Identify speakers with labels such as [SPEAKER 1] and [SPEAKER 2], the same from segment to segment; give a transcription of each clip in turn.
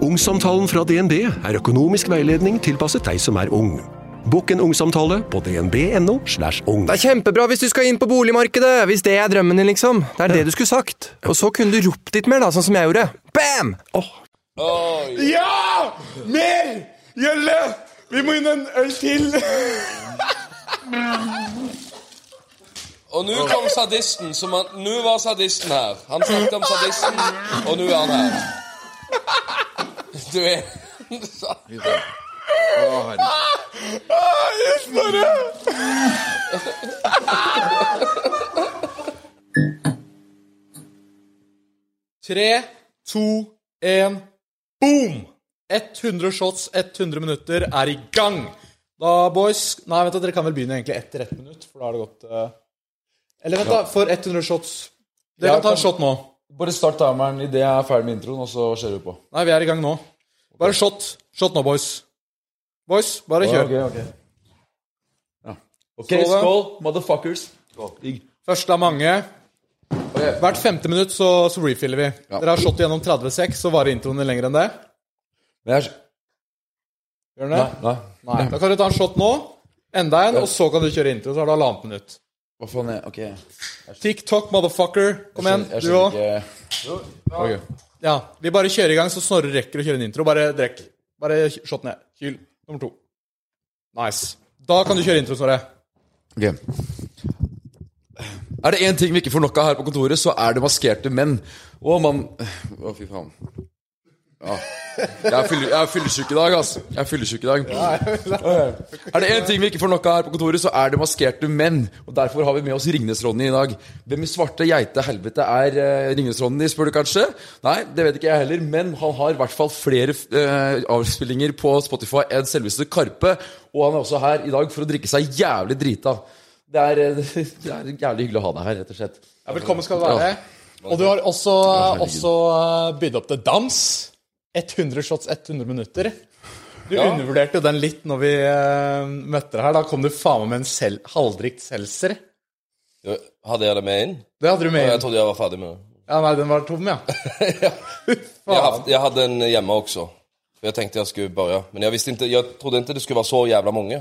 [SPEAKER 1] Ungsamtalen fra DNB er økonomisk veiledning tilpasset deg som er ung. Bokk en ungsamtale på dnb.no. slash ung.
[SPEAKER 2] Det er kjempebra hvis du skal inn på boligmarkedet! Hvis det er drømmen din, liksom. Det er det du skulle sagt. Og så kunne du ropt litt mer, da, sånn som jeg gjorde. Bam!
[SPEAKER 3] Ja! Mer! Gjølle! Vi må inn en øl til!
[SPEAKER 4] Og nå kom sadisten. Som han, nå var sadisten her. Han snakket om sadisten, og nå er han her. Du er
[SPEAKER 3] Tre, to, en, boom! 100 shots, 100 minutter er i gang. Da, boys Nei, vent, da, dere kan vel begynne egentlig etter ett minutt, for da har det gått eh, Eller vent, da. For 100 shots. Dere
[SPEAKER 5] Ja,
[SPEAKER 3] kan ta
[SPEAKER 5] kan-
[SPEAKER 3] en shot nå.
[SPEAKER 5] Bare start timeren idet jeg er ferdig med introen, og så kjører vi på.
[SPEAKER 3] Nei, vi er i gang nå. Bare shot. Shot nå, boys. Boys, bare kjør.
[SPEAKER 5] Ok, ok. Ja. Ok,
[SPEAKER 3] Skål, da.
[SPEAKER 5] skål, motherfuckers. Digg.
[SPEAKER 3] Første av mange. Hvert femte minutt så, så refiller vi.
[SPEAKER 5] Ja.
[SPEAKER 3] Dere har shot igjennom 30 sek, så varer introene lenger enn det.
[SPEAKER 5] Men jeg er
[SPEAKER 3] Gjør den det?
[SPEAKER 5] Nei, nei.
[SPEAKER 3] Nei. Da kan du ta en shot nå, enda en, og så kan du kjøre intro. Så har du halvannet minutt.
[SPEAKER 5] Hva faen er Ok. Jeg
[SPEAKER 3] TikTok, motherfucker. Kom igjen,
[SPEAKER 5] skjønner- jeg
[SPEAKER 3] du
[SPEAKER 5] skjønner
[SPEAKER 3] òg.
[SPEAKER 5] ikke Ok.
[SPEAKER 3] Ja, vi bare kjører i gang, så Snorre rekker å kjøre en intro. Bare drekk. Bare kj- shot ned. Kyl. Nummer to. Nice. Da kan du kjøre intro, Snorre.
[SPEAKER 5] Ok. Er det én ting vi ikke får nok av her på kontoret, så er det maskerte menn. Å, mann Å, fy faen. Ja. Jeg er fylle- jeg er fyllesyk i dag, ass. Jeg er fyllesyk i dag. Er det én ting vi ikke får nok av her på kontoret, så er det maskerte menn. Og Derfor har vi med oss Ringnes-Ronny i dag. Hvem i svarte geite helvete er eh, Ringnes-Ronny, spør du kanskje? Nei, det vet ikke jeg heller, men han har i hvert fall flere eh, avspillinger på Spotify enn selveste Karpe. Og han er også her i dag for å drikke seg jævlig drita. Det er, eh, det er jævlig hyggelig å ha deg her, rett og slett.
[SPEAKER 3] Ja, velkommen skal du
[SPEAKER 5] være.
[SPEAKER 6] Og du har også,
[SPEAKER 5] herregud.
[SPEAKER 6] også eh, bydd opp til dans. 100 shots, 100 minutter.
[SPEAKER 3] Du undervurderte jo den litt når vi eh, møtte deg her. Da kom du faen meg med en sel halvdrikt seltzer.
[SPEAKER 4] Du, Hadde jeg det med inn?
[SPEAKER 3] Det hadde du med
[SPEAKER 4] Jeg
[SPEAKER 3] inn.
[SPEAKER 4] trodde jeg var ferdig med det.
[SPEAKER 3] Ja, nei, den var tom, ja.
[SPEAKER 4] Jeg, haft, jeg hadde en hjemme også. For Jeg tenkte jeg skulle börja. Men jeg, visste ikke, jeg trodde ikke det skulle være så jævla mange.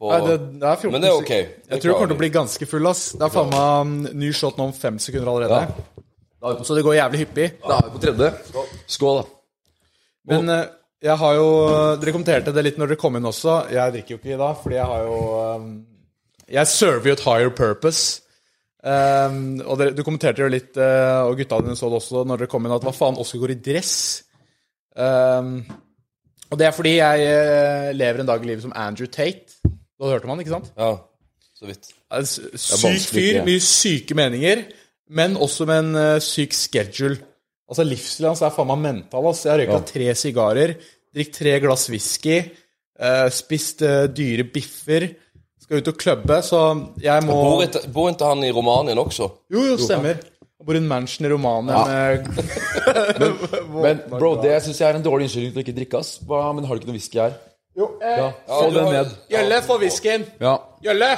[SPEAKER 4] På-
[SPEAKER 3] Nei, det, det er 14
[SPEAKER 4] Men det er ok.
[SPEAKER 3] sek-
[SPEAKER 4] Det
[SPEAKER 3] Jeg tror du
[SPEAKER 4] klarer
[SPEAKER 3] kommer til å bli ganske full, ass. Det er faen meg mm, ny shot nå om fem sekunder allerede. Så det går jævlig hyppig.
[SPEAKER 5] Da er vi på tredje. Skål, da.
[SPEAKER 3] Men eh, jeg har jo eh, Dere kommenterte det litt når dere kom inn også. Jeg drikker jo ikke i dag, fordi jeg har jo eh, Jeg server jo et higher purpose. Ehm, og dere, du kommenterte jo litt, eh, og gutta dine så det også når dere kom inn, at hva faen, Oskar går i dress. Ehm, og det er fordi jeg eh, lever en dag i livet som Andrew Tate. Da hørte man, ikke sant?
[SPEAKER 4] Ja, så vidt.
[SPEAKER 3] Ja, s- Syk
[SPEAKER 5] vanskelig
[SPEAKER 3] fyr,
[SPEAKER 5] ikke.
[SPEAKER 3] mye syke meninger, men også med en eh, syk schedule. Altså Livsstilen hans er faen meg mental. Ass. Jeg har røyka tre sigarer, drikket tre glass whisky, eh, spist eh, dyre biffer, skal ut og klubbe, så jeg må
[SPEAKER 4] Bor ikke, bor ikke han i Romanien også?
[SPEAKER 3] Jo, jo, stemmer. Jeg bor i en mansion i Romania med
[SPEAKER 5] Men bro, det syns jeg er en dårlig unnskyldning til å ikke drikke, ass. Hva, men har du ikke noe whisky her?
[SPEAKER 3] Jo, eh,
[SPEAKER 5] Ja, få
[SPEAKER 4] du
[SPEAKER 5] den
[SPEAKER 4] har-
[SPEAKER 5] ned.
[SPEAKER 3] Gjølle, få whiskyen!
[SPEAKER 5] Ja,
[SPEAKER 3] Gjølle!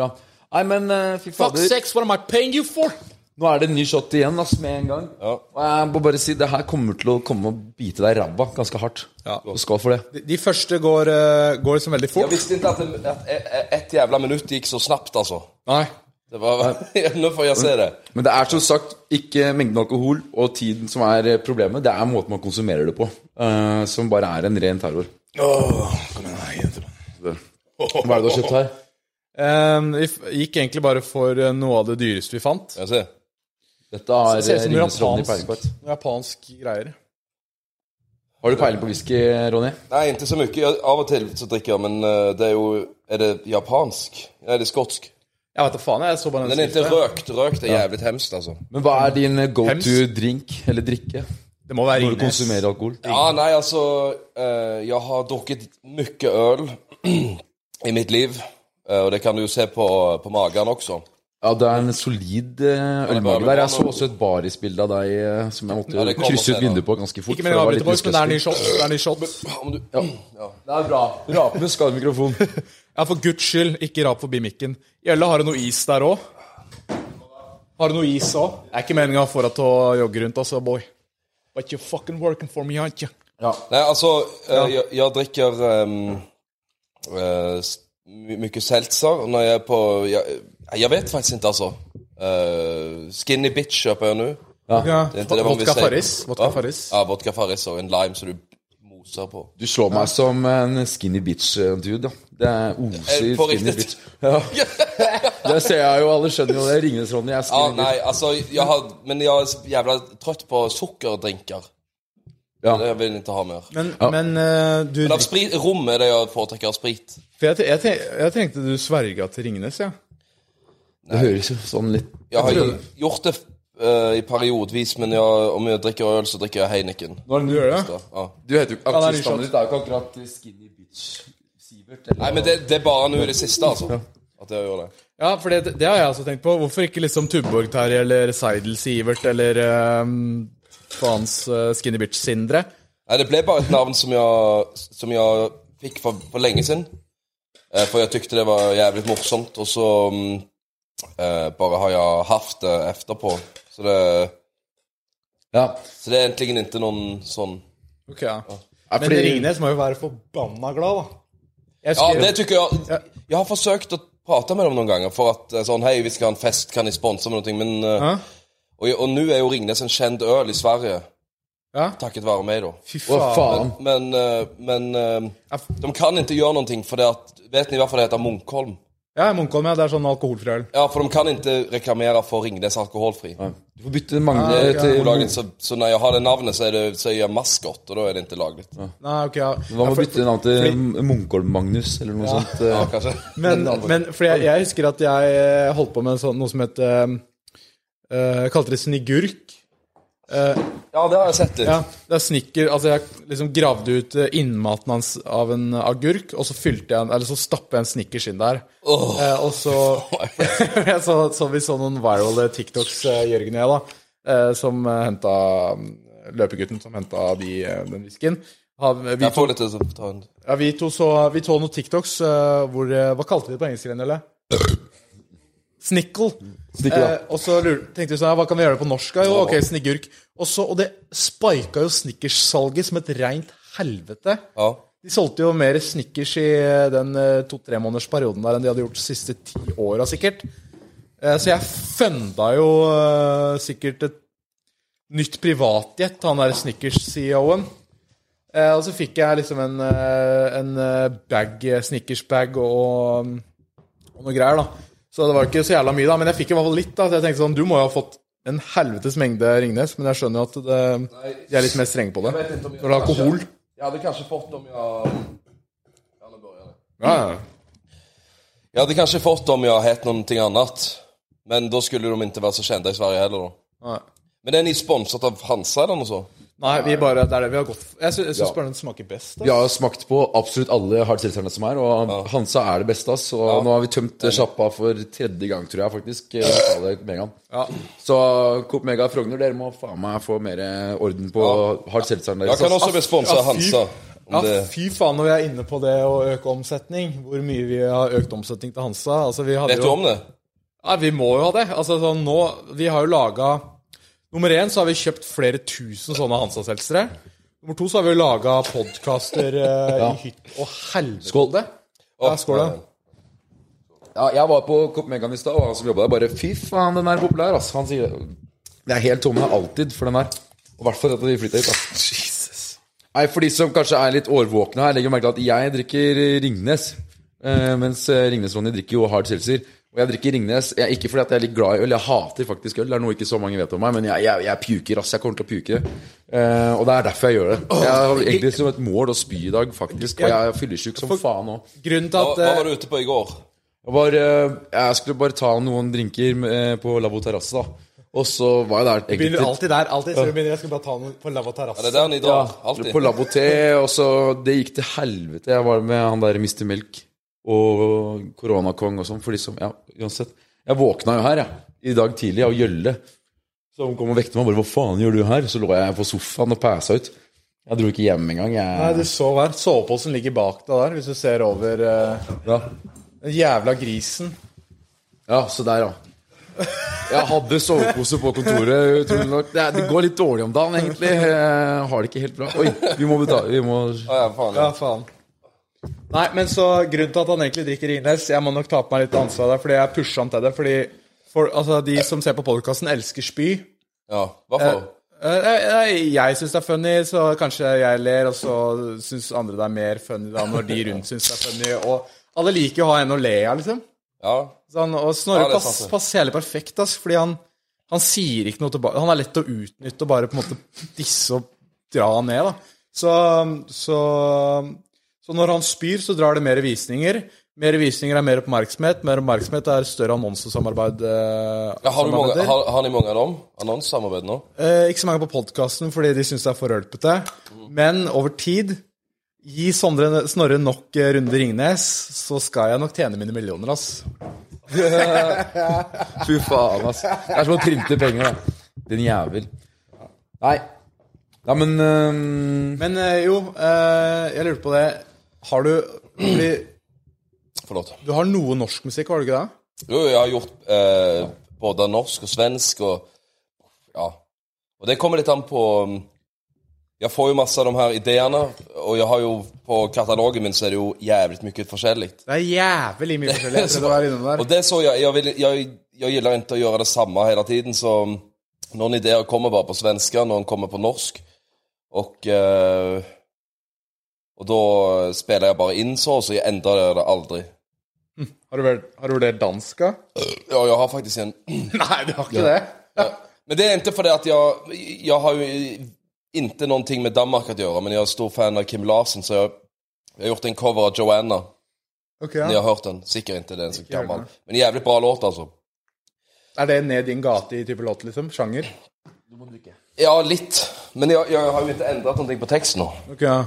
[SPEAKER 5] bra. Nei, men eh, fy
[SPEAKER 6] Fuck
[SPEAKER 5] fader.
[SPEAKER 6] sex, what am I paying you for?
[SPEAKER 5] Nå er det en ny shot igjen, ass, med en gang.
[SPEAKER 4] Ja.
[SPEAKER 5] Og jeg må bare si, det her kommer til å komme og bite deg i ræva ganske hardt.
[SPEAKER 3] Ja.
[SPEAKER 5] Og skål for det.
[SPEAKER 3] De, de første går, eh, går liksom veldig
[SPEAKER 4] Jeg
[SPEAKER 3] fort.
[SPEAKER 4] visste ikke at, det- at e- e- ett jævla minutt gikk så snapt, altså.
[SPEAKER 3] Nei.
[SPEAKER 4] Det var, nå får jeg se det.
[SPEAKER 5] Men det er som sagt ikke mengden alkohol og tiden som er eh, problemet. Det er måten man konsumerer det på, eh, som bare er en ren terror. Det. Hva er det du har kjøpt her?
[SPEAKER 3] Eh, vi f- gikk egentlig bare for eh, noe av det dyreste vi fant.
[SPEAKER 4] Skal jeg se.
[SPEAKER 5] Dette
[SPEAKER 3] Det
[SPEAKER 5] er
[SPEAKER 3] ser ut
[SPEAKER 5] eh,
[SPEAKER 3] som
[SPEAKER 5] Ringnes
[SPEAKER 4] sånn
[SPEAKER 5] Ronny
[SPEAKER 3] japansk.
[SPEAKER 5] Perlenkvart.
[SPEAKER 3] Japansk greier.
[SPEAKER 5] Har du peiling på whisky, Ronny?
[SPEAKER 4] Nei, ikke så mye. Jeg- Av og til så drikker jeg, men eh, det er jo Er det japansk? Nei, det er skotsk.
[SPEAKER 3] Jeg vet da faen, jeg så bare
[SPEAKER 4] Den
[SPEAKER 3] den
[SPEAKER 4] er ikke
[SPEAKER 3] skriften.
[SPEAKER 4] røkt. Røkt er jævlig hemskt, altså.
[SPEAKER 5] Men hva er din go to
[SPEAKER 3] Hems.
[SPEAKER 5] drink eller drikke
[SPEAKER 3] Det må være
[SPEAKER 5] når du
[SPEAKER 3] Ringnes.
[SPEAKER 5] konsumerer alkohol?
[SPEAKER 4] Ja, nei, altså eh, Jeg har drukket mye øl i mitt liv. eh, og det kan du jo se på, på magen også.
[SPEAKER 5] Ja, det er en solid eh,
[SPEAKER 4] bare
[SPEAKER 5] ølmage
[SPEAKER 4] bra
[SPEAKER 5] der. Jeg så
[SPEAKER 4] nå.
[SPEAKER 5] også et barisbilde av deg eh, som jeg måtte
[SPEAKER 4] det kommer
[SPEAKER 5] krysse ut
[SPEAKER 4] senere.
[SPEAKER 5] vinduet på ganske fort.
[SPEAKER 3] Ikke
[SPEAKER 5] for
[SPEAKER 3] mer
[SPEAKER 5] jeg var
[SPEAKER 3] avbryte,
[SPEAKER 5] litt
[SPEAKER 3] boys, men det er ny
[SPEAKER 5] utspist.
[SPEAKER 3] shot. Det er ny shot.
[SPEAKER 4] Om du, ja.
[SPEAKER 5] Det er bra. Rape med skadet mikrofon.
[SPEAKER 3] Ja, for guds skyld, ikke rap forbi mikken. Gjelle, har du noe is der òg? Har du noe is òg? Det er ikke meninga for deg til å jogge rundt, altså, boy. But you're fucking working for me, aren't you?
[SPEAKER 4] Nei, altså, eh, jeg, jeg drikker ehm, eh, s- my- mye seltzer når jeg er på jeg, jeg vet faktisk ikke, altså. Eh, skinny bitch kjøper jeg nå. Det er ikke det man vil
[SPEAKER 3] Vodka
[SPEAKER 4] si.
[SPEAKER 3] Farris. Vodka
[SPEAKER 4] Hva?
[SPEAKER 3] Farris.
[SPEAKER 4] Ja, vodka Farris og en lime som du moser på.
[SPEAKER 5] Du slår meg som en skinny bitch-dude, ja. Det er oser
[SPEAKER 4] Eh, på
[SPEAKER 5] skinny
[SPEAKER 4] riktig.
[SPEAKER 5] bitch. Ja. Det ser jeg jo, alle skjønner jo det. Ringenes Ronny jeg er
[SPEAKER 4] Ja,
[SPEAKER 5] skinny
[SPEAKER 4] nei,
[SPEAKER 5] bitch.
[SPEAKER 4] altså jeg har, Men jeg er så jævla trøtt på sukkerdrinker.
[SPEAKER 5] Ja.
[SPEAKER 4] Det vil jeg ikke ha mer.
[SPEAKER 3] Men, men eh, du
[SPEAKER 4] Men av sprit, rom er det jeg foretrekker av sprit.
[SPEAKER 3] for jeg, te- jeg, te- jeg tenkte du sverga til Ringenes, ja.
[SPEAKER 5] Det høres jo sånn litt
[SPEAKER 4] Jeg har gjort det eh, i periodvis, men jeg, om jeg drikker øl, så drikker jeg Heineken.
[SPEAKER 3] Du gjør det?
[SPEAKER 4] Da, Ah. ja.
[SPEAKER 5] Du heter jo
[SPEAKER 3] det er ny shot.
[SPEAKER 5] Aksjestammen ditt er jo ikke akkurat skinny bitch-Sivert.
[SPEAKER 4] Nei, men det, det er bare nå i det siste, altså. At jeg gjør det.
[SPEAKER 3] Ja, for det, det har jeg også tenkt på. Hvorfor ikke liksom Tuborg Terje eller Seidel Sivert eller ehm, faens eh, Skinny Bitch Sindre?
[SPEAKER 4] Nei, det ble bare et navn som jeg, som jeg fikk for, for lenge siden. Eh, for jeg tykte det var jævlig morsomt, og så mm, eh, bare har jeg hatt det etterpå. Så det,
[SPEAKER 5] Ja.
[SPEAKER 4] så det er egentlig ikke noen sånn
[SPEAKER 3] Ok, ja.
[SPEAKER 5] Ja,
[SPEAKER 3] Men
[SPEAKER 5] fordi-
[SPEAKER 3] Ringnes må jo være forbanna glad, da. Jeg
[SPEAKER 4] Ja,
[SPEAKER 3] skrev,
[SPEAKER 4] det tycker jag. Jag har försökt att prata med dem någon gång för att eh, sån, hej vi ska ha en fest, kan ni sponsra med någonting? Men, eh, och, och nu är ju Ringnes en känd öl i Sverige.
[SPEAKER 3] Ja.
[SPEAKER 4] Tacket vare mig då.
[SPEAKER 3] Fy
[SPEAKER 5] Å,
[SPEAKER 3] faen.
[SPEAKER 5] faen.
[SPEAKER 4] Men, eh, men eh,
[SPEAKER 3] Ja, f-
[SPEAKER 4] de kan inte göra någonting för det att, vet ni varför det heter Munkholm?
[SPEAKER 3] Ja, Munkholm, ja. Det er sånn alkoholfri øl.
[SPEAKER 4] Ja, för de kan inte reklamera för Ringnes alkoholfri.
[SPEAKER 5] Du får bytte Magne
[SPEAKER 3] Ja, ok.
[SPEAKER 5] til
[SPEAKER 4] Olagligt, så, så när jag har det namnet så är, det, så är jag maskott och då är det inte lagligt. Ja,
[SPEAKER 3] Nei, ok, ja.
[SPEAKER 5] Hva
[SPEAKER 3] ja,
[SPEAKER 5] med å
[SPEAKER 3] for-
[SPEAKER 5] bytte navn til Munkholm-Magnus, eller noe sånt? eh,
[SPEAKER 4] kanske.
[SPEAKER 3] Men, men fordi jeg, jeg husker at jeg holdt på med en sånn, noe som het ehm, eh, Kalte det snigurk.
[SPEAKER 4] ja det har jag sett.
[SPEAKER 3] Ja, det er snikker, altså jeg liksom gravde ut eh, innmaten hans av en agurk, og så fylte jeg en, eller så stappet jeg en snickers inn der. Eh, og så, jeg så, så vi så noen virale TikToks, eh, Jørgen og jeg da, eh, som eh, hentet, mm, løpegutten som hentet de, eh, den visken. Vi,
[SPEAKER 4] Jag
[SPEAKER 3] to,
[SPEAKER 4] får lite så ta en...
[SPEAKER 3] ja, vi to så, vi så noen TikToks, eh, hvor, eh, hva kalte vi det på engelsk igjen, eller? Snickle.
[SPEAKER 5] Snickle, ja.
[SPEAKER 3] Eh, og så lur, tenkte vi sånn, ja, hva kan vi gjøre det på norsk? da? Jo, ok, sniggurk. Og, så, og det spika jo snickers-salget som et reint helvete.
[SPEAKER 4] Ja.
[SPEAKER 3] De solgte jo mer snickers i eh, den eh, to-tre måneders perioden der enn de hadde gjort de siste ti åra, sikkert. Eh, så jeg funda jo eh, sikkert et nytt privatjet, han der snickers-CEO-en. Eh, og så fikk jeg liksom en, eh, en eh, bag, eh, snickers-bag og, mm, og noe greier, da. Så det var ikke så jævla mye, da. Men jeg fikk i hvert fall litt, da. Så jeg tenkte sånn, du må jo ha fått en helvetes mengde Ringnes, men jeg skjønner jo at det, de er litt mer strenge på det.
[SPEAKER 4] vet ikke om jeg-
[SPEAKER 3] Når det er alkohol.
[SPEAKER 4] Jag hade kanske fått om jag... Ja, nu börjar det.
[SPEAKER 3] Ja, ja.
[SPEAKER 4] Jag hade kanske fått om jag hett någonting annat. Men då skulle de inte vara så kända i Sverige heller då.
[SPEAKER 3] Nej.
[SPEAKER 4] Men är ni sponsrat av Hansa eller något så?
[SPEAKER 3] Nei, vi bare, det er det vi har gått for. Jeg syns bare den smaker best.
[SPEAKER 5] Vi
[SPEAKER 3] Da.
[SPEAKER 5] har jo smakt på absolutt alle hardselterne som er, og Hansa er det beste. ass. Og nå har vi tømt eh, sjappa for tredje gang, tror jeg, faktisk. eh, lokale Copenhagen. Så Coop Mega Frogner, dere må faen meg få mer eh, orden på hardselteren
[SPEAKER 4] Jag
[SPEAKER 5] deres.
[SPEAKER 4] kan
[SPEAKER 5] ass.
[SPEAKER 4] också bli sponsrad av
[SPEAKER 3] ja, fy.
[SPEAKER 4] Hansa.
[SPEAKER 3] Ja,
[SPEAKER 4] Om det...
[SPEAKER 3] fy faen når vi er inne på det å øke omsetning. Hvor mye vi har økt omsetning til Hansa. Altså, vi hadde
[SPEAKER 4] Vet du
[SPEAKER 3] jo-
[SPEAKER 4] om det?
[SPEAKER 3] Ja, vi må jo ha det. Altså, sånn, nå, vi har jo laga Nummer én så har vi kjøpt flere tusen sånne Hansa-selgere. Nummer to så har vi jo laga podkaster eh, i hytt og helvete.
[SPEAKER 5] Skål.
[SPEAKER 3] Ja, skål, da.
[SPEAKER 5] Ja, jeg var på Coop Megan i stad, og han som jobba der, bare Fy faen, den er populær, ass. Han sier Det er helt tom, men alltid for den her. Og i hvert fall etter at de flytta hit, ass. Nei, for de som kanskje er litt årvåkne her, legger merke til at jeg drikker Ringnes. eh, Mens eh, Ringnes-Ronny drikker jo hard seltzer. Og jeg drikker Ringnes jeg, ikke fordi at jeg er litt glad i øl, jeg hater faktisk øl. Det er noe ikke så mange vet om meg, men jeg, jeg, jeg puker, ass. Jeg kommer til å puke. Eh, og det er derfor jeg gjør det. Jeg har egentlig som et mål å spy i dag, faktisk. Og jeg er fyllesyk som faen nå.
[SPEAKER 3] Grunnen til
[SPEAKER 4] Hva,
[SPEAKER 3] at
[SPEAKER 4] hva
[SPEAKER 3] eh,
[SPEAKER 4] var du ute på igår?
[SPEAKER 5] Jeg, var, eh, jeg skulle bare ta noen drinker eh, på Lavvo terrasse, da. Og så var jeg der
[SPEAKER 3] Begynner
[SPEAKER 5] egentlig
[SPEAKER 3] alltid der. alltid, så vi begynner, Jeg skal bare ta noe på lavvo
[SPEAKER 4] Är det
[SPEAKER 3] terrasse.
[SPEAKER 4] där ni drar? Alltid?
[SPEAKER 5] på Lavvo te, og så Det gikk til helvete. Jeg var med han der Mr. Melk og koronakong og sånn, for de som Ja, uansett. Jeg våkna jo her, jeg, i dag tidlig, av Gjølle. Så hun kom og vekte meg og bare 'Hva faen gjør du her?' Så lå jeg på sofaen og pæsa ut. Jeg dro ikke hjem engang.
[SPEAKER 3] Nei,
[SPEAKER 5] Jeg,
[SPEAKER 3] du så her. Soveposen ligger bak deg der, hvis du ser over eh,
[SPEAKER 5] ja.
[SPEAKER 3] den jævla grisen.
[SPEAKER 5] ja, så der, ja. Jeg hadde sovepose på kontoret, utrolig nok. Det, er- det går litt dårlig om dagen, egentlig. Jeg har det ikke helt bra. Oi, vi må betale Vi må
[SPEAKER 4] Å, ja, faen, ja.
[SPEAKER 3] Ja, faen. Nei, men så grunnen til at han egentlig drikker Ringnes Jeg må nok ta på meg litt ansvar der, fordi jeg pusha han til det. Fordi for, altså, de som ser på podkasten, elsker spy.
[SPEAKER 4] ja. Hva for?
[SPEAKER 3] Eh, eh, Jeg syns det er funny, så kanskje jeg ler, og så syns andre det er mer funny da, når de rundt syns det er funny. Og alle liker jo å ha en å le av, liksom.
[SPEAKER 4] Ja.
[SPEAKER 3] Så han, og
[SPEAKER 4] Ja,
[SPEAKER 3] Snorre
[SPEAKER 4] det er sant,
[SPEAKER 3] pass,
[SPEAKER 4] det.
[SPEAKER 3] passer jævlig perfekt, ass, fordi han, han sier ikke noe tilbake. Han er lett å utnytte og bare på en måte disse og dra han ned, da. Så, så, så når han spyr, så drar det mer visninger. Mer visninger er mer oppmerksomhet. Mer oppmerksomhet er større annonsesamarbeid. Eh,
[SPEAKER 4] ja har, du mange,
[SPEAKER 3] samarbeider.
[SPEAKER 4] har, har de mange av dem? Annonsesamarbeid nå?
[SPEAKER 3] Eh, ikke så mange på podkasten fordi de syns det er for rølpete.
[SPEAKER 4] Mm.
[SPEAKER 3] Men over tid Gi Sondre, Snorre nok eh, runde Ringnes, så skal jeg nok tjene mine millioner, ass.
[SPEAKER 5] Fy faen, ass. Det er som å printe penger, da. Din jævel. Nei. Ja, men øhm,
[SPEAKER 3] Men eh, jo, eh, jeg lurte på det. Har du fordi
[SPEAKER 4] Forlåt.
[SPEAKER 3] Du har noe norsk musikk, har du ikke det?
[SPEAKER 4] Jo, jeg har gjort eh, både norsk og svensk og Ja. Og det kommer litt an på mm, Jeg får jo masse av de her ideene, og jeg har jo på katalogen min så er det jo jævlig mye forskjellig.
[SPEAKER 3] Det er jævlig mye forskjellig. etter det var innom der.
[SPEAKER 4] Og det så jeg, jeg, vil, jeg, jeg gillar ikke å gjøre det samme hele tiden, så um, noen ideer kommer bare på svenska, noen kommer på norsk, og eh, og da eh, spiller jeg bare inn så, så jeg endrer det aldri.
[SPEAKER 3] Har du vurdert- har du vurdert dansk, da?
[SPEAKER 4] Ja, jeg har faktisk en
[SPEAKER 3] Nei, du har ikke det?
[SPEAKER 4] Men det er ikke fordi at jeg Jeg har jo ikke noe med Danmark å gjøre, men jeg er stor fan av Kim Larsen, så jeg, jeg har gjort en cover av Joanna.
[SPEAKER 3] Ok, ja.
[SPEAKER 4] Ni har hørt den. Sikkert ikke, det er en så
[SPEAKER 3] hørt
[SPEAKER 4] gammel.
[SPEAKER 3] den.
[SPEAKER 4] Men jævlig bra låt, altså.
[SPEAKER 3] Er det ned din gate i type låt, liksom? Sjanger?
[SPEAKER 4] Ja, litt. Men jeg, jeg har jo ikke endret noe på teksten nå.
[SPEAKER 3] Ok, ja.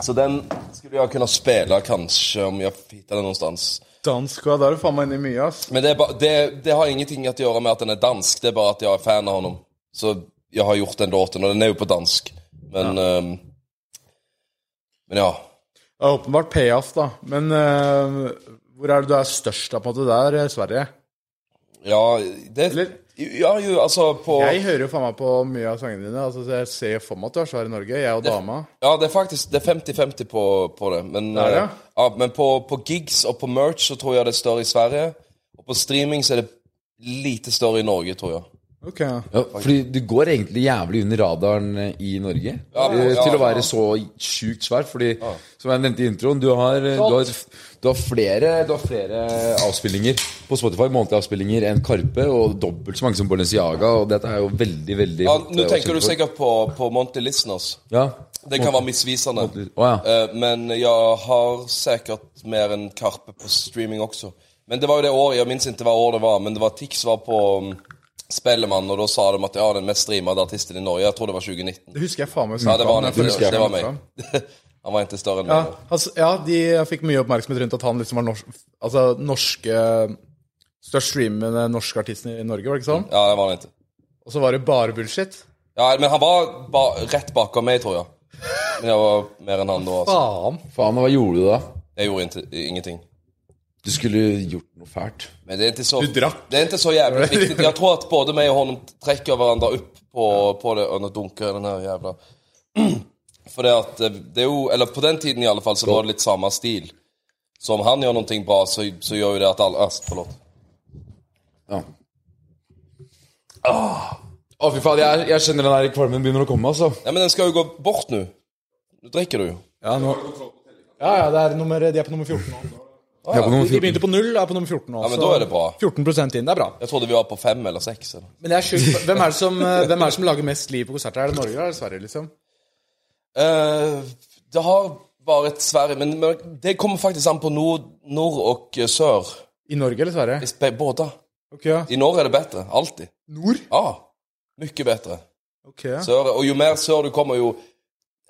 [SPEAKER 4] Så den skulle jeg kunne spille, kanskje, om jeg finner den noe sted.
[SPEAKER 3] Dansk, ja. Da er du faen meg inne i mye, ass.
[SPEAKER 4] Men det, er ba, det, det har ingenting å gjøre med at den er dansk, det er bare at jeg er fan av ham. Så jeg har gjort den låten, og den er jo på dansk. Men ehm, Men ja.
[SPEAKER 3] Det er åpenbart payoff, da. Men eh, hvor er det du er størst, da, på en måte? Der, eh, Sverige?
[SPEAKER 4] Ja, det
[SPEAKER 3] Eller-
[SPEAKER 4] Ja, jo, altså på
[SPEAKER 3] Jeg hører jo faen meg på mye av sangene dine. Altså, så jeg ser for meg at du er svær i Norge. Jeg og dama.
[SPEAKER 4] Ja, det er faktisk det er 50-50 på, på det. Men,
[SPEAKER 3] er det,
[SPEAKER 4] eh, ja, men på, på gigs og på merch så tror jeg det er større i Sverige. Og på streaming så er det lite større i Norge, tror jeg.
[SPEAKER 3] Ok, ja.
[SPEAKER 5] ja, Fordi du går egentlig jævlig under radaren eh, i Norge
[SPEAKER 4] Ja,
[SPEAKER 5] eh,
[SPEAKER 4] ja,
[SPEAKER 5] til å
[SPEAKER 4] ja.
[SPEAKER 5] være så sjukt svær. Fordi, som jeg nevnte i introen, du har, eh, du har, du har, flere, du har flere avspillinger på Spotify, månedlige avspillinger, enn Karpe, og dobbelt så mange som Balenciaga. Og dette er jo veldig, veldig
[SPEAKER 4] Ja,
[SPEAKER 5] hot, eh,
[SPEAKER 4] Nå tenker
[SPEAKER 5] å
[SPEAKER 4] du
[SPEAKER 5] kjempe for.
[SPEAKER 4] sikkert på, på Monty Listeners.
[SPEAKER 5] Ja.
[SPEAKER 4] Det kan være misvisende.
[SPEAKER 5] Å ja.
[SPEAKER 4] Eh, Men jeg har sikkert mer enn Karpe på streaming også. Men det var jo det året, jeg minns ikke hva år det var, men det var Tix var på mm, Spellemann, og da sa de at ja, den mest streamede artisten i Norge, jeg tror det var 2019.
[SPEAKER 3] Det husker jeg faen meg.
[SPEAKER 4] Ja, det var han ikke.
[SPEAKER 5] husker jeg.
[SPEAKER 4] Det var meg. Han var ikke større enn
[SPEAKER 3] Ja,
[SPEAKER 4] meg.
[SPEAKER 3] altså, ja de, jeg fikk mye oppmerksomhet rundt at han liksom var norsk, altså, norske Størst streamende norske artisten i Norge, var det ikke sånn?
[SPEAKER 4] Ja, det var han ikke.
[SPEAKER 3] Og så var det bare bullshit.
[SPEAKER 4] Ja, men han var ba rett bakom meg, tror jeg. Men jeg var mer enn han da. Altså.
[SPEAKER 3] Faen.
[SPEAKER 5] Faen, hva gjorde du da?
[SPEAKER 4] Jeg gjorde inte- ingenting.
[SPEAKER 5] Du skulle gjort noe fælt.
[SPEAKER 4] Men det er ikke så,
[SPEAKER 3] Du drakk.
[SPEAKER 4] det er ikke så jævlig viktig. Jeg tror at både meg og han trekker hverandre opp på, på det og nå dunker den her jævla For det at eh, det er jo Eller på den tiden i alle fall så var det litt samme stil. Så om han gjør noe bra, så, så gjør jo det at alle Æsj, forlåt.
[SPEAKER 5] Ja. Ah. Å, fy faen, jeg, jeg kjenner den der kvalmen begynner å komme, altså.
[SPEAKER 4] Nei, men den skal jo gå bort nå. Nå drikker du jo.
[SPEAKER 3] Ja, nå... ja, ja det er nummer, de er på nummer 14 nå.
[SPEAKER 5] Jeg er på
[SPEAKER 3] De,
[SPEAKER 5] nummer
[SPEAKER 3] de
[SPEAKER 5] 14.
[SPEAKER 3] begynte på null, er på nummer 14 nå.
[SPEAKER 4] Ja, men
[SPEAKER 3] så
[SPEAKER 4] da er det bra.
[SPEAKER 3] 14 inn, det er bra.
[SPEAKER 4] Jeg trodde vi var på fem eller seks. Eller.
[SPEAKER 3] Men det er sjukt. Hvem er det som, eh, hvem er det som lager mest liv på konserter? Er det Norge eller er det Sverige, liksom?
[SPEAKER 4] Eh, det har vært Sverige, men men det kommer faktisk an på nord, nord og eh, sør.
[SPEAKER 3] I Norge eller Sverige?
[SPEAKER 4] I spe- Både.
[SPEAKER 3] Ok, ja.
[SPEAKER 4] I Norge er det bedre. Alltid.
[SPEAKER 3] Nord?
[SPEAKER 4] Ja. Mye bedre.
[SPEAKER 3] Ok, ja.
[SPEAKER 4] Sør, og jo mer sør du kommer, jo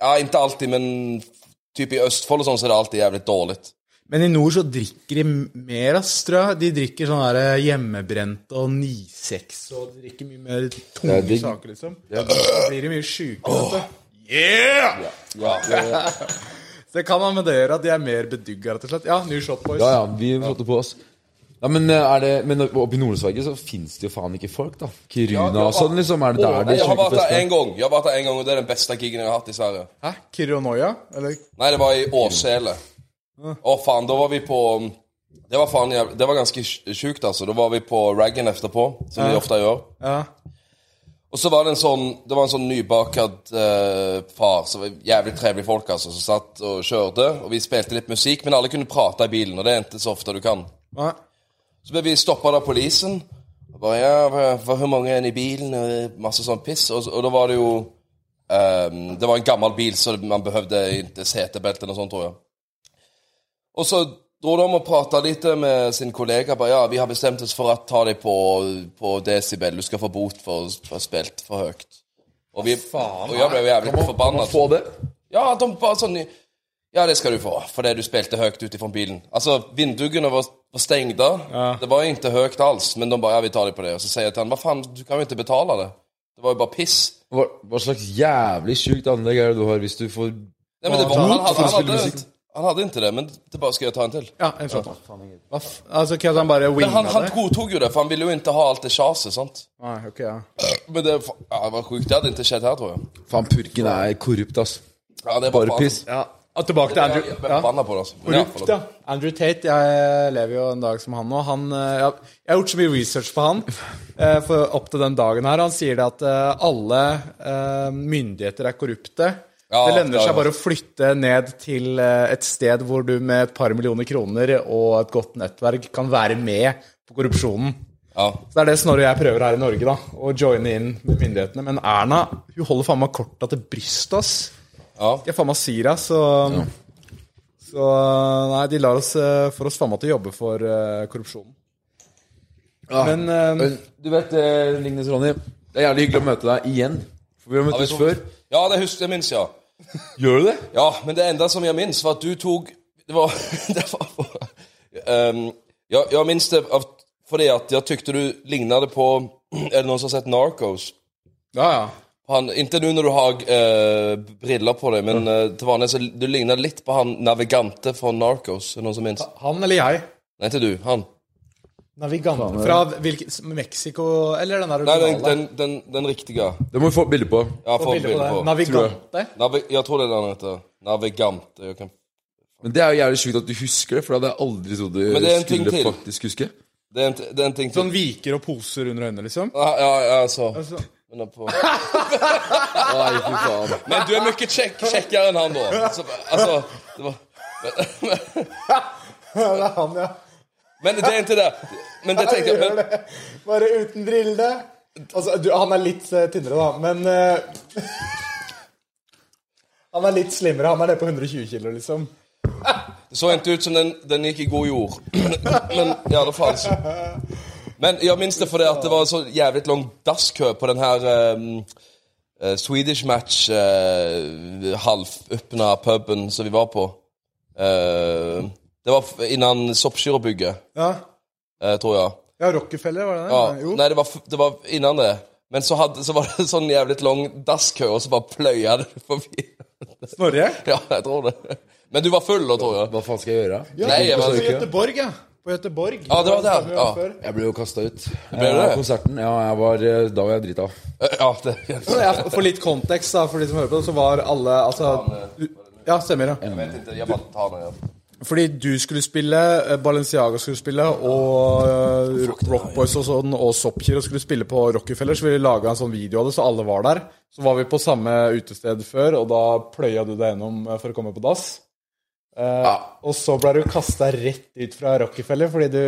[SPEAKER 4] Ja, ikke alltid, men typ i Østfold og sånn, så er det alltid jævlig dårlig.
[SPEAKER 3] Men i nord så drikker de mer, ass, tror jeg. De drikker sånn der eh, hjemmebrent og 9-6, og de drikker mye mer tunge
[SPEAKER 5] Det er digg.
[SPEAKER 3] saker, liksom. Da blir de mye sjuke, vet du.
[SPEAKER 4] Ja, ja.
[SPEAKER 3] Så det kan ha med det å gjøre at de er mer bedugga, rett og slett. Ja, ny shot, boys.
[SPEAKER 5] Ja, ja, vi satte på oss. Ja, men, eh, er det, men oppe i Nord-Sverige så fins det jo faen ikke folk, da. Kiruna og sånn, liksom. Er det der det
[SPEAKER 4] Jeg har vært der
[SPEAKER 5] sjukefeste?
[SPEAKER 4] én gang, Jeg har vært der en gang, og det er den beste gigen jeg har hatt i Sverige.
[SPEAKER 3] Hæ? Kirjonoia? Eller
[SPEAKER 4] Nei, det var i Åsele. Å, faen, da var vi på um, Det var, faen, jæv- det var ganske sj- sjukt, altså. Da var vi på raggen etterpå, som vi ofte gjør.
[SPEAKER 3] Ja.
[SPEAKER 4] Og så var det en sånn Det var en sånn nybakad eh, far, som var jævlig trevlig folk, altså, som satt og kjørte. Og vi spilte litt musikk, men alle kunne prate i bilen, og det er ikke så ofte du kan.
[SPEAKER 3] Nei.
[SPEAKER 4] Så ble vi stoppa av politiet. Og bare, ja, hva- hva- hvor mange er det i bilen? Og masse sånn piss. Og, og da var det jo ehm, Det var en gammel bil, så man behøvde ikke setebelte eller sånt, tror jeg. Og så dro de og prata litt med sin kollega. Bare, ja, vi har bestemt oss for å ta deg på, på decibel. Du skal få bot for å ha spilt for høyt. Og, vi, og jeg ble jævlig forbanna.
[SPEAKER 5] Få det?
[SPEAKER 4] Ja, de bare sånn Ja, det skal du få, fordi du spilte høyt ut ifra bilen. Altså, vinduene var, var stengte. Det var ikke høyt alls, men de bare Ja, vi tar det på det. Og så sier jeg til han Hva faen, du kan jo ikke betale det. Det var jo bare piss.
[SPEAKER 5] Hva, hva slags jævlig sjukt anlegg er det du har hvis du får
[SPEAKER 4] Nei, men det var, han, hadde,
[SPEAKER 5] for å
[SPEAKER 4] han,
[SPEAKER 5] spille
[SPEAKER 4] hadde, han hadde ikke det, men det bare skal jeg ta en til.
[SPEAKER 3] Ja, en shot. Hva f... Altså, hva han bare
[SPEAKER 4] Men
[SPEAKER 3] winga
[SPEAKER 4] han, han
[SPEAKER 3] det?
[SPEAKER 4] godtok jo det, for han ville jo ikke ha alt det sjaset, sant.
[SPEAKER 3] Nei, ok, ja.
[SPEAKER 4] Men det, ja, det var sjukt. Det hadde ikke skjedd her, tror jeg.
[SPEAKER 5] Faen, purken er korrupt, ass.
[SPEAKER 4] Ja, det er
[SPEAKER 5] Bare
[SPEAKER 4] faen.
[SPEAKER 5] piss.
[SPEAKER 3] ja. Og tilbake til
[SPEAKER 4] Jeg,
[SPEAKER 3] Andrew.
[SPEAKER 4] jeg ble forbanna på det, altså. Men ja,
[SPEAKER 3] Brukt,
[SPEAKER 4] forlåt.
[SPEAKER 3] da. Andrew Tate, jeg lever jo en dag som han nå. Han, eh, jeg, jeg har gjort så mye research på han eh, for opp til den dagen her. Han sier det at eh, alle eh, myndigheter er korrupte.
[SPEAKER 4] Ja,
[SPEAKER 3] det
[SPEAKER 4] ja,
[SPEAKER 3] lønner
[SPEAKER 4] ja.
[SPEAKER 3] seg bare å flytte ned til eh, et sted hvor du med et par millioner kroner og et godt nettverk kan være med på korrupsjonen.
[SPEAKER 4] Ja.
[SPEAKER 3] Så det er det Snorre og jeg prøver her i Norge, da. Å joine inn med myndighetene. Men Erna, hun holder faen meg korta til brystet, ass.
[SPEAKER 4] Ja.
[SPEAKER 3] Jeg faen meg sier det, så Så nei, de lar oss eh, får oss faen meg til å jobbe for eh, korrupsjonen. Men eh,
[SPEAKER 5] Men Du vet, eh, Lignes Ronny, det er jævlig hyggelig å møte deg igjen. For vi har møttes før.
[SPEAKER 4] ja, det husker jeg minst, ja.
[SPEAKER 5] Gjør du det?
[SPEAKER 4] Ja, men det enda som jeg minns, var at du tok Det var, det var Ehm, ja, Jeg minns det av, fordi at jeg tykte du lignet på Er det noen som har sett Narcos?
[SPEAKER 3] ja, ja.
[SPEAKER 4] Han, ikke nå når du har eh, briller på deg, men eh, til vanlig så du lignet litt på han navigante fra Narcos. Er det noen som minns?
[SPEAKER 3] Han eller jeg.
[SPEAKER 4] Nei, ikke du. Han.
[SPEAKER 3] Navigante fra hvilken Mexico Eller den der
[SPEAKER 4] Nei, den,
[SPEAKER 3] originale?
[SPEAKER 4] den, den, den riktige.
[SPEAKER 5] Det må vi få et bilde på.
[SPEAKER 4] Ja, få
[SPEAKER 3] Bilde
[SPEAKER 4] bilde
[SPEAKER 3] på det.
[SPEAKER 4] på.
[SPEAKER 3] Navigante?
[SPEAKER 4] Navi jeg tror det er det han heter. Navigante. Jeg kan...
[SPEAKER 5] Men det er jo jævlig sjukt at du husker det, for det hadde jeg aldri trodd du
[SPEAKER 4] Men det er en ting
[SPEAKER 5] skulle
[SPEAKER 4] til.
[SPEAKER 5] faktisk huske.
[SPEAKER 4] Det er en, det er en ting til.
[SPEAKER 3] Sånn viker og poser under øynene, liksom?
[SPEAKER 4] Ja, ja, ja, altså. Men det er på...
[SPEAKER 5] Nei, fy faen.
[SPEAKER 4] Men du er mye kjekk, kjekkere enn han, da. Så, altså, det var...
[SPEAKER 3] Ja, det er han, ja.
[SPEAKER 4] Men det er ikke det. Men det tenkte jeg men,
[SPEAKER 3] Bare uten brille. Altså, du, han er litt eh, tynnere, da, men eh, Han er litt slimmere. Han er nede på 120 kilo, liksom.
[SPEAKER 4] Det så ikke ut som den, den gikk i god jord. Men i alle fall så. Men jeg minnes det fordi at det var en så jævlig lang dasskø på den her ehm, eh, Swedish match uh, halvøpna puben som vi var på. Eh, det var f- innan Soppskyrobygget,
[SPEAKER 3] Ja,
[SPEAKER 4] eh, tror jeg.
[SPEAKER 3] ja Rockefeller, var det det?
[SPEAKER 4] Ja, nei, det var, f- det var innan det. Men så, hadde, så var det sånn jævlig lang dasskø, og så bare pløya det forbi.
[SPEAKER 3] Snorre?
[SPEAKER 4] Ja, jeg tror det. Men du var full da, tror jeg.
[SPEAKER 5] Hva faen skal jeg gjøre?
[SPEAKER 4] Nei, jeg var
[SPEAKER 3] På Göteborg, ja. På Göteborg.
[SPEAKER 4] Ja, det var der, ja.
[SPEAKER 5] Jeg ble jo kasta ut.
[SPEAKER 4] du
[SPEAKER 5] Eh,
[SPEAKER 4] det?
[SPEAKER 5] Konserten. Ja, jeg var, eh, da var jeg drita.
[SPEAKER 4] Eh, Ja, det
[SPEAKER 3] Ja, For litt kontekst, da, for de som hører på, så var alle altså Ja, stemmer, ja.
[SPEAKER 4] Jeg vet ikke, jeg bare tar den igjen.
[SPEAKER 3] Fordi du skulle spille, eh, Balenciaga skulle spille, og eh, Rock Boys og sånn, og Soppkiro skulle spille på Rockefeller, så vi laga en sånn video av det, så alle var der. Så var vi på samme utested før, og da pløya du deg gjennom eh, for å komme på dass. Eh, Og så ble du kasta rett ut fra Rockefeller fordi du,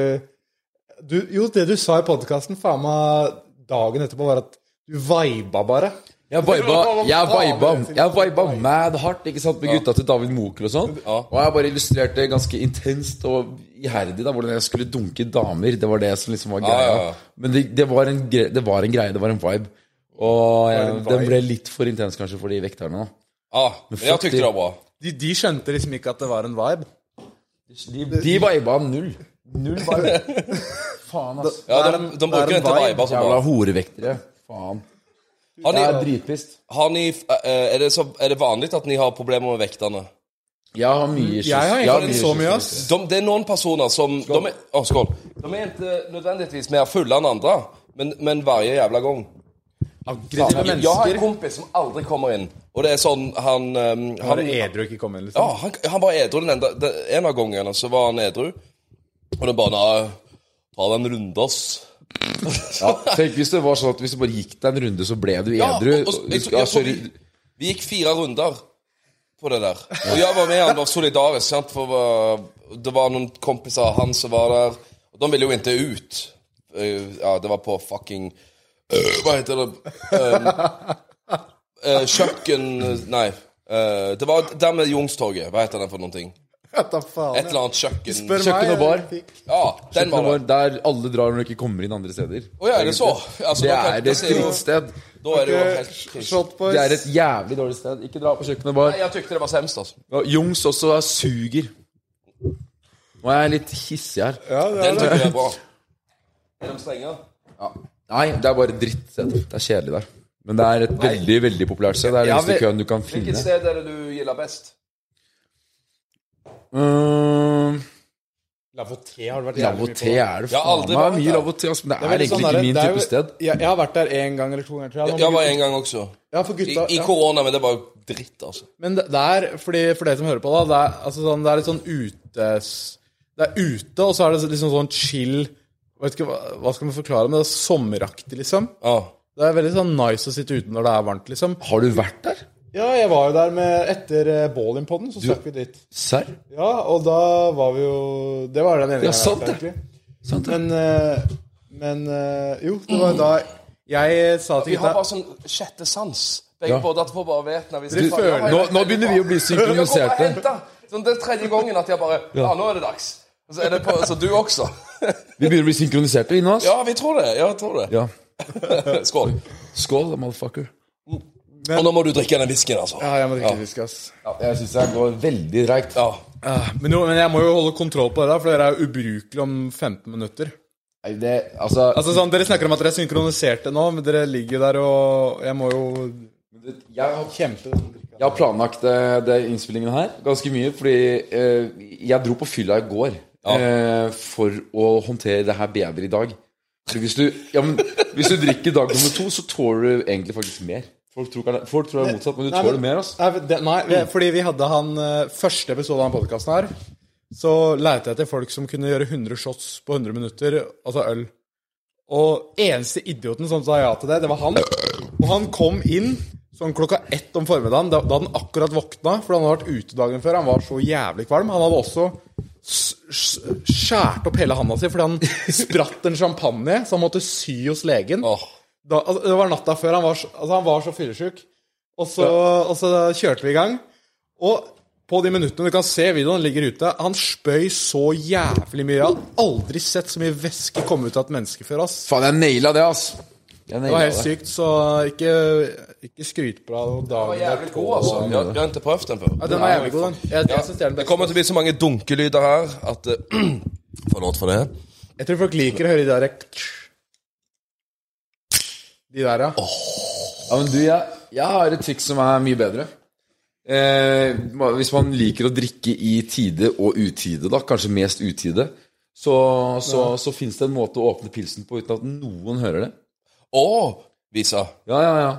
[SPEAKER 3] du Jo, det du sa i podkasten, faen meg dagen etterpå, var at du viba bare.
[SPEAKER 5] Jeg viba, jeg viba, jeg viba mad hardt ikke sant, med gutta til David Mokel og sånn. Og jeg bare illustrerte ganske intenst og iherdig da, hvordan jeg skulle dunke damer. Det var det som liksom var
[SPEAKER 4] ja,
[SPEAKER 5] greia.
[SPEAKER 4] ja.
[SPEAKER 5] Men det, det, var en gre det var en greie, det var en vibe. Og jeg,
[SPEAKER 3] en
[SPEAKER 5] den
[SPEAKER 3] vibe.
[SPEAKER 5] ble litt for intens kanskje for de vekterne. da.
[SPEAKER 4] Ah, Ja, men jeg tykte det var bra.
[SPEAKER 3] De, de skjønte liksom ikke at det var en vibe.
[SPEAKER 5] De, de viba null. Null vibe. Faen, ass.
[SPEAKER 4] Ja,
[SPEAKER 3] Det er
[SPEAKER 4] de,
[SPEAKER 3] en-
[SPEAKER 4] de
[SPEAKER 3] det er
[SPEAKER 4] bruker
[SPEAKER 3] en
[SPEAKER 4] ikke
[SPEAKER 3] vibe.
[SPEAKER 4] viber så
[SPEAKER 5] Jævla
[SPEAKER 4] altså, bra.
[SPEAKER 5] horevektere. Faen.
[SPEAKER 4] Har ni,
[SPEAKER 5] Jeg er dritpist.
[SPEAKER 4] har ni, eh, er, det så, er det vanlig at ni har problemer med vektene?
[SPEAKER 5] Jeg har mye kyss.
[SPEAKER 3] Jeg har egentlig ikke så mye, ass.
[SPEAKER 4] De, det er noen personer som De er, å, skål. De er ikke eh, nødvendigvis mer fulle enn andre, men, men hver jævla gang.
[SPEAKER 3] Aggressive
[SPEAKER 4] Jeg har en
[SPEAKER 3] mennesker.
[SPEAKER 4] kompis som aldri kommer inn, og det er sånn Han, um,
[SPEAKER 3] Har
[SPEAKER 4] han,
[SPEAKER 3] du edru ikke kommet
[SPEAKER 4] ja,
[SPEAKER 3] inn, liksom?
[SPEAKER 4] han, han var edru den enda, den, en av gangene. Så var han edru, og det bare "Nei, Ta deg en runde, ass.
[SPEAKER 5] Tenk hvis det var sånn at hvis du bare gikk deg en runde, så ble du
[SPEAKER 4] Ja,
[SPEAKER 5] edru.
[SPEAKER 4] og- og-
[SPEAKER 5] Du
[SPEAKER 4] jeg-
[SPEAKER 5] skal-
[SPEAKER 4] jeg-
[SPEAKER 5] sorry.
[SPEAKER 4] vi- Vi gikk fire runder på det der. Og jeg var med, han var solidarisk, sant? For uh, det var noen kompiser av han som var der. Og de ville jo ikke ut. Uh, Ja, det var på fucking uh, Hva heter det Um, uh, Kjøkken Nei. Uh, Det var der med Youngstorget. Hva heter den for noen ting?
[SPEAKER 3] Vet da
[SPEAKER 4] Et
[SPEAKER 3] faen.
[SPEAKER 4] eller annet kjøkken.
[SPEAKER 5] Kjøkken og bar.
[SPEAKER 4] Ja, den
[SPEAKER 5] Kjøkken og
[SPEAKER 4] var
[SPEAKER 5] bar
[SPEAKER 4] det.
[SPEAKER 5] der alle drar når du ikke kommer inn andre steder.
[SPEAKER 4] Å ja, er det så? Altså,
[SPEAKER 5] Det
[SPEAKER 4] da kan-
[SPEAKER 5] er
[SPEAKER 4] da
[SPEAKER 5] et
[SPEAKER 4] ser jeg jo-
[SPEAKER 5] drittsted.
[SPEAKER 4] Da er det jo helt
[SPEAKER 3] Jeg-
[SPEAKER 4] krise.
[SPEAKER 3] Shot boys.
[SPEAKER 5] Det er et jævlig dårlig sted. Ikke dra på kjøkken og bar.
[SPEAKER 4] Nei, Jeg tykte det var semst, altså.
[SPEAKER 5] Ja, Jungs også er suger. Nå er jeg litt hissig her.
[SPEAKER 4] Den
[SPEAKER 5] eh,
[SPEAKER 4] tykte jeg er bra. Er de strenge?
[SPEAKER 5] Nei, det er bare dritt. sted. Det er kjedelig der. Men det er et veldig veldig populært sted. Det er det
[SPEAKER 4] Ja,
[SPEAKER 5] eneste
[SPEAKER 4] vi-
[SPEAKER 5] køen du kan
[SPEAKER 4] Hvilket
[SPEAKER 5] finne.
[SPEAKER 4] sted er det du gilder best?
[SPEAKER 5] Uh,
[SPEAKER 3] Lavoté har det vært jævlig mye på.
[SPEAKER 5] Lavoté er det
[SPEAKER 4] Jeg har
[SPEAKER 5] faen
[SPEAKER 4] aldri
[SPEAKER 5] meg
[SPEAKER 4] vært
[SPEAKER 5] mye
[SPEAKER 4] der.
[SPEAKER 5] Lavoté, altså, men det er
[SPEAKER 3] veldig
[SPEAKER 5] egentlig
[SPEAKER 3] sånn
[SPEAKER 5] ikke
[SPEAKER 3] der-
[SPEAKER 5] min
[SPEAKER 3] det er jo-
[SPEAKER 5] type sted.
[SPEAKER 3] Jeg, jeg har vært der én gang eller to ganger, tror jeg.
[SPEAKER 4] Jeg,
[SPEAKER 3] Nå
[SPEAKER 4] jeg
[SPEAKER 3] må
[SPEAKER 4] var
[SPEAKER 3] gutta-
[SPEAKER 4] en gang også.
[SPEAKER 3] Ja, for
[SPEAKER 4] I,
[SPEAKER 3] gutta.
[SPEAKER 4] I
[SPEAKER 3] ja.
[SPEAKER 4] korona, men det var jo dritt, altså.
[SPEAKER 3] Men det det er, fordi, for dere som hører på, da, det er, altså, sånn, det er litt sånn utes... Det er ute, og så er det liksom sånn chill Vet ikke, hva, hva skal man forklare, men det er sommeraktig, liksom.
[SPEAKER 4] Ja.
[SPEAKER 3] Det er veldig sånn nice å sitte ute når det er varmt, liksom.
[SPEAKER 5] Har du vært der?
[SPEAKER 3] Ja, jeg var jo der med Etter Ballin-podden, så stakk vi dit.
[SPEAKER 5] Serr?
[SPEAKER 3] Ja, og da var vi jo Det var den ene gangen.
[SPEAKER 5] sant
[SPEAKER 3] jeg var der,
[SPEAKER 5] det.
[SPEAKER 3] egentlig.
[SPEAKER 5] Sant det?
[SPEAKER 3] Men, eh, men eh, jo, det var da jeg sa til
[SPEAKER 4] Vi har
[SPEAKER 3] gutta
[SPEAKER 4] bare sånn sjette sans. Begge
[SPEAKER 5] Ja.
[SPEAKER 4] både at vi bare vet når vi
[SPEAKER 5] Du, nå, nå begynner vi å bli eh. synkroniserte.
[SPEAKER 4] Sånn, det er tredje gangen at jeg bare Ja, nå er det dags. Og Så er det på, så du også.
[SPEAKER 5] Vi begynner å bli synkroniserte inne oss.
[SPEAKER 4] Ja, vi tror det. Ja, jeg tror det.
[SPEAKER 5] Ja.
[SPEAKER 4] Skål.
[SPEAKER 5] Skål, da, motherfucker.
[SPEAKER 4] Og nå må du drikke den whiskyen, altså.
[SPEAKER 3] Ja, jeg må drikke whisky, ass.
[SPEAKER 5] Jeg syns det går veldig treigt.
[SPEAKER 4] Ja.
[SPEAKER 3] Men, jo, men jeg må jo holde kontroll på det, da, for dere er jo ubrukelige om 15 minutter.
[SPEAKER 5] Nei, det, altså,
[SPEAKER 3] Altså sånn, Dere snakker om at dere er synkroniserte nå, men dere ligger jo der og Jeg må jo
[SPEAKER 5] jeg har
[SPEAKER 3] kjempe.
[SPEAKER 5] Jeg har planlagt eh, det innspillingen her ganske mye, fordi eh, jeg dro på fylla i går eh, for å håndtere det her bedre i dag. For hvis du, ja, men, hvis du drikker dag nummer to, så tåler du egentlig faktisk mer. Folk tror, ikke- folk tror det er motsatt, men du
[SPEAKER 3] Nei, men-
[SPEAKER 5] tåler mer. ass.
[SPEAKER 3] Nei, det- Nei, vi- fordi vi hadde han eh, første episode av den podkasten her. Så lette jeg etter folk som kunne gjøre 100 shots på 100 minutter, altså øl. Og eneste idioten som sa ja til det, det var han. Og han kom inn sånn klokka ett om formiddagen, da, da hadde han akkurat våkna, for han hadde vært ute dagen før. Han var så jævlig kvalm. Han hadde også s- s- skjært opp hele handa si fordi han spratt en champagne, så han måtte sy hos legen.
[SPEAKER 4] Åh.
[SPEAKER 3] da, altså, det var natta før. Han var, så- altså, han var så fyllesyk. Og så, og så kjørte vi i gang. Og på de minuttene du kan se videoen ligger ute, han spøy så jævlig mye. Jeg har aldri sett så mye væske komme ut av et menneske før. ass.
[SPEAKER 5] Faen, jeg naila det, ass. Jeg
[SPEAKER 3] Det var
[SPEAKER 5] naila
[SPEAKER 3] helt
[SPEAKER 5] det.
[SPEAKER 3] sykt, så ikke, ikke skryt på deg
[SPEAKER 4] Den var
[SPEAKER 3] dagen
[SPEAKER 4] jævlig god, altså. Jeg, jeg har ikke prøvd den før.
[SPEAKER 3] Ja, den var jævlig god, den. Jeg, jeg synes det er
[SPEAKER 4] Det
[SPEAKER 3] den beste.
[SPEAKER 4] kommer til å bli så mange dunkelyder her at eh, Forlåt for det.
[SPEAKER 3] Jeg tror folk liker å høre de der De der, ja.
[SPEAKER 5] Ja, men du, jeg, jeg har et triks som er mye bedre. Eh, ma- hvis man liker å drikke i tide og utide, da, kanskje mest utide, så, så, så fins det en måte å åpne pilsen på uten at noen hører det.
[SPEAKER 4] Å, Visa.
[SPEAKER 5] Ja, ja, ja.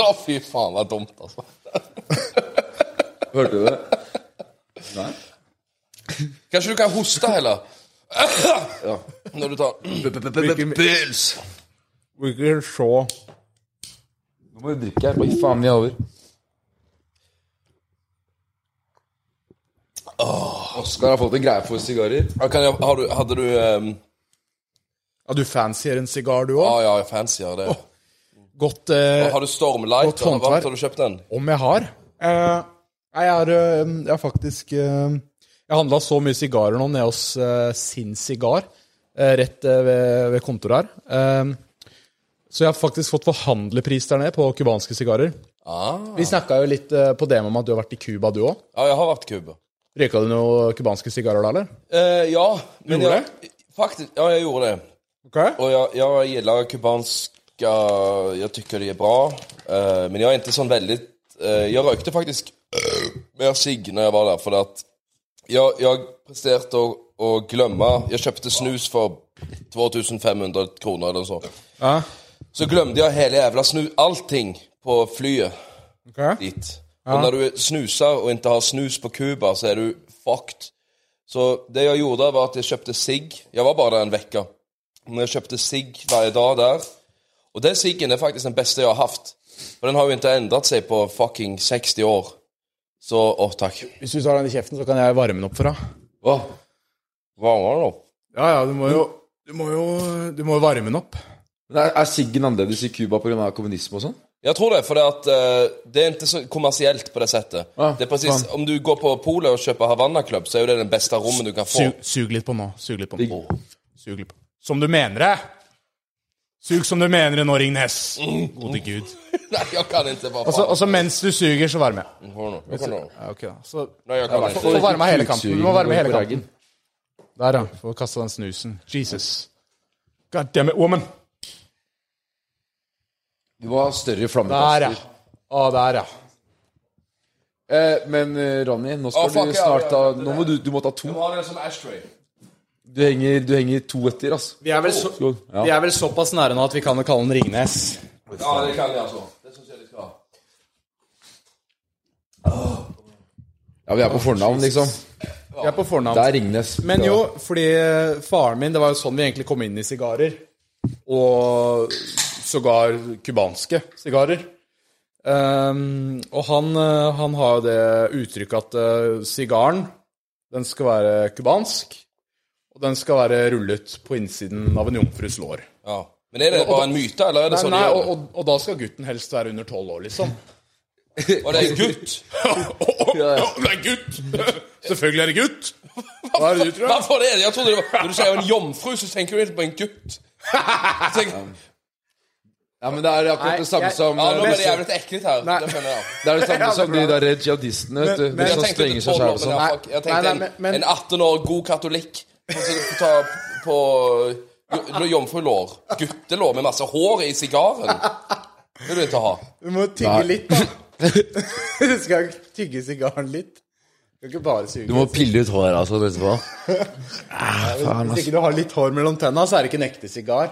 [SPEAKER 4] Å, fy faen, det er dumt, altså.
[SPEAKER 5] Hørte du det?
[SPEAKER 4] Kanskje du kan hoste heller?
[SPEAKER 5] Ja.
[SPEAKER 4] Når du tar pils.
[SPEAKER 3] Bruker så
[SPEAKER 5] Nå må du drikke her. Oi, faen, vi er over. Oskar har fått en greie for sigarer.
[SPEAKER 4] Ja, Kan jeg, har du, hadde du ehm,
[SPEAKER 3] Ja, du fancier en sigar, du
[SPEAKER 4] Ja,
[SPEAKER 3] òg?
[SPEAKER 4] ja, jeg fancier det.
[SPEAKER 3] Godt eh,
[SPEAKER 4] Har du Stormlight?
[SPEAKER 3] Godt
[SPEAKER 4] eller hva?
[SPEAKER 3] håndverk.
[SPEAKER 4] Har du kjøpt den?
[SPEAKER 3] Om jeg har? Eh, nei, jeg har, eh, jeg har faktisk eh, Jeg handla så mye sigarer nå nede hos eh, Sin Sigar, eh, rett eh, ved, ved kontoret her. Eh, så jeg har faktisk fått forhandlerpris der nede på cubanske sigarer.
[SPEAKER 4] Ah.
[SPEAKER 3] Vi snakka jo litt eh, på DM om at du har vært i Cuba, du òg.
[SPEAKER 4] Ja, jeg har vært Cuba.
[SPEAKER 3] Røyka du noen cubanske sigarer da, eller?
[SPEAKER 4] Eh, ja. Men
[SPEAKER 3] Gjorde
[SPEAKER 4] jeg, faktisk, ja, jeg gjorde det.
[SPEAKER 3] Ok.
[SPEAKER 4] Og jeg, jeg gilder cubansk tycker, jag tycker det är bra. Eh, men jag är inte sån väldigt... eh, jag rökte faktiskt mer cigg när jag var där för att jag, jag presterade å, å glemme Jeg kjøpte snus for 2500 kroner eller så. Så glemte jeg hele jævla snu, allting på flyet dit. Og når du snuser og ikke har snus på Cuba, så er du fucked. Så det jeg gjorde, var at jeg kjøpte sigg. Jeg var bare der en uke. Men jeg kjøpte sigg hver dag der. Og den siggen er faktisk den beste jeg har hatt. For den har jo ikke endret seg på fucking 60 år. Så åh, takk.
[SPEAKER 3] Hvis du tar den i kjeften, så kan jeg varme den opp for deg.
[SPEAKER 4] Hva? Hva var det nå?
[SPEAKER 3] Ja, ja, du må jo Du må jo, du må jo varme den opp.
[SPEAKER 5] Men er, er siggen annerledes i Cuba pga. kommunisme og sånn?
[SPEAKER 4] Jeg tror det, for det, at, eh, det er ikke så kommersielt på det settet.
[SPEAKER 5] Ah,
[SPEAKER 4] det er precis, om du går på polet og kjøper Havanna Club, så er jo det den beste rommet du kan få.
[SPEAKER 3] Sug, sug litt på nå. Sug litt på nå. Sug litt på. Som du mener det! Sug som du mener det nå, Ringnes. Gode gud.
[SPEAKER 4] Nei, jeg kan ikke, hva
[SPEAKER 3] Og så-
[SPEAKER 4] faen.
[SPEAKER 3] og så mens du suger, så varmer jeg.
[SPEAKER 4] Hør nå, hør nå.
[SPEAKER 3] Ja, ok da. Så
[SPEAKER 4] Nei, jeg kan
[SPEAKER 3] få
[SPEAKER 4] ikke.
[SPEAKER 3] få varma hele kanten. Du må varme hele
[SPEAKER 5] På
[SPEAKER 3] kanten.
[SPEAKER 5] raggen.
[SPEAKER 3] Der, ja. Få kasta den snusen. Jesus. God damn it, woman.
[SPEAKER 5] Du må ha større
[SPEAKER 3] Der, ja.
[SPEAKER 5] flammekaster.
[SPEAKER 3] Å, der, ja.
[SPEAKER 5] Eh, men eh, Ronny, nå skal
[SPEAKER 4] Å, fuck,
[SPEAKER 5] du
[SPEAKER 4] ja,
[SPEAKER 5] snart
[SPEAKER 4] ja,
[SPEAKER 5] ta
[SPEAKER 4] ja,
[SPEAKER 5] Nå må du, du må ta to.
[SPEAKER 4] Ha det som ashtray.
[SPEAKER 5] Du henger, du henger to etter, altså.
[SPEAKER 3] Vi er vel, så,
[SPEAKER 5] Ja.
[SPEAKER 3] vi er vel såpass nære nå at vi kan jo kalle den Ringnes.
[SPEAKER 4] Ja, det kan jeg, altså. Det synes jeg de skal ha.
[SPEAKER 5] Ja, vi er på fornavn, liksom.
[SPEAKER 3] Vi er på fornavn.
[SPEAKER 5] Det er Ringnes.
[SPEAKER 3] Men jo, fordi eh, faren min Det var jo sånn vi egentlig kom inn i sigarer. Og sågar cubanske sigarer. Ehm, og han, eh, han har jo det uttrykket at eh, sigaren, den skal være cubansk. Og den skal være rullet på innsiden av en jomfrus lår.
[SPEAKER 4] Ja. Men er det bare en myte, eller er det
[SPEAKER 3] Nei,
[SPEAKER 4] sånn de
[SPEAKER 3] nei,
[SPEAKER 4] gjør
[SPEAKER 3] og,
[SPEAKER 4] det?
[SPEAKER 3] og, og da skal gutten helst være under tolv år, liksom.
[SPEAKER 4] Og det er gutt?
[SPEAKER 3] Ja, det er gutt! Selvfølgelig er det gutt! Hva er det du tror?
[SPEAKER 4] Hvorfor er det? Jeg trodde det var Når du sier en jomfru, så tenker du helt på en gutt. Så Tenker,
[SPEAKER 5] Ja, men det er akkurat det samme
[SPEAKER 3] jeg-
[SPEAKER 5] som
[SPEAKER 4] ja, nå ble det
[SPEAKER 5] Det
[SPEAKER 4] jævlig ekkelt her. Det skjønner jeg.
[SPEAKER 5] er det samme som de der jihadistene, vet du.
[SPEAKER 3] men-
[SPEAKER 5] de
[SPEAKER 4] Jeg
[SPEAKER 5] som
[SPEAKER 4] tenkte
[SPEAKER 5] strenger
[SPEAKER 4] ikke
[SPEAKER 5] seg
[SPEAKER 4] tolv år, men
[SPEAKER 5] selv og sånn.
[SPEAKER 4] jeg, fuck, jeg tenkte
[SPEAKER 3] Nei, nei,
[SPEAKER 4] en,
[SPEAKER 3] men-
[SPEAKER 4] en 18 år god katolikk som skal ta på jo- jomfrulår. Guttelår med masse hår i sigaren. Det vil du ikke ha.
[SPEAKER 3] Du må tygge litt, da. du skal tygge sigaren litt. Du kan ikke bare suge.
[SPEAKER 5] Du må pille ut håret altså, etterpå.
[SPEAKER 3] Hvis ikke du har litt hår mellom tenna, så er det ikke en ekte sigar.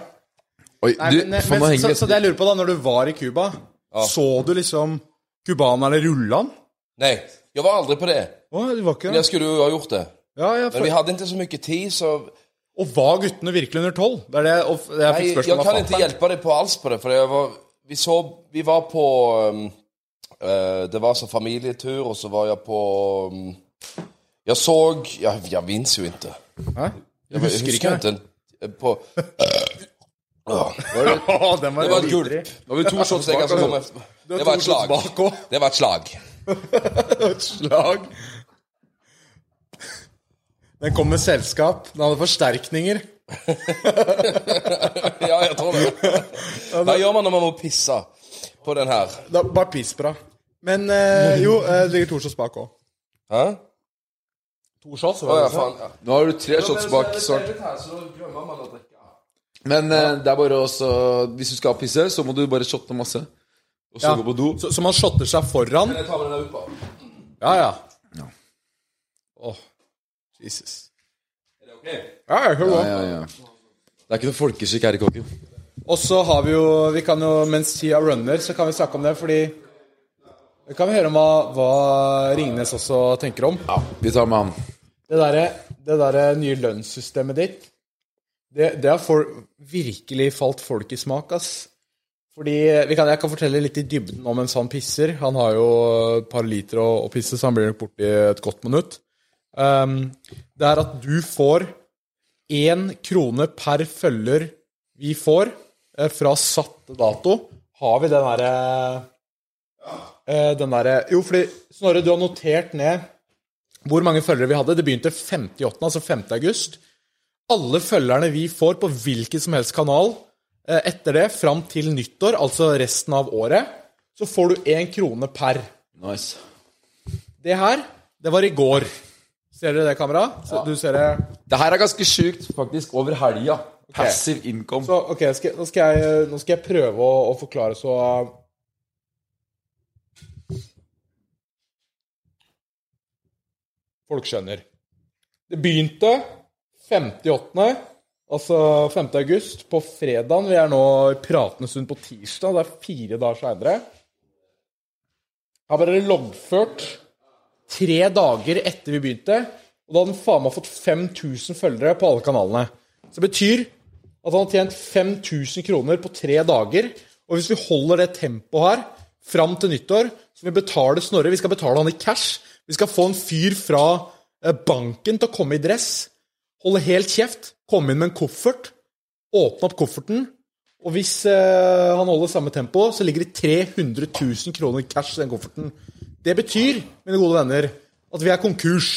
[SPEAKER 5] Oi,
[SPEAKER 3] Nei,
[SPEAKER 5] du,
[SPEAKER 3] men, eh,
[SPEAKER 5] faen, nå
[SPEAKER 3] men,
[SPEAKER 5] henger
[SPEAKER 3] så, så det jeg lurer på, da, når du var i Cuba, så du liksom cubanerne rulle han?
[SPEAKER 4] Nei, jeg var aldri på det.
[SPEAKER 3] Å, du var ikke
[SPEAKER 4] Men
[SPEAKER 3] det?
[SPEAKER 4] jeg skulle jo ha gjort det.
[SPEAKER 3] Ja, ja,
[SPEAKER 4] Men vi
[SPEAKER 3] for...
[SPEAKER 4] hadde ikke så mye tid, så
[SPEAKER 3] Og var guttene virkelig under tolv? Det er det jeg, og f- jeg
[SPEAKER 4] Nei,
[SPEAKER 3] fikk
[SPEAKER 4] jeg
[SPEAKER 3] spørsmål
[SPEAKER 4] kan ikke hjelpe deg på alls på det, for jeg var, vi, så, vi var på um, eh, Det var så familietur, og så var jeg på um, Jeg så Jeg, jeg minns jo ikke.
[SPEAKER 3] Hæ?
[SPEAKER 4] Jeg husker,
[SPEAKER 3] ikke?
[SPEAKER 4] ikke. en- På,
[SPEAKER 3] Å, den var
[SPEAKER 4] det var et
[SPEAKER 3] videre.
[SPEAKER 4] gulp.
[SPEAKER 5] Nå har vi to shots
[SPEAKER 4] Så jeg kan
[SPEAKER 5] bak,
[SPEAKER 4] komme-
[SPEAKER 5] altså.
[SPEAKER 4] Det var et
[SPEAKER 3] to shots
[SPEAKER 4] slag.
[SPEAKER 3] bak også.
[SPEAKER 4] Det var et slag.
[SPEAKER 3] Et slag. Den kom med selskap. Den hadde forsterkninger.
[SPEAKER 4] Ja, jeg tror det. Hva gjør man når man må pisse på den her?
[SPEAKER 3] Da, bare piss på deg. Men eh, jo, eh, det ligger to shots bak òg.
[SPEAKER 4] Hæ?
[SPEAKER 3] To shots?
[SPEAKER 4] Å, ja, faen. Ja.
[SPEAKER 5] Nå har du tre shots bak. Svart. Men eh, det er bare også Hvis du skal pisse, så må du bare shotte masse. Og så
[SPEAKER 3] Ja.
[SPEAKER 5] gå på do.
[SPEAKER 3] Så, så man shotter seg foran?
[SPEAKER 4] Jeg tar med den der ut bare.
[SPEAKER 3] Ja, ja. Åh, Jesus. Ja, ja, hør på.
[SPEAKER 5] Ja, ja. Det er ikke noe folkeskikk her i kåken.
[SPEAKER 3] Og så har vi jo Vi kan jo, mens tida runner, så kan vi snakke om det, fordi Vi kan vi høre om hva, hva Ringnes også tenker om.
[SPEAKER 5] Vi tar med han.
[SPEAKER 3] Det derre det derre nye lønnssystemet ditt, det, det har folk, virkelig falt folk i smak, ass. Fordi vi kan, Jeg kan fortelle litt i dybden om mens han pisser. Han har jo et par liter å, å pisse, så han blir nok borte i et godt minutt. Ehm, det er at du får én krone per følger vi får, eh, fra satt dato. Har vi den derre eh, Den derre Jo, fordi Snorre, du har notert ned hvor mange følgere vi hadde. Det begynte 58., altså 5. august. Alle følgerne vi får på hvilken som helst kanal eh, etter det, fram til nyttår, altså resten av året, så får du én krone per.
[SPEAKER 5] Nice.
[SPEAKER 3] Det her, det var i går. Ser dere det, kamera? Så, Du ser det
[SPEAKER 5] Det her er ganske sjukt, faktisk. Over helga Passive income.
[SPEAKER 3] Så, ok, skal, nå, skal jeg, nå skal jeg prøve å, å forklare så Folk skjønner. Det begynte 58. Altså 5. august, på fredagen. Vi er nå i pratende stund på tirsdag. Det er fire dager seinere. Her ble det loggført tre dager etter vi begynte. Og da hadde den faen meg fått 5000 følgere på alle kanalene. Så det betyr at han har tjent 5000 kroner på tre dager. Og hvis vi holder det tempoet her fram til nyttår, så må vi betale Snorre. Vi skal betale han i cash. Vi skal få en fyr fra eh, banken til å komme i dress. Holde helt kjeft. Komme inn med en koffert. Åpne opp kofferten. Og hvis eh, han holder samme tempo, så ligger det 300 000 kroner cash i den kofferten. Det betyr, mine gode venner, at vi er konkurs.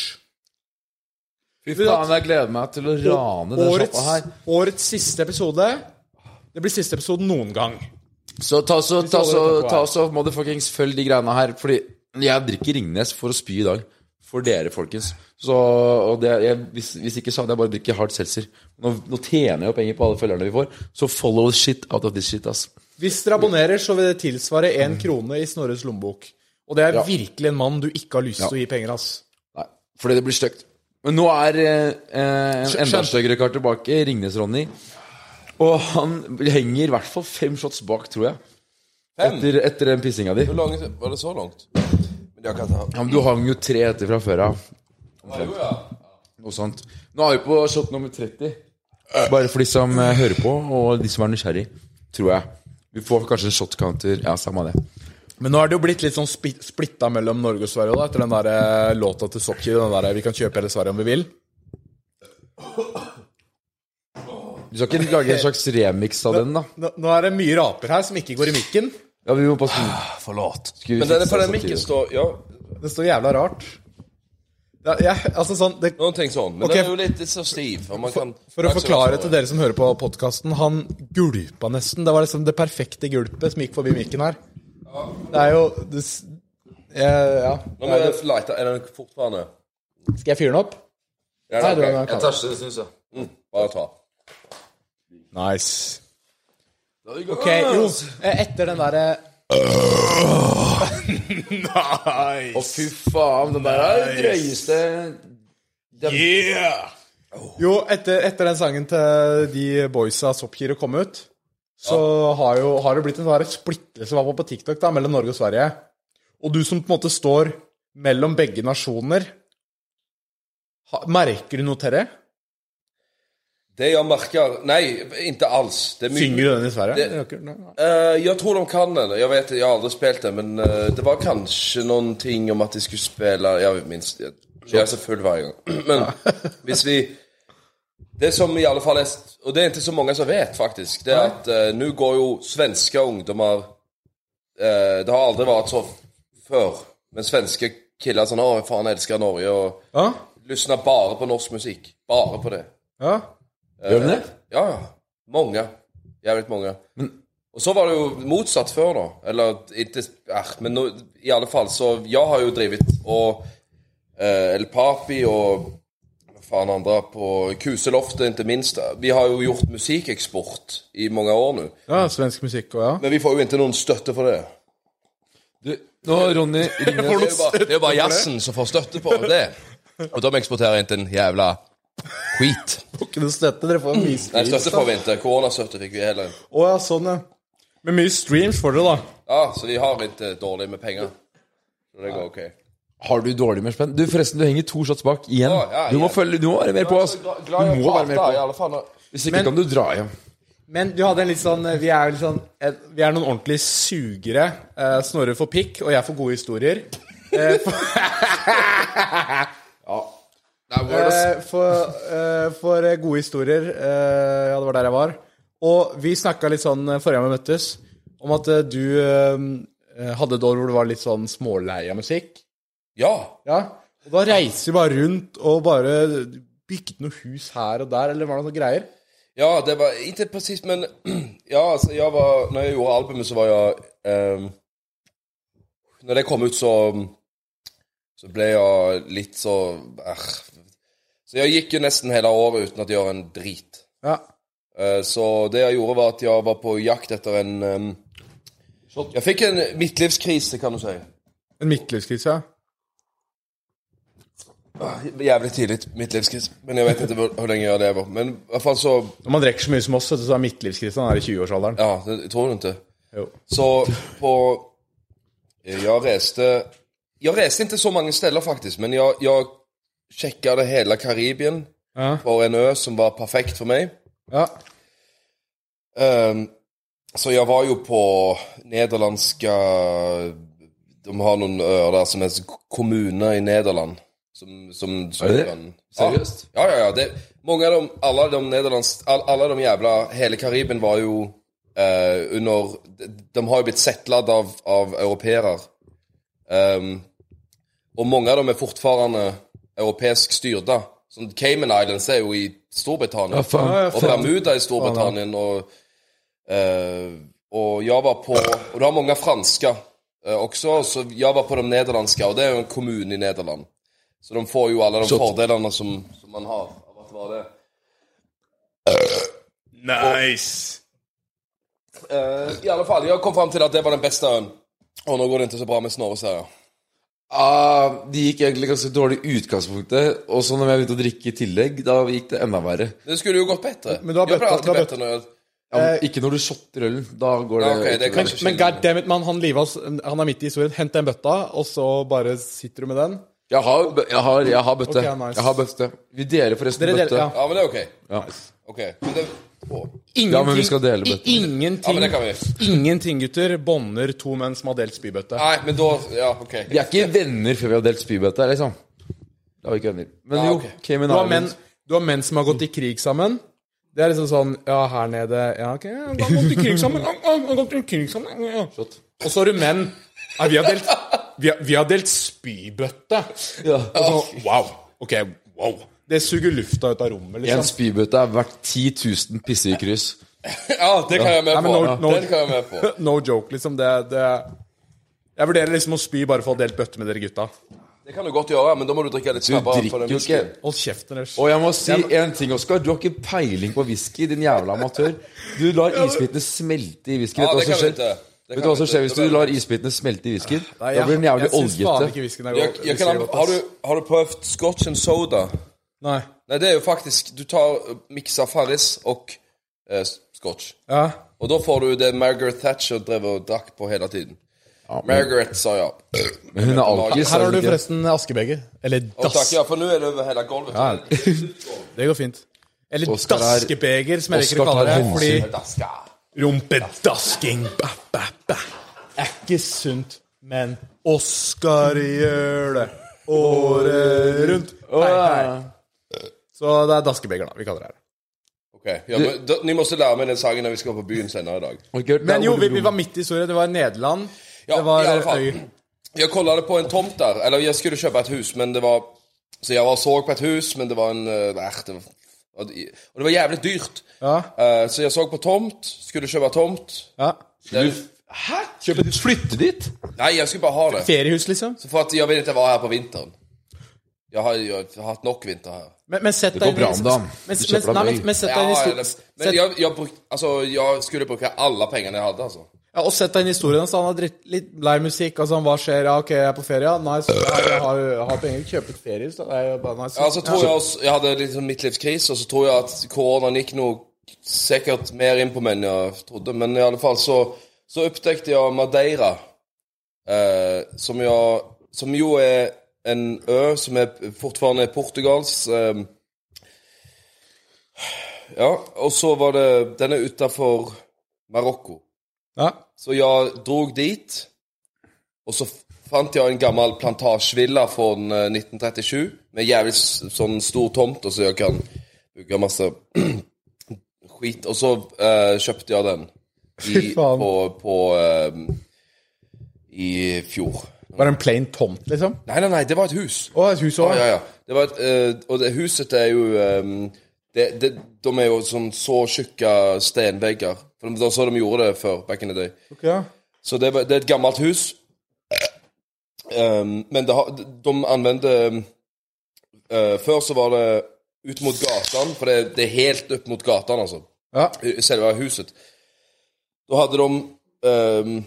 [SPEAKER 5] Fy faen, jeg gleder meg til å rane den
[SPEAKER 3] årets,
[SPEAKER 5] sjappa her.
[SPEAKER 3] årets siste episode. Det blir siste episoden noen gang.
[SPEAKER 5] Så ta så, ta så,
[SPEAKER 3] holder det på
[SPEAKER 5] ta
[SPEAKER 3] her.
[SPEAKER 5] så motherfuckings følg de greiene her. Fordi jeg drikker Ringnes for å spy i dag. For dere, folkens. Så, og det, jeg, hvis, hvis ikke så hadde jeg bare drukket hard seltzer. Nå, nå tjener jeg jo penger på alle følgerne vi får, så follow the shit out of this shit, ass.
[SPEAKER 3] Hvis dere abonnerer, så vil det tilsvare én krone i Snorres lommebok. Og det er virkelig en mann du ikke har lyst til å gi penger, ass.
[SPEAKER 5] Nei, fordi det blir stygt. Men nå er eh, eh, en enda
[SPEAKER 3] skjønt.
[SPEAKER 5] styggere kar tilbake, Ringnes-Ronny. Og han henger i hvert fall fem shots bak, tror jeg.
[SPEAKER 4] Fem?
[SPEAKER 5] Etter, etter den pissinga di.
[SPEAKER 4] Hvor langt var det så langt? Men jeg kan ta
[SPEAKER 5] Ja, men du hang jo tre etter fra før av.
[SPEAKER 4] Jo, ja.
[SPEAKER 5] Noe sånt. Nå er vi på shot nummer 30. Bare for de som eh, hører på, og de som er nysgjerrig, tror jeg. Vi får kanskje en shot counter. Ja, samme det.
[SPEAKER 3] Men nå er det jo blitt litt sånn spi- splitta mellom Norge og Sverige da, etter den der eh, låta til Sokki. Den der eh, 'Vi kan kjøpe hele Sverige om vi vil'.
[SPEAKER 5] Du skal ikke lage en slags remix av den, da?
[SPEAKER 3] Nå, nå er det mye raper her som ikke går i mikken.
[SPEAKER 5] Ja, vi må passe
[SPEAKER 4] Forlåt.
[SPEAKER 5] Skal vi
[SPEAKER 4] Men denne
[SPEAKER 5] fikse det
[SPEAKER 4] pandemikken
[SPEAKER 5] samtidig?
[SPEAKER 4] står Ja,
[SPEAKER 3] Det står jævla rart. Ja, jeg, altså sånn, det,
[SPEAKER 4] noen ting sånn. Men
[SPEAKER 3] Ok.
[SPEAKER 4] den er jo litt så stiv. og Man kan
[SPEAKER 3] For å forklare til dere som hører på podkasten, han gulpa nesten. Det var liksom det perfekte gulpet som gikk forbi mikken her. Det er jo det, s- eh, Ja.
[SPEAKER 4] Nå må jeg lete Er den fortfarande?
[SPEAKER 3] Skal jeg fyre den opp?
[SPEAKER 4] Ja,
[SPEAKER 3] Nei,
[SPEAKER 4] ok.
[SPEAKER 3] du har den klar.
[SPEAKER 5] det, syns jeg.
[SPEAKER 4] Bare ta.
[SPEAKER 3] Nice. Ok, jo, eh, etter den derre
[SPEAKER 5] Å, fy faen, den der er det drøyeste
[SPEAKER 3] Jo, etter, etter den sangen til de boysa Soppkiro kom ut, så har, jo, har det blitt en sånn der splittelse i hvert fall på TikTok da, mellom Norge og Sverige. Og du som på en måte står mellom begge nasjoner, ha, merker du noe til det?
[SPEAKER 4] Det jeg merker Nei, ikke alls. Det er mye
[SPEAKER 3] Synger du den i Sverige?
[SPEAKER 4] Det-
[SPEAKER 3] Det, det,
[SPEAKER 4] Eh, jeg tror de kan den. Jeg vet, jeg har aldri spilt den, men eh, det var kanskje noen ting om at de skulle spille Jeg minst Jeg jeg er så full hver gang. Men hvis vi Det som i alle fall er Og det er ikke så mange som vet, faktisk, det er at eh, nå går jo svenske ungdommer eh, Det har aldri vært så før, men svenske killer sånn Å, faen, jeg elsker Norge, og
[SPEAKER 3] ja?
[SPEAKER 4] lysner bare på norsk musikk. Bare på det.
[SPEAKER 3] Ja?
[SPEAKER 5] Gjør den det?
[SPEAKER 4] Ja, ja. Mange. Jævlig mange. og så var det jo motsatt før, da. Eller ikke eh, Men nå, i alle fall, så Jeg har jo drevet og eh, El Papi og hva faen andre på Kuseloftet, ikke minst. Vi har jo gjort musikkeksport i mange år nå.
[SPEAKER 3] ja, svensk musikk og ja.
[SPEAKER 4] Men vi får jo ikke noen støtte for det.
[SPEAKER 5] Du, nå, Ronny
[SPEAKER 4] Det er jo
[SPEAKER 5] Ringnes
[SPEAKER 4] bare, det er jo bare jazzen som får støtte på det. Og de eksporterer ikke en jævla skit.
[SPEAKER 3] Ikke noe Mm. støtte, dere får mye
[SPEAKER 4] Nei,
[SPEAKER 3] streams.
[SPEAKER 4] støtte får vi ikke. Koronastøtte fikk vi heller.
[SPEAKER 3] Å ja, sånn ja. Men mye streams får dere, da.
[SPEAKER 4] Ja, Ah, så vi har ikke eh, dårlig med penger. Så det går ok.
[SPEAKER 5] Har du dårlig med spenn? Du, forresten, du henger to shots bak igjen.
[SPEAKER 4] Ja, ja, altså,
[SPEAKER 5] Du må
[SPEAKER 4] igjen.
[SPEAKER 5] følge, du må være mer på, ass. Du må være mer på. Hvis ikke kan du dra hjem.
[SPEAKER 3] Men du hadde en litt sånn Vi er, jo litt sånn, eh, vi er noen ordentlige sugere. Eh, Snorre får pikk, og jeg får gode historier. Eh, for eh, for, eh, for eh, gode historier eh, Ja, det var der jeg var. Og vi snakka litt sånn eh, forrige gang vi møttes, om at eh, du eh, hadde et år hvor du var litt sånn smålei av musikk.
[SPEAKER 4] Ja.
[SPEAKER 3] Ja, og da reiser vi bare rundt og bare bygde noe hus her og der, eller var det noen greier?
[SPEAKER 4] ja, det var ikke presis, men Ja, altså, jeg var Når jeg gjorde albumet, så var jeg ehm, Når det kom ut, så Så ble jeg litt så eh. Så jeg gikk jo nesten hele året uten at jeg gjør en drit.
[SPEAKER 3] Ja.
[SPEAKER 4] Eh, Så det jeg gjorde, var at jeg var på jakt etter en ehm, Jeg fikk en midtlivskrise, kan du si.
[SPEAKER 3] En midtlivskrise, ja.
[SPEAKER 4] Ah, Jævlig tidlig midtlivskrise. Men jeg vet ikke hvor hvor lenge jeg lever. Men i hvert fall så
[SPEAKER 3] Når man drikker så mye som oss, vet du, så er midtlivskrisen her i 20-årsalderen.
[SPEAKER 4] Ja, det tror du ikke?
[SPEAKER 3] Jo.
[SPEAKER 4] Så på eh, Jeg reiste Jeg reiste ikke så mange steder, faktisk, men jeg, jeg sjekka det hele Karibien
[SPEAKER 3] Ja.
[SPEAKER 4] for en ø som var perfekt for meg.
[SPEAKER 3] Ja.
[SPEAKER 4] Ehm, så jeg var jo på nederlandske De har noen øer der som heter kommuner i Nederland. Som, som, som
[SPEAKER 5] Er det det?
[SPEAKER 4] kan-
[SPEAKER 5] Seriøst?
[SPEAKER 4] Ja, ja, ja. Det, mange av dem, alle de nederlands... all- Alle de jævla Hele Karibien var jo eh, under de, de har jo blitt settlet av, av europeere. Ehm, og mange av dem er fortfarande europeisk styrte. Sånn Cayman Islands er jo i Storbritannia.
[SPEAKER 5] Ja, faen.
[SPEAKER 4] Og Bermuda i Storbritannia. Og, eh, og jeg var på Og det har mange franske eh, også, så jeg var på de nederlandske, og det er jo en kommune i Nederland. Så de får jo alle de fordelene som, som man har av å være det.
[SPEAKER 3] Nice!
[SPEAKER 4] Eh, I alle fall, jeg kom fram til at det var den beste øen. Og nå går det ikke så bra med Snorre, ser jeg.
[SPEAKER 5] Ah, det gikk egentlig ganske dårlig i utgangspunktet. Og så når jeg begynte å drikke i tillegg, da gikk det enda verre.
[SPEAKER 4] Det skulle jo gått bedre.
[SPEAKER 3] Men du har
[SPEAKER 4] jeg
[SPEAKER 3] bøtta-
[SPEAKER 4] blir
[SPEAKER 3] du
[SPEAKER 4] alltid
[SPEAKER 3] har
[SPEAKER 4] bedre når jeg
[SPEAKER 5] Ja,
[SPEAKER 3] Eh,
[SPEAKER 5] men ikke når du shotter ølen. Da går det,
[SPEAKER 4] Ja, ok, det
[SPEAKER 5] utover.
[SPEAKER 4] kan-
[SPEAKER 3] Men, men goddammit, mann, han livet oss Han er midt i historien. Hent den bøtta, og så bare sitter du med den.
[SPEAKER 5] jeg, har, bø- jeg, har, jeg har bøtte.
[SPEAKER 3] Ok, nice.
[SPEAKER 5] Jeg har bøtte. Vi deler forresten
[SPEAKER 3] Dere deler-
[SPEAKER 5] bøtte.
[SPEAKER 3] ja.
[SPEAKER 4] Ja, men det er ok.
[SPEAKER 5] Ja.
[SPEAKER 4] Ok, men det, å,
[SPEAKER 3] Ingenting,
[SPEAKER 5] Ja, men vi skal dele bøtten.
[SPEAKER 4] ja,
[SPEAKER 3] Ingenting,
[SPEAKER 4] men det kan vi.
[SPEAKER 3] ingenting gutter, bånder to menn som har delt spybøtte.
[SPEAKER 4] Nei, men da Ja, ok.
[SPEAKER 5] Vi er ikke venner før vi har delt spybøtte, liksom. Da er vi ikke venner. Men
[SPEAKER 4] Ja,
[SPEAKER 5] jo,
[SPEAKER 4] ok.
[SPEAKER 5] Cayman
[SPEAKER 3] Du har, menn,
[SPEAKER 5] Islands.
[SPEAKER 3] du har menn som har gått i krig sammen. Det er liksom sånn Ja, her nede Ja, ok, han har gått i krig sammen. Han han har gått i krig sammen. Ja. Og så har du menn ja, vi, har delt, vi, har, vi har delt spybøtte. Og så, wow. Ok, wow. Det suger lufta ut av rommet,
[SPEAKER 5] En
[SPEAKER 3] liksom.
[SPEAKER 5] spybøtte er verdt 10 000 pissekryss.
[SPEAKER 4] Ja, det kan jeg være med
[SPEAKER 3] Nei, men
[SPEAKER 4] på.
[SPEAKER 3] nå- nå-
[SPEAKER 4] Den kan jeg være med på.
[SPEAKER 3] No joke, liksom. Det, det Jeg vurderer liksom å spy bare for å ha delt bøtte med dere gutta.
[SPEAKER 4] Det kan du godt gjøre, men da må du drikke litt
[SPEAKER 5] Du
[SPEAKER 4] snabbere. for
[SPEAKER 5] drikker
[SPEAKER 4] den
[SPEAKER 5] jo ikke.
[SPEAKER 4] whiskyen.
[SPEAKER 3] Hold kjeft, Anders.
[SPEAKER 5] Og jeg må si en ting, Oskar. Du har ikke peiling på whisky, din jævla amatør. Du lar isbitene smelte i whiskyen.
[SPEAKER 4] Ja,
[SPEAKER 5] Vet du
[SPEAKER 4] det kan
[SPEAKER 5] hva som
[SPEAKER 4] vi
[SPEAKER 5] skjer?
[SPEAKER 4] ikke. Det
[SPEAKER 5] Vet
[SPEAKER 4] kan
[SPEAKER 5] du
[SPEAKER 4] vi
[SPEAKER 5] hva som
[SPEAKER 4] ikke.
[SPEAKER 5] skjer hvis
[SPEAKER 4] Det
[SPEAKER 5] du
[SPEAKER 4] blir-
[SPEAKER 5] lar isbitene smelte i whiskyen?
[SPEAKER 3] Ah, Nei,
[SPEAKER 5] Da blir den jævlig
[SPEAKER 3] Jeg syns faen
[SPEAKER 5] oljete.
[SPEAKER 3] ikke whiskyen er
[SPEAKER 4] Jeg, jeg
[SPEAKER 3] god.
[SPEAKER 4] kan,
[SPEAKER 3] whisky er godt,
[SPEAKER 4] har, du,
[SPEAKER 3] ass.
[SPEAKER 4] har du prøvd scotch and soda?
[SPEAKER 3] Nei.
[SPEAKER 4] Nei, det er jo faktisk Du tar eh, mikser Farris og eh, scotch.
[SPEAKER 3] Ja.
[SPEAKER 4] Og da får du det Margaret Thatcher drev og drakk på hele tiden. Margaret, sa ja.
[SPEAKER 5] Men hun er alkis.
[SPEAKER 3] Her har du
[SPEAKER 5] er hun ikke?
[SPEAKER 3] forresten askebeger. Eller
[SPEAKER 4] Og takk,
[SPEAKER 3] dass.
[SPEAKER 4] ja, for nå er det over hele gulvet.
[SPEAKER 3] Det går fint. Eller
[SPEAKER 5] Oskar er-
[SPEAKER 3] daskebeger, som jeg liker å kalle
[SPEAKER 5] Oskar tar
[SPEAKER 3] det. Fordi
[SPEAKER 5] hensyn.
[SPEAKER 3] rumpedasking ba, ba, ba, er ikke sunt, men Oskar gjør det året rundt. Hei, hei. Så det er daskebeger, da. Vi kaller det her.
[SPEAKER 4] Ok, ja, men, da, Ni må lære meg den sangen når vi skal på byen senere i dag.
[SPEAKER 5] Har du ikke hørt det?
[SPEAKER 3] Men jo, vi, vi var midt i historien. Det var Nederland.
[SPEAKER 4] Ja,
[SPEAKER 3] Det var
[SPEAKER 4] i alle fall.
[SPEAKER 3] øy.
[SPEAKER 4] Jeg kollet på en tomt der. Eller jeg skulle kjøpe et hus, men det var Så jeg var så på et hus, men det var en eh, eh, det var, Og det var jævlig dyrt.
[SPEAKER 3] Ja.
[SPEAKER 4] Eh, så jeg så på tomt. Skulle kjøpe tomt.
[SPEAKER 3] ja.
[SPEAKER 4] Den,
[SPEAKER 5] Hæ? Kjøper du flytte dit?
[SPEAKER 4] nei, jeg skulle bare ha det.
[SPEAKER 3] Feriehus, liksom.
[SPEAKER 4] Så for at jeg vil ikke være her på vinteren. Jeg har, jeg har hatt nok vinter her.
[SPEAKER 3] Men, men sett
[SPEAKER 5] Det
[SPEAKER 3] deg
[SPEAKER 5] går
[SPEAKER 3] inn i-
[SPEAKER 5] bra om dagen.
[SPEAKER 3] Men,
[SPEAKER 5] Du
[SPEAKER 3] men,
[SPEAKER 5] kjøper deg
[SPEAKER 3] nei,
[SPEAKER 5] en
[SPEAKER 3] men,
[SPEAKER 5] øy.
[SPEAKER 3] men sett deg
[SPEAKER 4] Ja,
[SPEAKER 3] inn i
[SPEAKER 4] eller,
[SPEAKER 3] historien.
[SPEAKER 4] men jeg, jeg, bruk, altså, jeg skulle bruke alle pengene jeg hadde, altså.
[SPEAKER 3] Ja, og sett deg inn i historien hans. Han har dritt, litt lei musikk. Altså, han, hva skjer? Ja, ok, jeg er på ferie. Ja, Nice. Jeg har, jeg har penger. Kjøpe et feriehus. da. Det er jo bare nice.
[SPEAKER 4] Ja, altså, så tror jeg også, jeg hadde litt sånn midtlivskrise, og så tror jeg at koronaen gikk noe sikkert mer inn på meg enn jeg trodde, men i alle fall så, så oppdekte jeg Madeira, eh, som, jeg, som jo er en ø som er fortfarande er Portugals. Eh, ja, og så var det, den er utenfor Marokko.
[SPEAKER 3] Ja.
[SPEAKER 4] Så jeg drog dit, og så fant jeg en gammel plantasjevilla fra 1937, med jævlig s- sånn stor tomt, og så jeg kan bruke masse skit. Og så eh, kjøpte jeg den i,
[SPEAKER 3] Fy faen.
[SPEAKER 4] på, på eh, i fjor.
[SPEAKER 3] Bare en plain tomt, liksom.
[SPEAKER 4] Nei, nei, nei, det var et hus.
[SPEAKER 3] Og et hus
[SPEAKER 4] Ja,
[SPEAKER 3] òg.
[SPEAKER 4] ja, ja. Det var et, eh, og det huset er jo eh, det, det, De er jo sånn så tjukke stenvegger. For de, det var så de gjorde det før, back in the day. Så det, var- det er et gammelt hus. Ehm, men det har, de anvendte eh, Før så var det ut mot gatan, for det, det er helt opp mot gatan, altså.
[SPEAKER 3] Ja.
[SPEAKER 4] i selve huset. Då hade de ehm,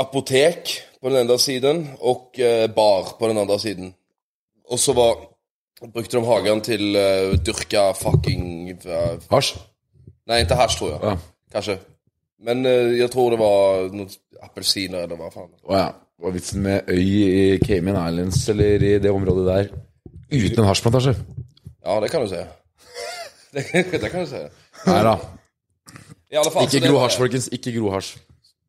[SPEAKER 4] apotek på den ena sidan och eh, bar på den andra sidan. Och så var, brukte de hagen till eh, dyrka fucking... eh,
[SPEAKER 5] Hasj.
[SPEAKER 4] nej, inte hasch tror jag.
[SPEAKER 5] Ja.
[SPEAKER 4] Kanske. Men eh, jag tror det var något apelsiner eller vad fan.
[SPEAKER 5] Å ja. Hva er vitsen med øy i Cayman Islands eller i det området der uten en hasjplantasje?
[SPEAKER 4] Ja, det kan du säga. det, det kan du säga.
[SPEAKER 5] Nei da.
[SPEAKER 4] I alla fall, så
[SPEAKER 5] Ikke
[SPEAKER 4] det
[SPEAKER 5] gro
[SPEAKER 4] var Altså, det.
[SPEAKER 5] hasj, folkens. Ikke gro hasj.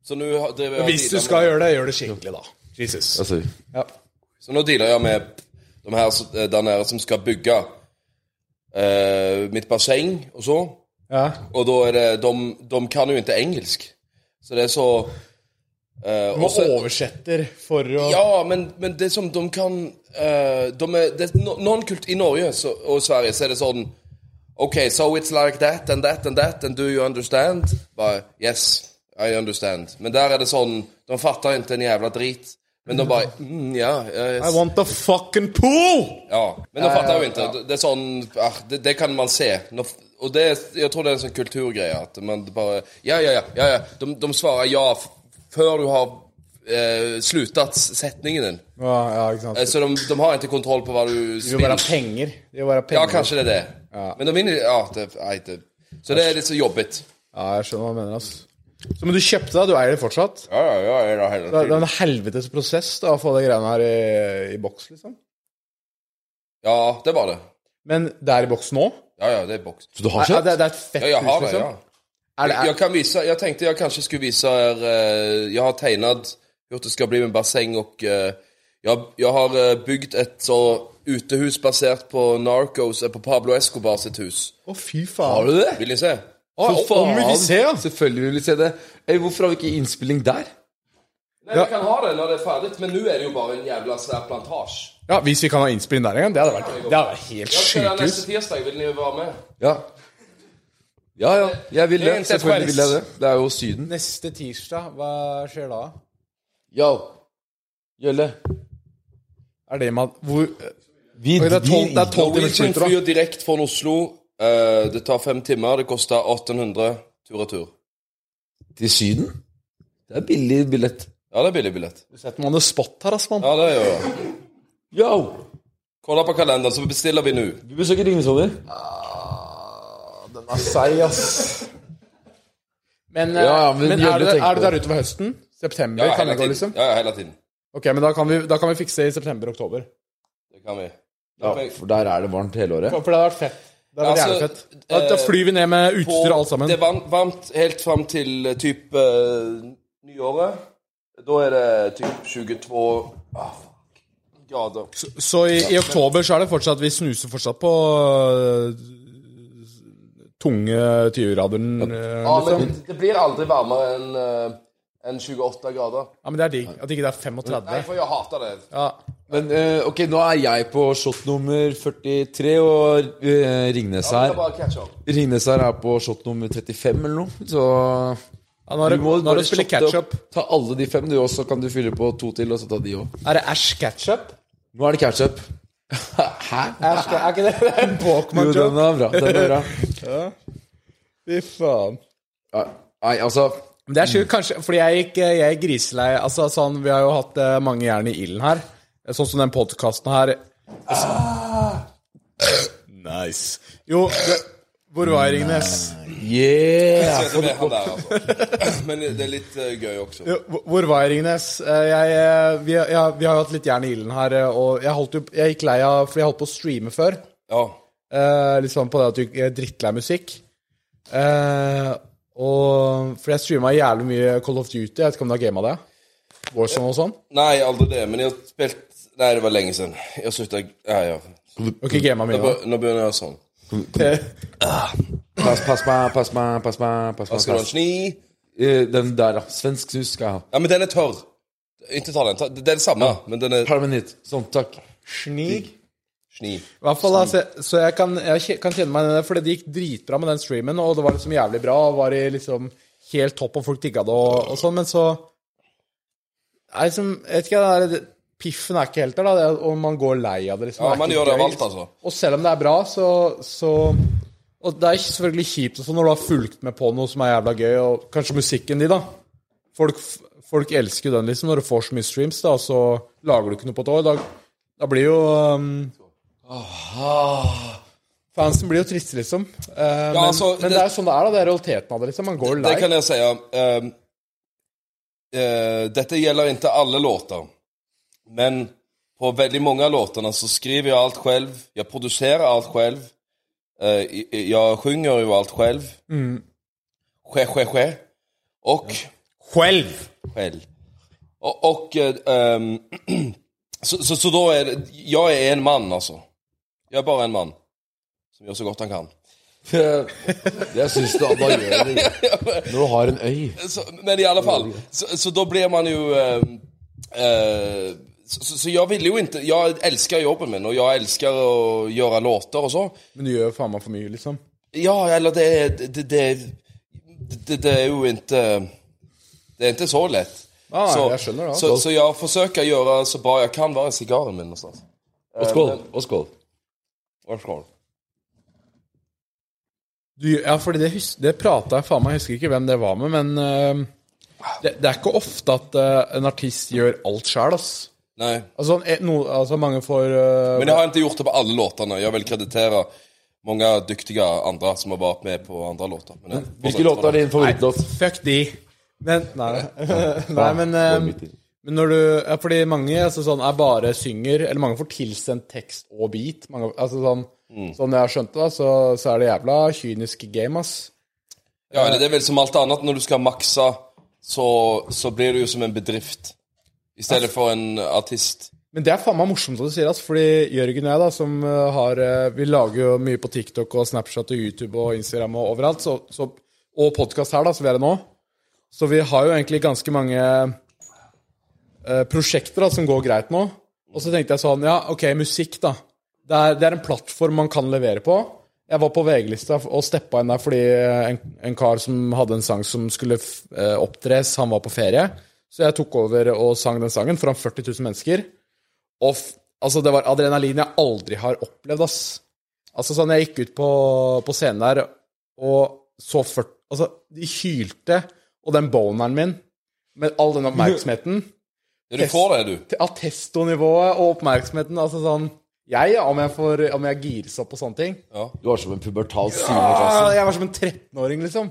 [SPEAKER 4] Så nu har- driver jag
[SPEAKER 3] Hvis du
[SPEAKER 4] vidare
[SPEAKER 3] skal
[SPEAKER 4] med-
[SPEAKER 3] gjøre det, gjør det skikkelig, da. Jesus.
[SPEAKER 5] Altså,
[SPEAKER 4] Så nå dealer jeg med de her som- der nede som skal bygge eh, mitt basseng og så.
[SPEAKER 3] Ja.
[SPEAKER 4] Og da er det de, de kan jo ikke engelsk. Så det er så eh,
[SPEAKER 3] Du må
[SPEAKER 4] og så-
[SPEAKER 3] oversetter for å
[SPEAKER 4] Ja, men, men det som de kan eh, de er, det, no, Noen kult i Norge så, og Sverige så er det sånn OK, so it's like that and that and that, and do you understand? Bare, yes, I understand. Men der er det sånn De fatter ikke en jævla drit. Men de bare mm, Ja. ja, yes.
[SPEAKER 3] I want Eh, the fucking pool!
[SPEAKER 4] Ja, men de fattar jo ikke. Det- Det er sånn ah, det, det kan man se. Nå f- Og det, er- jeg tror det er en sånn kulturgreie at man bare Ja, ja, ja. ja, ja. De, de svarer ja f før du har eh, sluttet s- setningen din.
[SPEAKER 3] Ja, ja, ikke sant.
[SPEAKER 4] Eh, Så de, de har ikke kontroll på hva du
[SPEAKER 3] Det vil
[SPEAKER 4] spiller.
[SPEAKER 3] være penger. Det vil være penger.
[SPEAKER 4] Ja, kanskje det er det. Men de vinner Ja, det, nei, det. Så det er litt så jobbigt.
[SPEAKER 3] Ja, jeg skjønner hva du mener, ass. Så, men du kjøpte det, du eier det fortsatt?
[SPEAKER 4] Ja, ja, ja, ja, ja,
[SPEAKER 3] Det
[SPEAKER 4] hele
[SPEAKER 3] er det er
[SPEAKER 4] tiden.
[SPEAKER 3] en helvetes prosess da, å få de greiene her i, i boks, liksom.
[SPEAKER 4] ja det var det.
[SPEAKER 3] Men det er i boks nå?
[SPEAKER 4] Ja, ja, det er boks.
[SPEAKER 5] så du har
[SPEAKER 3] Nei,
[SPEAKER 5] kjøtt?
[SPEAKER 3] det, det er et fett
[SPEAKER 4] Ja, jeg har
[SPEAKER 3] hus,
[SPEAKER 4] det,
[SPEAKER 3] liksom.
[SPEAKER 4] ja. Jeg, kan vise, jeg tenkte jeg kanskje skulle vise her eh, Jeg har tegnet gjort det skal bli med basseng, og eh, jeg, jeg har eh, bygd et så utehus basert på Narcos eh, på Pablo Escobar sitt hus.
[SPEAKER 3] Å, fy faen.
[SPEAKER 5] Har du det?
[SPEAKER 4] Vil dere se?
[SPEAKER 5] For
[SPEAKER 3] om- om vi vil se, ja.
[SPEAKER 5] Selvfølgelig vil vi se det. Ey, hvorfor har vi ikke innspilling der?
[SPEAKER 4] Nei, Vi kan ha det når det er ferdig, men nå er det jo bare en jævla svær plantasje.
[SPEAKER 3] Ja, Hvis vi kan ha innspilling der en gang, det hadde vært, det hadde vært helt
[SPEAKER 4] Ja, så det er
[SPEAKER 3] sjukehus.
[SPEAKER 4] Neste tirsdag vil dere være med?
[SPEAKER 5] Ja. Ja, ja. Jeg vil
[SPEAKER 4] Det er
[SPEAKER 5] det.
[SPEAKER 4] en
[SPEAKER 5] Selvfølgelig vil jeg det.
[SPEAKER 4] sekvens.
[SPEAKER 5] Det er jo Syden.
[SPEAKER 3] Neste tirsdag, hva skjer da?
[SPEAKER 5] Yo. Gjølle.
[SPEAKER 3] Er det man Hvor
[SPEAKER 5] Vi
[SPEAKER 3] det er tolv- det er tolv-
[SPEAKER 4] Norwegian
[SPEAKER 3] minutter, da.
[SPEAKER 4] flyr direkte fra Oslo. Eh, det tar fem timer. Det koster 1800 tur-retur.
[SPEAKER 5] til Syden. Det er billig billett.
[SPEAKER 4] Ja, det er billig billett.
[SPEAKER 3] setter man det spot her, ass, mann?
[SPEAKER 4] Ja, det gjør jeg.
[SPEAKER 5] Yo!
[SPEAKER 4] Kolla på kalenderen, så bestiller vi nå.
[SPEAKER 5] Du besøker Ringnesholmer.
[SPEAKER 3] Den er seig, ass. Men, eh,
[SPEAKER 5] Ja, ja, men
[SPEAKER 3] men,
[SPEAKER 5] Gjølle
[SPEAKER 3] er, det,
[SPEAKER 5] tenker
[SPEAKER 3] er det
[SPEAKER 5] på
[SPEAKER 3] der ute ved høsten? September?
[SPEAKER 4] Ja,
[SPEAKER 3] kan
[SPEAKER 4] hele
[SPEAKER 3] det gå,
[SPEAKER 4] tiden.
[SPEAKER 3] liksom?
[SPEAKER 4] Ja, ja, hele tiden.
[SPEAKER 3] Ok, men da kan vi, da kan vi fikse det i september-oktober.
[SPEAKER 4] Det kan vi.
[SPEAKER 5] Ja, for der er det varmt hele året.
[SPEAKER 3] For for det hadde vært fett. Det hadde vært
[SPEAKER 4] Altså,
[SPEAKER 3] jævlig fett. Da, da
[SPEAKER 4] eh,
[SPEAKER 3] flyr vi ned med utstyr og alt sammen.
[SPEAKER 4] Det er varm- varmt helt fram til eh, typ eh, nyåret. Da er det typ 22 ah, fuck, grader.
[SPEAKER 3] Så i, i oktober så er det fortsatt Vi snuser fortsatt på øh, tunge 20-graderen. øh,
[SPEAKER 4] Ja,
[SPEAKER 3] liksom.
[SPEAKER 4] men det blir aldri varmere enn eh, enn 28 grader.
[SPEAKER 3] Ja, men det er digg. At ikke det er 35.
[SPEAKER 4] Nei, for jeg hater det.
[SPEAKER 3] Ja.
[SPEAKER 5] Men eh, ok, nå er jeg på shot nummer 43, og eh, Ringnes
[SPEAKER 4] Det
[SPEAKER 5] her
[SPEAKER 4] er bare catch up.
[SPEAKER 5] Ringnes her er på shot nummer 35 eller noe, så
[SPEAKER 3] Ja, nå er det,
[SPEAKER 5] du må
[SPEAKER 3] nå er
[SPEAKER 5] bare
[SPEAKER 3] det å spille
[SPEAKER 5] shotte
[SPEAKER 3] ketchup.
[SPEAKER 5] opp. Ta alle de fem, du og så kan du fylle på to til, og så ta de òg.
[SPEAKER 3] Er det Ash ketchup?
[SPEAKER 5] Nå er det ketchup. Hæ?
[SPEAKER 3] Ash, ke- er ikke det- det er en
[SPEAKER 5] Jo, den
[SPEAKER 3] Pokémon-joke?
[SPEAKER 5] er bra. Den er bra.
[SPEAKER 3] Fy faen.
[SPEAKER 5] Ja, Nei, altså
[SPEAKER 3] Men det er sjukt, kanskje, fordi jeg gikk, eh, jeg er griselei Altså, sånn, vi har jo hatt eh, mange jern i ilden her. Sånn som den podkasten her. Nice. Jo, det, hvor var jeg, Ringnes?
[SPEAKER 5] Yeah!
[SPEAKER 4] Så det er han der, altså. Men det er litt eh, gøy også.
[SPEAKER 3] Jo, hvor- Hvor var jeg, Ringnes? Eh, Jeg, eh, vi, ja, vi har jo hatt litt jern i ilden her, eh, og jeg, holdt jo, jeg gikk lei av Fordi jeg holdt på å streame før.
[SPEAKER 4] Ja.
[SPEAKER 3] Eh, litt sånn på det at du ikke er drittlei musikk. Eh, og For jeg streama jævlig mye Call of Duty. Jeg vet ikke om du har gama det? Warzone og sånn?
[SPEAKER 4] Nei, aldri det. Men jeg har spilt Nei, det var lenge siden. Jeg slutta ja, ja.
[SPEAKER 3] Ok, gama mye. da.
[SPEAKER 4] Nå begynner jeg sånn.
[SPEAKER 5] Pass, pass meg, pass meg, pass meg. pass meg,
[SPEAKER 4] Skal du ha en
[SPEAKER 5] pass.
[SPEAKER 4] sni?
[SPEAKER 5] Eh, Den der, da. Svensk snus skal jeg ha.
[SPEAKER 4] Ja, men den er tørr. Ikke ta den. Ta- Det er det samme, men den er
[SPEAKER 5] Ta dem en hit. Sånn, takk.
[SPEAKER 3] Snig.
[SPEAKER 4] sni.
[SPEAKER 3] I hvert fall, altså, så jeg kan, jeg kje- kan kjenne meg igjen i det, fordi det gikk dritbra med den streamen, og det var liksom jævlig bra, og var i liksom helt topp, og folk digga det og, og sånn, men så Jeg liksom, jeg vet ikke, det er, piffen er ikke helt der, da, det, og man går lei av det, liksom.
[SPEAKER 4] Ja,
[SPEAKER 3] Det er
[SPEAKER 4] man
[SPEAKER 3] ikke
[SPEAKER 4] gjør det av
[SPEAKER 3] gøy.
[SPEAKER 4] alt, altså.
[SPEAKER 3] Og selv om det er bra, så, så Og det er selvfølgelig kjipt og sånn når du har fulgt med på noe som er jævla gøy, og kanskje musikken din, da. Folk, folk elsker den, liksom, når du får så mye streams, da, og så lager du ikke noe på et år. Da, da blir jo um, Fansen blir jo triste, liksom. Eh, men,
[SPEAKER 4] altså,
[SPEAKER 3] men det,
[SPEAKER 4] det-
[SPEAKER 3] er jo sånn det er, da. Det er realiteten av det, liksom. Man går lei.
[SPEAKER 4] Det kan jeg si. ja. Ehm, eh, dette gjelder ikke alle låter. Men på veldig mange av låtene så skriver jeg alt selv. Jeg produserer alt selv. Eh, i- i- jeg synger jo alt selv. Skje, skje, skje. Og Själv. Og, og eh, ehm, så, så, så da er det Jeg er en mann, altså. Jeg er bare en mann som gjør så godt han kan.
[SPEAKER 5] Jeg syns da da gjør det Når du har en øy
[SPEAKER 4] så, men i alle fall, så, så da blir man jo eh, eh, så, så- så jeg ville jo ikke Jeg elsker jobben min, og jeg elsker å gjøre låter og så.
[SPEAKER 3] Men du gjør jo faen meg for mye, liksom.
[SPEAKER 4] Ja, eller det er det, det, det, det er jo ikke Det er ikke så lett.
[SPEAKER 3] nei,
[SPEAKER 4] så,
[SPEAKER 3] jeg skjønner det,
[SPEAKER 4] Så, så jeg forsøker å gjøre så bra jeg kan være sigaren min. Og sånt.
[SPEAKER 5] Og skål, og skål
[SPEAKER 4] Og skål.
[SPEAKER 3] Du, ja, fordi det, hus- det prata jeg faen meg, jeg husker ikke hvem det var med, men eh, det, det er ikke ofte at eh, en artist gjør alt sjæl, ass.
[SPEAKER 4] Nei.
[SPEAKER 3] Altså, eh, no, altså mange får eh,
[SPEAKER 4] Men jeg har ikke gjort det på alle låtene. Jeg vil kreditere mange dyktige andre som har vært med på andre låter. Men jeg-
[SPEAKER 5] Hvilke låter er din favorittlåt?
[SPEAKER 3] Fuck de. Men Nei, nei men eh, men når du ja, Fordi mange altså, sånn, er bare synger, eller mange får tilsendt tekst og beat. Mange, altså sånn Sånn jeg har skjønt det, da, så, så er det jævla kynisk game, ass.
[SPEAKER 4] Ja, eller det er vel som alt annet. Når du skal makse, så, så blir du jo som en bedrift. I stedet for en artist.
[SPEAKER 3] Men det er faen meg morsomt at du sier det, ass, fordi Jørgen og jeg, da, som eh, har eh, Vi lager jo mye på TikTok og Snapchat og YouTube og Instagram og overalt, så, så, og podkast her, da, som vi er i nå. Så vi har jo egentlig ganske mange eh, prosjekter da, som går greit nå. Og så tenkte jeg sånn Ja, OK, musikk, da. Det er, det er en plattform man kan levere på. Jeg var på VG-lista og steppa inn der fordi eh, en, en kar som hadde en sang som skulle f- eh, opptres, han var på ferie. Så jeg tok over og sang den sangen foran 40 000 mennesker. Og f altså, det var adrenalin jeg aldri har opplevd, ass. Altså, sånn, jeg gikk ut på, på scenen der, og så ført... Altså, de hylte, og den boneren min, med all den oppmerksomheten,
[SPEAKER 4] Ja, du får det, du.
[SPEAKER 3] til attestonivået og oppmerksomheten, altså sånn... Jeg, ja, om jeg får... Om jeg gires opp og sånne ting.
[SPEAKER 5] Du har som en pubertal sine
[SPEAKER 3] Ah,
[SPEAKER 5] klassen
[SPEAKER 3] jeg var som en 13-åring, liksom.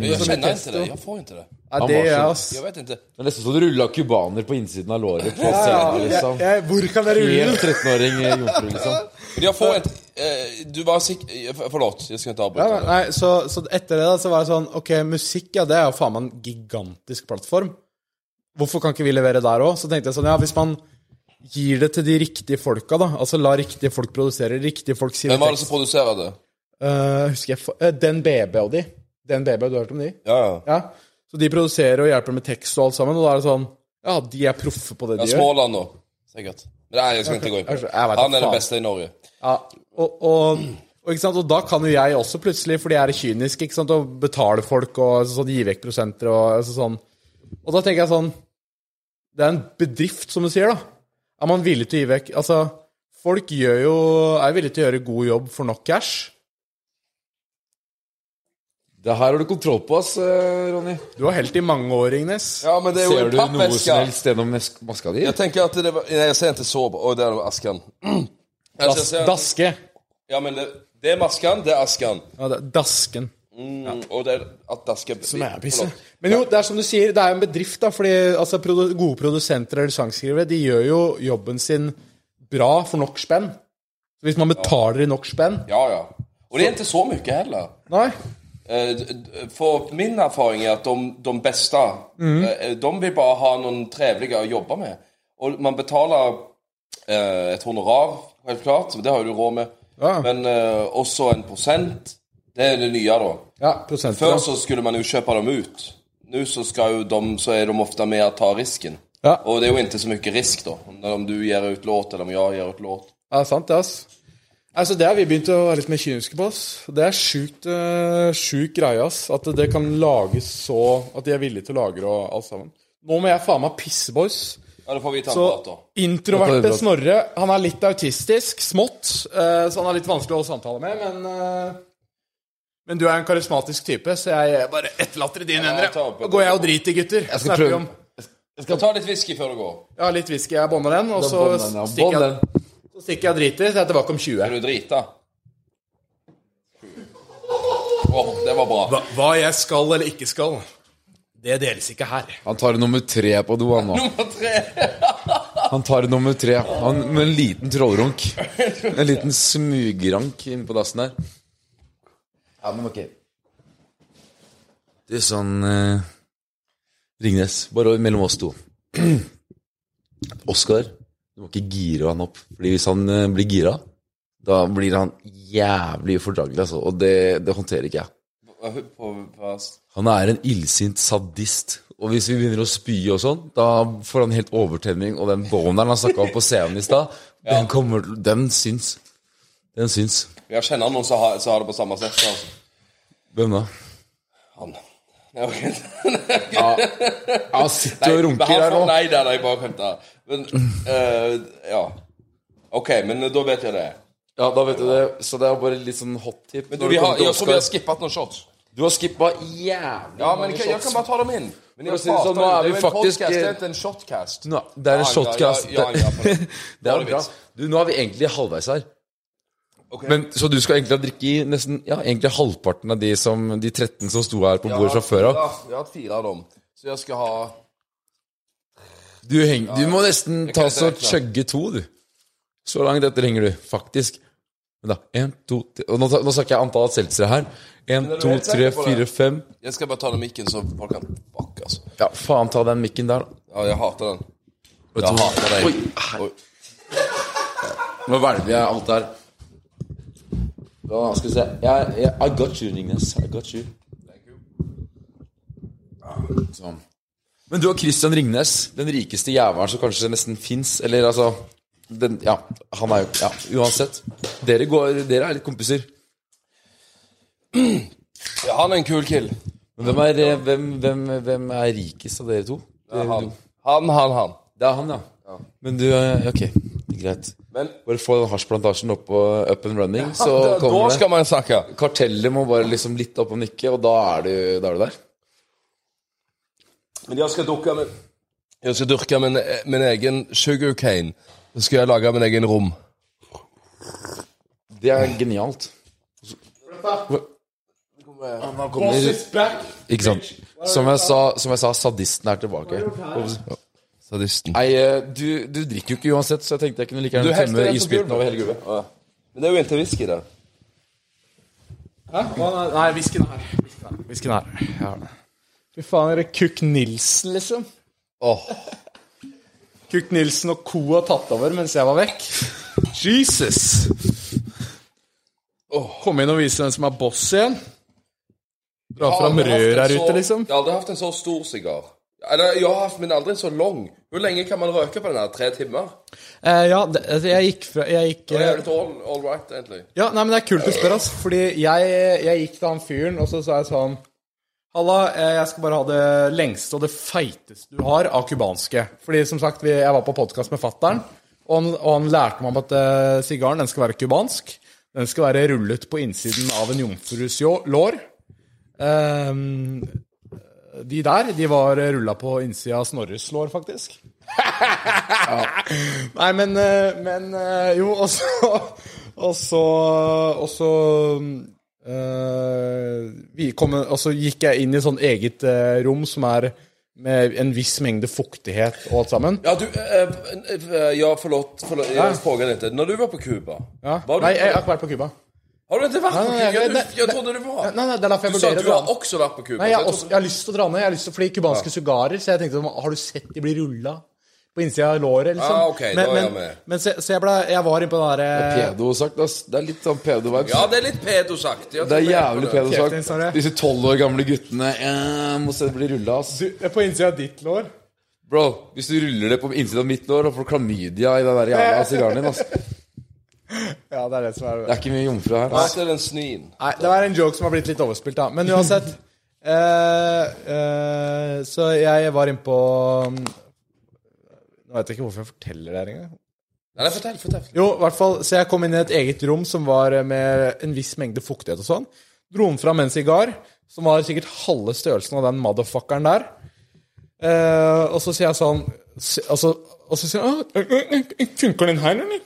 [SPEAKER 4] Jeg kjenner ikke det. Jeg får ikke det.
[SPEAKER 3] Nei, det
[SPEAKER 5] Mm. var
[SPEAKER 3] gjør jeg,
[SPEAKER 5] så-
[SPEAKER 3] ass.
[SPEAKER 4] Jeg vet ikke.
[SPEAKER 5] Det er nesten så du rullet kubaner på innsiden av låret På
[SPEAKER 3] Ja,
[SPEAKER 5] scenen
[SPEAKER 3] jeg,
[SPEAKER 5] liksom
[SPEAKER 3] jeg, hvor kan dere rulle?
[SPEAKER 5] Helt 13-åring eh, jomfru liksom
[SPEAKER 4] Men jeg får et eh, Du var sikker eh, for- Forlåt, jeg skal ikke
[SPEAKER 3] Ja,
[SPEAKER 4] avbryte.
[SPEAKER 3] men, nei, så, så etter det da, så var jeg sånn Ok, musikk, ja, det er jo faen meg en gigantisk plattform. Hvorfor kan ikke vi levere der òg? Så tenkte jeg sånn, ja, hvis man gir det til de riktige folka, da. Altså la riktige folk produsere, riktige folk skrive
[SPEAKER 4] Hvem var det som
[SPEAKER 3] tekst.
[SPEAKER 4] produserer det?
[SPEAKER 3] Eh, husker jeg fa- eh, Den BB og de. Den BB, du har hørt om de?
[SPEAKER 4] Ja, ja.
[SPEAKER 3] Ja. Så de produserer og hjelper med tekst og alt sammen, og da er det sånn Ja, de er proffe på det
[SPEAKER 4] ja
[SPEAKER 3] de gjør.
[SPEAKER 4] Småland, da. Sikkert. Men Nei, Altså, jeg skal ikke gå inn på det.
[SPEAKER 3] Jeg vet da
[SPEAKER 4] Han er
[SPEAKER 3] faen.
[SPEAKER 4] den beste i Norge.
[SPEAKER 3] Ja, og, og, og, ikke sant? og da kan jo jeg også plutselig, fordi jeg er kynisk, ikke sant? og betale folk og altså, sånn, gi vekk prosenter og altså, sånn. Og da tenker jeg sånn Det er en bedrift, som du sier, da. Er man villig til å gi vekk Altså, folk gjør jo, er villige til å gjøre god jobb for nok cash.
[SPEAKER 5] Det her har du kontroll på ass, eh, Ronny
[SPEAKER 3] Du var helt i mange år, Ingnes.
[SPEAKER 4] Ja, men det er jo
[SPEAKER 5] Ser
[SPEAKER 4] en
[SPEAKER 5] du noe
[SPEAKER 4] pappeske.
[SPEAKER 5] som helst gjennom mes- maska di?
[SPEAKER 4] Jeg tenker at det var Nei, jeg ser ikke så bra Oi, der var asken. Jeg
[SPEAKER 3] Das,
[SPEAKER 4] ser-
[SPEAKER 3] daske.
[SPEAKER 4] Ja, men det, det er masken, det er asken.
[SPEAKER 3] Ja, det, dasken.
[SPEAKER 4] Mm, og det er at dasken Som er
[SPEAKER 3] Men jo, det er som du sier, det er en bedrift, da. Fordi altså, produ gode produsenter eller sangskrivere, de gjør jo jobben sin bra for nok spenn. Så hvis man betaler i nok spenn
[SPEAKER 4] Ja, ja. Og det er ikke så mye heller.
[SPEAKER 3] Nei.
[SPEAKER 4] Eh, d- d- For min erfaring er at de, de beste, eh, de vil bare ha noen trivelige å jobbe med. Og man betaler eh, et honorar, helt klart, det har jo du råd med,
[SPEAKER 3] Ja.
[SPEAKER 4] men eh, også en prosent. Det er det nye, da.
[SPEAKER 3] Ja, prosenter.
[SPEAKER 4] Før
[SPEAKER 3] ja.
[SPEAKER 4] så skulle man jo kjøpe dem ut. Nå så, skal jo de, så er de ofte med å ta risken.
[SPEAKER 3] Ja.
[SPEAKER 4] Og det er jo ikke så mye risk, da, om du gir ut låt, eller om jeg gir ut låt.
[SPEAKER 3] Ja, sant det, ass. Altså, det har vi begynt å være litt mer kyniske på, ass. Det er sjukt eh, sjuk greie, ass. At det kan lages så At de er villige til å lagre og alt sammen. Nå må jeg faen meg pisse, boys.
[SPEAKER 4] Ja, da får vi ta en
[SPEAKER 3] Så
[SPEAKER 4] prat, da.
[SPEAKER 3] introverte Snorre Han er litt autistisk, smått, eh, så han er litt vanskelig å holde samtale med, men eh, Men du er en karismatisk type, så jeg bare etterlater i dine hender.
[SPEAKER 4] ta opp-
[SPEAKER 3] Da går jeg og driter, gutter.
[SPEAKER 5] Jeg skal
[SPEAKER 3] Snakker vi
[SPEAKER 5] prøve.
[SPEAKER 3] om.
[SPEAKER 4] Skal ta litt whisky før du går.
[SPEAKER 3] Jeg har litt whisky, jeg bånder den, og så
[SPEAKER 5] Bånd den, ja. Bånd
[SPEAKER 3] stikker jeg,
[SPEAKER 5] den.
[SPEAKER 3] så stikker jeg og driter, så jeg er tilbake om 20.
[SPEAKER 4] Er du drita? Åh, det var bra.
[SPEAKER 3] Hva, hva jeg skal eller ikke skal, det deles ikke her.
[SPEAKER 5] Han tar nummer tre på do, han nå.
[SPEAKER 4] Nummer tre.
[SPEAKER 5] Han tar nummer tre. Han, med en liten trollrunk. En liten smugrank inne på dassen der. Ja, men ok. Det er sånn eh, Ringnes, bare mellom oss to. Oskar, du må ikke gire han opp. Fordi hvis han eh, blir gira, da blir han jævlig ufordragelig, altså. Og det, det håndterer ikke jeg.
[SPEAKER 4] På, på, på,
[SPEAKER 5] Han er en illsint sadist. Og hvis vi begynner å spy og sånn, da får han helt overtenning. Og den boneren han snakka om på scenen i stad, den kommer til Den syns. Den syns.
[SPEAKER 4] Jeg kjenner noen som har, som har det på samme sett. Altså.
[SPEAKER 5] Hvem da?
[SPEAKER 4] Han. Nei, ok.
[SPEAKER 5] Han sitter og
[SPEAKER 4] men
[SPEAKER 5] runker
[SPEAKER 4] han
[SPEAKER 5] her
[SPEAKER 4] får
[SPEAKER 5] nå.
[SPEAKER 4] nei der, jeg bare kødder. Men eh, ja. OK, men da vet jeg det.
[SPEAKER 5] Ja, da vet du det. Så det er bare litt sånn hot tip.
[SPEAKER 4] Men du,
[SPEAKER 5] når
[SPEAKER 4] vi
[SPEAKER 5] det
[SPEAKER 4] har,
[SPEAKER 5] kommer til
[SPEAKER 4] jeg tror vi har
[SPEAKER 5] Oscar.
[SPEAKER 4] skippet noen shots.
[SPEAKER 5] Du har skippa jævlig
[SPEAKER 4] Ja, men
[SPEAKER 5] mange
[SPEAKER 4] jeg, jeg kan
[SPEAKER 5] shots.
[SPEAKER 4] bare ta dem inn. Men
[SPEAKER 5] For å
[SPEAKER 4] jeg
[SPEAKER 5] si det
[SPEAKER 4] prater
[SPEAKER 5] sånn, nå
[SPEAKER 4] jo.
[SPEAKER 5] er
[SPEAKER 4] Det
[SPEAKER 5] vi
[SPEAKER 4] jo en
[SPEAKER 5] faktisk-
[SPEAKER 4] podcast, det er ikke en shotcast.
[SPEAKER 5] Nå, det er en
[SPEAKER 4] Ja, ja,
[SPEAKER 5] shotcast.
[SPEAKER 4] ja, ja, ja, for det.
[SPEAKER 5] det
[SPEAKER 4] Bare
[SPEAKER 5] er bra.
[SPEAKER 4] vits.
[SPEAKER 5] Du, nå er vi egentlig halvveis her. Men, så du skal egentlig ha drikke i nesten ja, egentlig halvparten av de, som, de 13 som sto her på bordet fra før av?
[SPEAKER 4] Ja, Jeg har hatt fire av dem. Så jeg skal ha
[SPEAKER 5] Du, heng, du må nesten
[SPEAKER 4] kan
[SPEAKER 5] ta
[SPEAKER 4] ikke
[SPEAKER 5] så
[SPEAKER 4] regne.
[SPEAKER 5] chugge to, du. Så langt etter henger du, faktisk. Men da, en, to, tre og nå, ta- nå snakker jeg antall seltsere her. En,
[SPEAKER 4] du
[SPEAKER 5] to,
[SPEAKER 4] helt
[SPEAKER 5] tre,
[SPEAKER 4] sikker på det?
[SPEAKER 5] fire, fem.
[SPEAKER 4] Jeg skal bare ta den mikken, så folk kan Fuck, altså.
[SPEAKER 5] Ja, faen ta den mikken der, da.
[SPEAKER 4] Ja, jeg hater den.
[SPEAKER 5] Vet
[SPEAKER 4] Jeg
[SPEAKER 5] du hva?
[SPEAKER 4] hater deg.
[SPEAKER 5] Oi, nå hvelver jeg alt der. Da skal vi se. Jeg, jeg, I got you, Ringnes. I got you. Ah, Sånn. Men du og Christian Ringnes, den rikeste jævelen som kanskje nesten fins, eller altså den, Ja, han er jo Ja, uansett. Dere, går, dere er litt kompiser.
[SPEAKER 4] Ja, han er en kul kill.
[SPEAKER 5] Men hvem er, eh, hvem, hvem, hvem er rikest av dere to? Det er,
[SPEAKER 4] Han,
[SPEAKER 5] du.
[SPEAKER 4] han, han. han.
[SPEAKER 5] Det er han, ja. Men du eh, Ok, greit.
[SPEAKER 4] Men
[SPEAKER 5] Bare få den hasjplantasjen opp, og up and running, så
[SPEAKER 4] nå
[SPEAKER 5] kommer det.
[SPEAKER 4] skal man snakke.
[SPEAKER 5] Kartellet må bare liksom litt opp og nikke, og da er du, da er du der.
[SPEAKER 4] Men jeg skal dukke min Jeg skal dyrke min, eh, min egen sugarcane. Så skal jeg lage min egen rom.
[SPEAKER 5] Det er genialt. Han kommer Ikke sant. Som jeg sa, som jeg sa sadisten er tilbake.
[SPEAKER 4] Sadisten.
[SPEAKER 5] Nei, eh, du, du drikker jo ikke uansett, så jeg tenkte jeg kunne like
[SPEAKER 4] Du
[SPEAKER 5] gjerne
[SPEAKER 4] helst
[SPEAKER 5] tømme
[SPEAKER 4] det som
[SPEAKER 5] isbiten
[SPEAKER 4] gulvet.
[SPEAKER 5] over hele gulvet.
[SPEAKER 4] Men det er jo inntil whisky der.
[SPEAKER 3] Hæ? Hva- Nei, whiskyen er her. Whiskyen er her. Whiskyen er her. Fy faen, er det Cook Nilsen, liksom? Åh. Cook Nilsen og co. har tatt over mens jeg var vekk. Jesus! Åh, Kom inn og vise hvem som er boss igjen. Dra fram rør her ute, liksom.
[SPEAKER 4] Jeg har aldri hatt en så stor sigar. Eller, jeg har haft, men aldri en så lang. Hvor lenge kan man røke på den her? Tre timer?
[SPEAKER 3] Eh, ja, det, altså, jeg gikk fra Jeg gikk
[SPEAKER 4] Det
[SPEAKER 3] eh,
[SPEAKER 4] er litt all, all right, egentlig.
[SPEAKER 3] Ja, nei, men det er kult å spørre, ass. Fordi jeg, jeg gikk til han fyren, og så sa jeg sånn Halla, eh, jeg skal bare ha det lengste og det feiteste du har av cubanske. Fordi som sagt, vi, jeg var på podkast med fattern, og, han- og han lærte meg om at eh, sigaren den skal være cubansk. Den skal være rullet på innsiden av en jomfrus ljå- lår. Ehm, de der, de var rulla på innsida av Snorres lår, faktisk. Nei, men, eh, men eh, Jo, og så Og så, og så eh, vi kom, Og så gikk jeg inn i sånn eget eh, rom som er med en viss mengde fuktighet og alt sammen.
[SPEAKER 4] Ja, du eh, eh, Ja, forlåt. forlåt jeg spør litt. Når du var på Cuba
[SPEAKER 3] Ja.
[SPEAKER 4] var du-
[SPEAKER 3] Nei, jeg har ikke vært på Cuba.
[SPEAKER 4] Har du ikke vært på
[SPEAKER 3] Nei, nei,
[SPEAKER 4] Cuba? Jeg,
[SPEAKER 3] nei,
[SPEAKER 4] jeg, jeg trodde du var.
[SPEAKER 3] Nei, nei, det er derfor jeg
[SPEAKER 4] Du sa
[SPEAKER 3] vurderer
[SPEAKER 4] du har
[SPEAKER 3] det.
[SPEAKER 4] også vært på Cuba.
[SPEAKER 3] Nei,
[SPEAKER 4] så
[SPEAKER 3] jeg,
[SPEAKER 4] jeg
[SPEAKER 3] har også, jeg har lyst til å dra ned. Jeg har lyst til å Fordi cubanske sugarer. Så jeg tenkte sånn, Har du sett de blir rulla på innsida av låret, liksom?
[SPEAKER 4] Ah, ok, da
[SPEAKER 3] men,
[SPEAKER 4] er jeg
[SPEAKER 3] men,
[SPEAKER 4] med.
[SPEAKER 3] men så, så jeg, ble, jeg var inne på den eh, derre
[SPEAKER 5] Pedo sagt, ass. Det er litt sånn pedo-vibes.
[SPEAKER 4] Ja, det er litt pedosagt. Jeg
[SPEAKER 5] Det er
[SPEAKER 4] tror jeg på
[SPEAKER 5] jævlig
[SPEAKER 4] det.
[SPEAKER 5] pedo
[SPEAKER 3] Kjeften,
[SPEAKER 5] sagt.
[SPEAKER 3] Snorre.
[SPEAKER 5] Disse tolv år gamle guttene eh, må se det bli rulla, ass.
[SPEAKER 4] eh,
[SPEAKER 3] På innsida av ditt lår?
[SPEAKER 5] Bro, hvis du ruller det på innsiden av mitt lår, da får du klamydia i den der jævla sigaren din, ass. Det
[SPEAKER 3] Ja, det er det som er
[SPEAKER 5] er ikke mye jomfru her.
[SPEAKER 4] Ja,
[SPEAKER 5] ass.
[SPEAKER 4] det er den snien.
[SPEAKER 3] Nei, det var en joke som har blitt litt overspilt, da. Men uansett. eh, eh, så jeg var innpå Nå vet jeg ikke hvorfor jeg forteller det her engang.
[SPEAKER 4] Nei, nei, fortell, fortell.
[SPEAKER 3] Jo, i hvert fall, så jeg kom inn i et eget rom som var med en viss mengde fuktighet og sånn. Dro den fra med en sigar, som var sikkert halve størrelsen av den motherfuckeren der. Eh, og så sier jeg sånn s- altså, Og så sier han «Å, Funker den her, eller?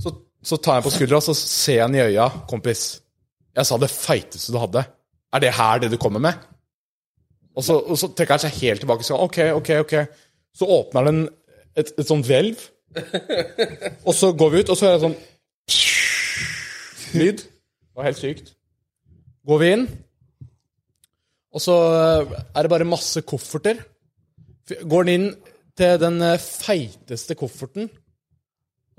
[SPEAKER 3] Så, så tar jeg på skuldra, så ser jeg han i øya. Kompis, jeg sa det feiteste du hadde. Er det her det du kommer med? Og så, og så trekker han seg helt tilbake. Så, ok, ok, ok. Så åpner den et, et sånt hvelv. Og så går vi ut, og så er det sånn lyd. Det var helt sykt. Går vi inn, og så er det bare masse kofferter. Går den inn til den eh, feiteste kofferten,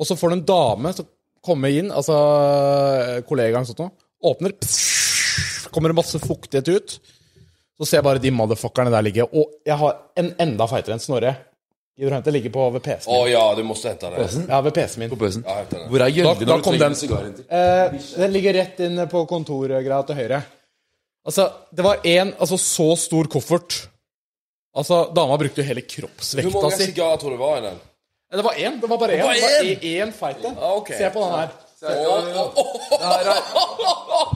[SPEAKER 3] og så får du en dame som kommer inn, altså eh, kollegaen sånn noe, åpner, kommer det masse fuktighet ut. Så ser jeg bare de motherfuckerne der ligge, og jeg har en enda feitere enn Snorre. Gidder du hente? Ligger på ved PC-en
[SPEAKER 4] Å
[SPEAKER 3] min.
[SPEAKER 4] ja, du måtte hente det.
[SPEAKER 3] Ja, ved PC-en min.
[SPEAKER 5] Bøsen.
[SPEAKER 4] Ja, hente det.
[SPEAKER 5] Hvor er
[SPEAKER 3] Da- da
[SPEAKER 5] Gjølde når du
[SPEAKER 3] kom
[SPEAKER 5] trenger
[SPEAKER 3] den.
[SPEAKER 5] en sigar inntil?
[SPEAKER 3] Eh, den ligger rett inn på kontorgreia til høyre. Altså, det var én altså, så stor koffert. Altså, dama brukte jo hele
[SPEAKER 4] Hvor
[SPEAKER 3] kroppsvekta
[SPEAKER 4] mange
[SPEAKER 3] si.
[SPEAKER 4] sigarer tror du det var i den?
[SPEAKER 3] Eh, Det var én. Det var bare én.
[SPEAKER 4] var
[SPEAKER 3] Det var
[SPEAKER 4] én?
[SPEAKER 3] e- én feit en.
[SPEAKER 4] Ah, ok.
[SPEAKER 3] Se på den her.
[SPEAKER 5] Det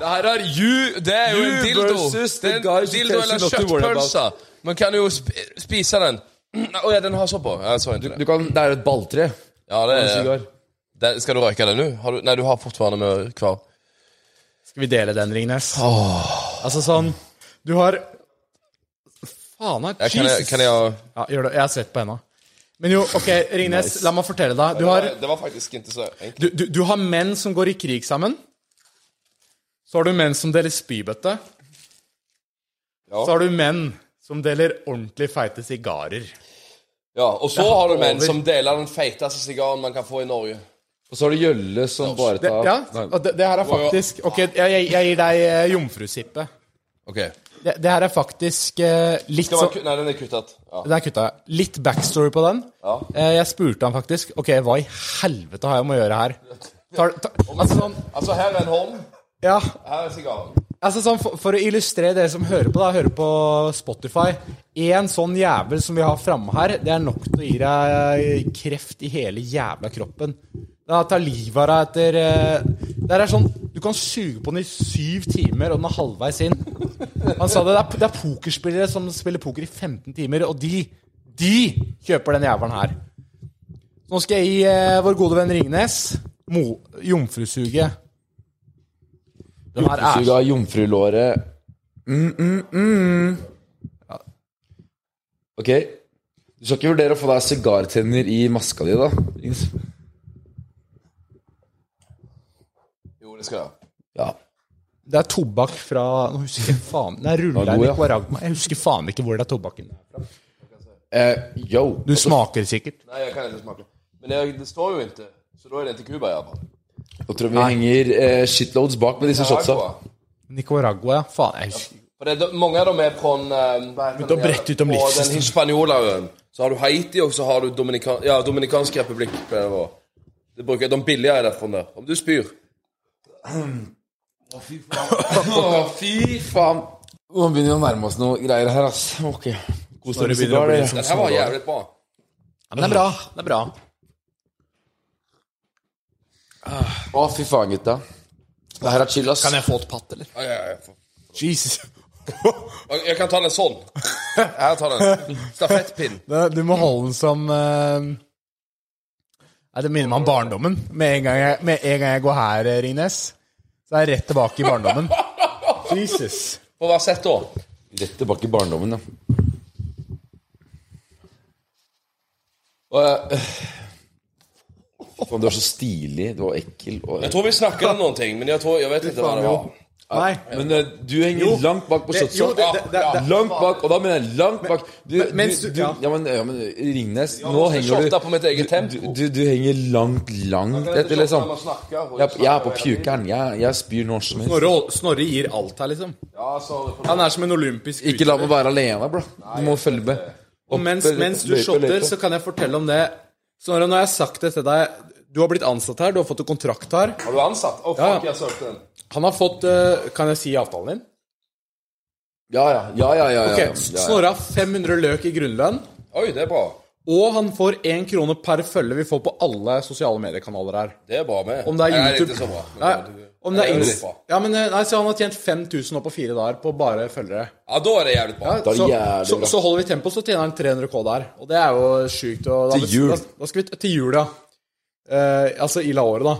[SPEAKER 5] her er you
[SPEAKER 4] Det er jo
[SPEAKER 5] You
[SPEAKER 4] en dildo.
[SPEAKER 5] versus the
[SPEAKER 4] Det er
[SPEAKER 5] guy
[SPEAKER 4] en
[SPEAKER 5] who
[SPEAKER 4] dildo
[SPEAKER 5] tells you
[SPEAKER 4] eller
[SPEAKER 5] not to worry about.
[SPEAKER 4] kjøttpølse. Man kan jo sp spise den. Å ja, den har sånn på. Jeg så ikke
[SPEAKER 5] du
[SPEAKER 4] det.
[SPEAKER 5] kan, Det er et balltre.
[SPEAKER 4] Ja, det
[SPEAKER 5] En
[SPEAKER 4] er,
[SPEAKER 5] sigar.
[SPEAKER 4] den, skal du røyke den nå? Har du, nei, du har fortfarande med hver.
[SPEAKER 3] Skal vi dele den, Ringnes? Altså sånn Du har Faen her.
[SPEAKER 4] Ja, kan, jeg,
[SPEAKER 3] Jesus.
[SPEAKER 4] kan jeg ha
[SPEAKER 3] Ja, gjør det. Jeg har svett på henda. Men jo, OK, Ringnes, la meg fortelle deg. Du har
[SPEAKER 4] Det var faktisk ikke så enkelt.
[SPEAKER 3] Du, du, du har menn som går i krig sammen. Så har du menn som deler spybøtte. Så har du menn som deler ordentlig feite sigarer.
[SPEAKER 4] Ja, og så har du menn
[SPEAKER 3] over.
[SPEAKER 4] som deler den feiteste sigaren man kan få i Norge.
[SPEAKER 5] Og så har du Gjølle som bare
[SPEAKER 3] Det,
[SPEAKER 5] tar
[SPEAKER 3] ja, og det, det her er faktisk Ok, jeg, jeg, jeg gir deg eh, jomfrusippe.
[SPEAKER 4] Ok.
[SPEAKER 3] Det, det her er faktisk eh, litt
[SPEAKER 4] Skal man,
[SPEAKER 3] sånn
[SPEAKER 4] ku- nei, den er kuttet. Ja.
[SPEAKER 3] Der kutta jeg. Litt backstory på den.
[SPEAKER 4] Ja.
[SPEAKER 3] Eh, jeg spurte han faktisk OK, hva i helvete har jeg med å gjøre her? Tar, tar, altså sånn
[SPEAKER 4] Altså, her er en hånd.
[SPEAKER 3] Ja,
[SPEAKER 4] Her er sigaren.
[SPEAKER 3] Altså sånn, for, for å illustrere dere som hører på, da, hører på Spotify En sånn jævel som vi har framme her, det er nok til å gi deg kreft i hele jævla kroppen. Det tar livet av deg etter eh, Det her er sånn Du kan suge på den i syv timer, og den er halvveis inn. Han sa det, det er, det er pokerspillere som spiller poker i 15 timer, og de, de kjøper den jævelen her. Nå skal jeg gi eh, vår gode venn Ringnes mo- jomfrusuget. Den her er
[SPEAKER 5] Suga jomfrulåret. Mm, Ok. Du skal ikke vurdere å få deg sigartenner i maska di, da? Ings?
[SPEAKER 4] Jo, det skal jeg.
[SPEAKER 5] Ja.
[SPEAKER 3] Det er tobakk fra Nå husker jeg faen Det er
[SPEAKER 5] Den
[SPEAKER 3] ruller
[SPEAKER 5] er god,
[SPEAKER 3] i
[SPEAKER 5] ja.
[SPEAKER 3] Nicaragua. Jeg husker faen ikke hvor det er tobakken.
[SPEAKER 5] Eh, yo.
[SPEAKER 3] Du smaker sikkert.
[SPEAKER 4] Nei, jeg kan ikke smake. Men jeg, det står jo ikke. Så da er det ikke Cuba, i hvert fall.
[SPEAKER 5] Jeg tror vi henger eh, shitloads bak med disse shotsa.
[SPEAKER 4] Nicaragua.
[SPEAKER 3] Nicaragua, ja. Faen, jeg husker
[SPEAKER 4] For det, er- mange av dem er fra
[SPEAKER 3] Begynte å brette ut om
[SPEAKER 4] Og
[SPEAKER 3] livssystemet.
[SPEAKER 4] den Hispaniola-øen. Så har du Haiti, og så har du Dominikan, ja, Dominikansk republikk. pleier det å være. Det bruker de billigere derfra der. Om du spyr.
[SPEAKER 5] Å, fy faen. Nå begynner vi å nærme oss noe greier her, ass. Ok. Kos deg med sigar, dere.
[SPEAKER 4] Den her var jævlig bra.
[SPEAKER 3] ja, Men det er bra. Det er bra.
[SPEAKER 5] Å, fy faen, gutta. Det her er chill, ass.
[SPEAKER 3] Kan jeg få et patt, eller?
[SPEAKER 4] Ja, ja, ja.
[SPEAKER 3] Jesus.
[SPEAKER 4] Jeg- Jeg kan ta den sånn. Her tar den. Stafettpinn.
[SPEAKER 3] Det- Du må holde den som eh, Nei, Det minner meg om barndommen. Med en gang jeg, med en gang jeg går her, eh, Ringnes, så er jeg rett tilbake i barndommen. Jesus.
[SPEAKER 4] På hva sett da?
[SPEAKER 5] Rett tilbake i barndommen, ja. Og jeg... Faen, du er så stilig. Du var ekkel. Og...
[SPEAKER 4] Jeg tror vi snakker om noen ting, men jeg, tror, jeg vet ikke hva det var.
[SPEAKER 3] Nei.
[SPEAKER 5] Men eh, du henger langt bak på
[SPEAKER 3] det- jo,
[SPEAKER 5] shotsa.
[SPEAKER 3] det- det- det-
[SPEAKER 5] Ja,
[SPEAKER 3] det-
[SPEAKER 5] Langt bak, og da mener jeg langt bak. Du,
[SPEAKER 3] men- mens
[SPEAKER 5] du,
[SPEAKER 3] du-
[SPEAKER 5] du,
[SPEAKER 3] ja.
[SPEAKER 5] ja, men, ja, men eh, Ringnes, nå
[SPEAKER 4] måtte
[SPEAKER 5] henger du
[SPEAKER 4] shotta på mitt eget
[SPEAKER 5] du,
[SPEAKER 4] tempo.
[SPEAKER 5] du, du henger langt, langt etter, liksom. Jeg, jeg er på pjukeren. Jeg, jeg spyr når som helst.
[SPEAKER 3] Snorre, Snorre gir alt her, liksom.
[SPEAKER 4] Ja, så,
[SPEAKER 3] Han er som en olympisk
[SPEAKER 5] Ikke la meg være alene, bro. Du må følge med.
[SPEAKER 3] Og mens,
[SPEAKER 5] Løype,
[SPEAKER 3] mens du
[SPEAKER 5] løype,
[SPEAKER 3] shotter,
[SPEAKER 5] løype.
[SPEAKER 3] så kan jeg fortelle om det. Snorre, nå har jeg sagt det til deg. Du har blitt ansatt her, du har fått en kontrakt her.
[SPEAKER 4] Har du ansatt? Å,
[SPEAKER 3] Ja, ja.
[SPEAKER 4] fuck, jeg søkte den.
[SPEAKER 3] Han har fått eh, Kan jeg si avtalen din?
[SPEAKER 5] Ja, ja. ja, ja, ja, ja,
[SPEAKER 3] Ok,
[SPEAKER 5] ja, ja.
[SPEAKER 3] Snorre har 500 løk i grunnlønn,
[SPEAKER 4] Oi, det er bra.
[SPEAKER 3] og han får én krone per følge vi får på alle sosiale mediekanaler her.
[SPEAKER 4] Det er bra med.
[SPEAKER 3] Om det er
[SPEAKER 4] Nei,
[SPEAKER 3] YouTube
[SPEAKER 4] ikke så bra.
[SPEAKER 3] Nei,
[SPEAKER 4] Men,
[SPEAKER 3] Om det er
[SPEAKER 4] det
[SPEAKER 3] ins-
[SPEAKER 4] er bra.
[SPEAKER 3] ja, men, eh, nei, så han har tjent 5000 nå på fire dager på bare følgere.
[SPEAKER 4] Ja, da er det jævlig bra.
[SPEAKER 5] Det er
[SPEAKER 3] så,
[SPEAKER 5] jævlig
[SPEAKER 3] så,
[SPEAKER 5] bra.
[SPEAKER 3] så holder vi tempo, så tjener han 300 K der. Og det er jo sjukt. og Da,
[SPEAKER 5] Til jul.
[SPEAKER 3] Da, da skal vi, til jul, ja. Eh, altså i la året, da.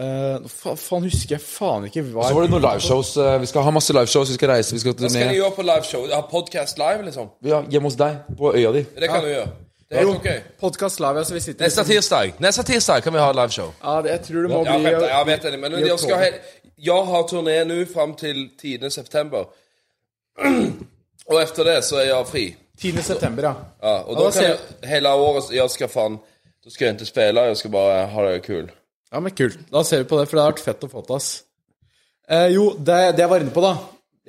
[SPEAKER 3] Eh, fa, faen, husker jeg faen ikke hva
[SPEAKER 5] Så var det noen liveshows. eh, Vi skal ha masse liveshows, vi skal reise, vi skal
[SPEAKER 4] Hva skal de
[SPEAKER 5] turné.
[SPEAKER 4] gjøre på liveshow? Ha podcast live, liksom?
[SPEAKER 5] Ja, hjemme hos deg, på øya di.
[SPEAKER 4] Det kan du gjøre. Det er helt ok.
[SPEAKER 3] Podkast Live, altså vi sitter
[SPEAKER 4] Neste tirsdag Neste tirsdag kan vi ha liveshow.
[SPEAKER 3] Ja, det, jeg tror det må
[SPEAKER 4] Ja,
[SPEAKER 3] bli
[SPEAKER 4] vent, jeg vet det, men
[SPEAKER 3] i
[SPEAKER 4] jeg, skal
[SPEAKER 3] oktober.
[SPEAKER 4] he, jeg har turné nå fram til 10. september. Og etter det så er jeg fri.
[SPEAKER 3] 10. september, ja.
[SPEAKER 4] Ja, og
[SPEAKER 3] da
[SPEAKER 4] da kan
[SPEAKER 3] ser-
[SPEAKER 4] jeg hele året Jeg skal faen Da skal jeg ikke spille, jeg skal bare ha det kul.
[SPEAKER 3] Ja, men kult. Da ser vi på det, for det har vært fett å få til, ass. Eh, jo, det, det jeg var inne på, da.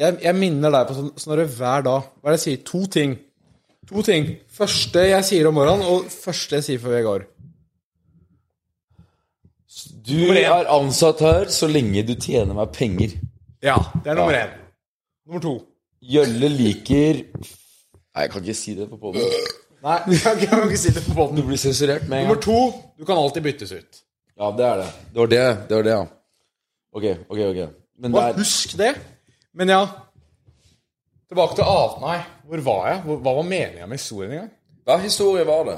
[SPEAKER 3] Jeg, jeg minner deg på sånn, Snorre hver dag. Hva er det jeg sier? To ting. To ting. Første jeg sier om morgenen, og første jeg sier før jeg går.
[SPEAKER 5] Du er ansatt her så lenge du tjener meg penger.
[SPEAKER 3] Ja, det er nummer én. Nummer to.
[SPEAKER 5] Gjølle liker Nei, jeg kan ikke si det på podden.
[SPEAKER 3] Nei, jeg kan ikke- jeg kan ikke si det på
[SPEAKER 5] Du
[SPEAKER 3] båten.
[SPEAKER 5] blir sensurert med en gang.
[SPEAKER 3] Nummer to, du kan alltid byttes ut.
[SPEAKER 5] Ja, det er det. Det var det, det var det, ja. Ok, ok, ok. Men det
[SPEAKER 3] Bare
[SPEAKER 5] er
[SPEAKER 3] husk det. Men ja Tilbake til At... Nei, hvor var jeg? Hvor, hva var meninga med historien engang?
[SPEAKER 4] Hva historie var det?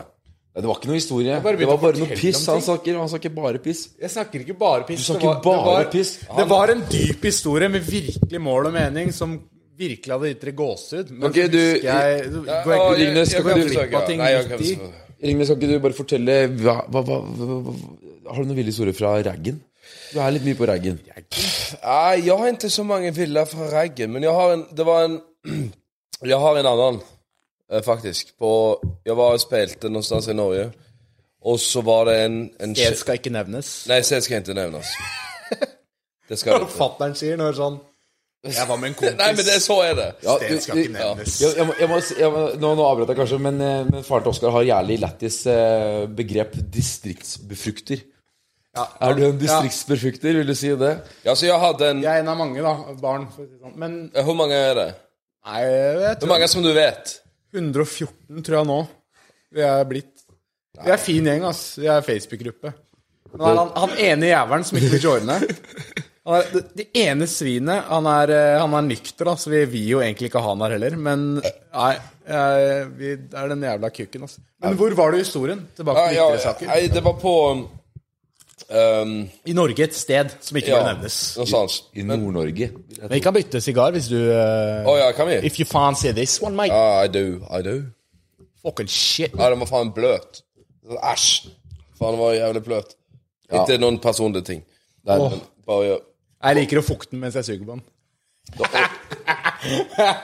[SPEAKER 5] Nei, det var ikke noe historie.
[SPEAKER 3] bare
[SPEAKER 5] Det
[SPEAKER 3] begynte
[SPEAKER 5] var
[SPEAKER 3] å
[SPEAKER 5] bare noe
[SPEAKER 3] fortelle
[SPEAKER 5] piss
[SPEAKER 3] om
[SPEAKER 5] han
[SPEAKER 3] ting.
[SPEAKER 5] snakker. Han snakker bare piss.
[SPEAKER 3] Jeg snakker ikke bare piss.
[SPEAKER 5] Du snakker
[SPEAKER 3] det var,
[SPEAKER 5] bare
[SPEAKER 3] det var,
[SPEAKER 5] piss.
[SPEAKER 3] Det var en dyp historie med virkelig mål og mening, som virkelig hadde gitt dere gåsehud. Men
[SPEAKER 5] Ok, du-
[SPEAKER 3] husker jeg, du, går
[SPEAKER 4] Å,
[SPEAKER 3] jeg,
[SPEAKER 4] jeg- jeg
[SPEAKER 5] skal
[SPEAKER 4] kan
[SPEAKER 5] du
[SPEAKER 4] forsøke,
[SPEAKER 3] glipp av
[SPEAKER 4] ja.
[SPEAKER 3] ting
[SPEAKER 4] Nei, jeg
[SPEAKER 3] midt
[SPEAKER 4] kan
[SPEAKER 3] i?
[SPEAKER 4] forsøke.
[SPEAKER 5] Ringnes, kan ikke du bare fortelle hva, hva, hva, hva, hva Har du noen ville historier fra raggen? Du er litt mye på raggen.
[SPEAKER 4] Nei, jeg har ikke så mange villa fra raggen, men jeg har en Det var en Jeg har en annen, eh, faktisk. På Jeg var og spilte noe sted i Norge, og så var det en, en
[SPEAKER 3] Det skal ikke nevnes.
[SPEAKER 4] Nei, se, det skal jeg ikke nevnes. Det skal det ikke.
[SPEAKER 3] Fatteren sier når sånn Jeg var med en kompis.
[SPEAKER 4] Nei, men det, så er det.
[SPEAKER 5] Ja,
[SPEAKER 3] Det skal ikke nevnes.
[SPEAKER 5] Jeg, jeg, må, jeg, må, si- jeg må, nå, nå avbrøt jeg kanskje, men, eh, men faren til Oskar har jævlig lættis eh, begrep distriktsbefrukter. Er du en distriktsbefrukter, vil du si det?
[SPEAKER 4] Ja, så jeg hadde en
[SPEAKER 3] Jeg er en av mange, da. Barn. For å si det sånn. Men
[SPEAKER 4] Eh, Hvor mange er det?
[SPEAKER 3] nei, jeg
[SPEAKER 4] Hvor
[SPEAKER 3] tror
[SPEAKER 4] mange som du vet?
[SPEAKER 3] 114 tror jeg nå vi er blitt. Vi er fin gjeng, ass. Vi er Facebook-gruppe. Nå er han, han ene jævelen som ikke vil joine. Han er, det, det ene svinet Han er, eh, han er nykter, da, så vi vil jo egentlig ikke ha han her heller. Men nei, eh, vi det er den jævla kuken, ass. Men hvor var du i historien? Tilbake
[SPEAKER 4] Ja,
[SPEAKER 3] til
[SPEAKER 4] ja,
[SPEAKER 3] yttersaker.
[SPEAKER 4] nei, det var på um,
[SPEAKER 3] I Norge et sted som ikke
[SPEAKER 4] Ja,
[SPEAKER 3] bør nevnes.
[SPEAKER 4] noe sånt.
[SPEAKER 5] I Nord-Norge.
[SPEAKER 3] Vi kan bytte sigar hvis du eh,
[SPEAKER 4] Å ja, kan vi?
[SPEAKER 3] If you fancy this one, mate.
[SPEAKER 4] Ah, I do, I do.
[SPEAKER 3] Fucking shit.
[SPEAKER 4] Ja, den var faen bløt. Æsj. Faen, den var jævlig bløt. Ikke noen personlige ting. Nei, men bare gjør
[SPEAKER 3] Jeg liker å fukte den mens jeg suger på den.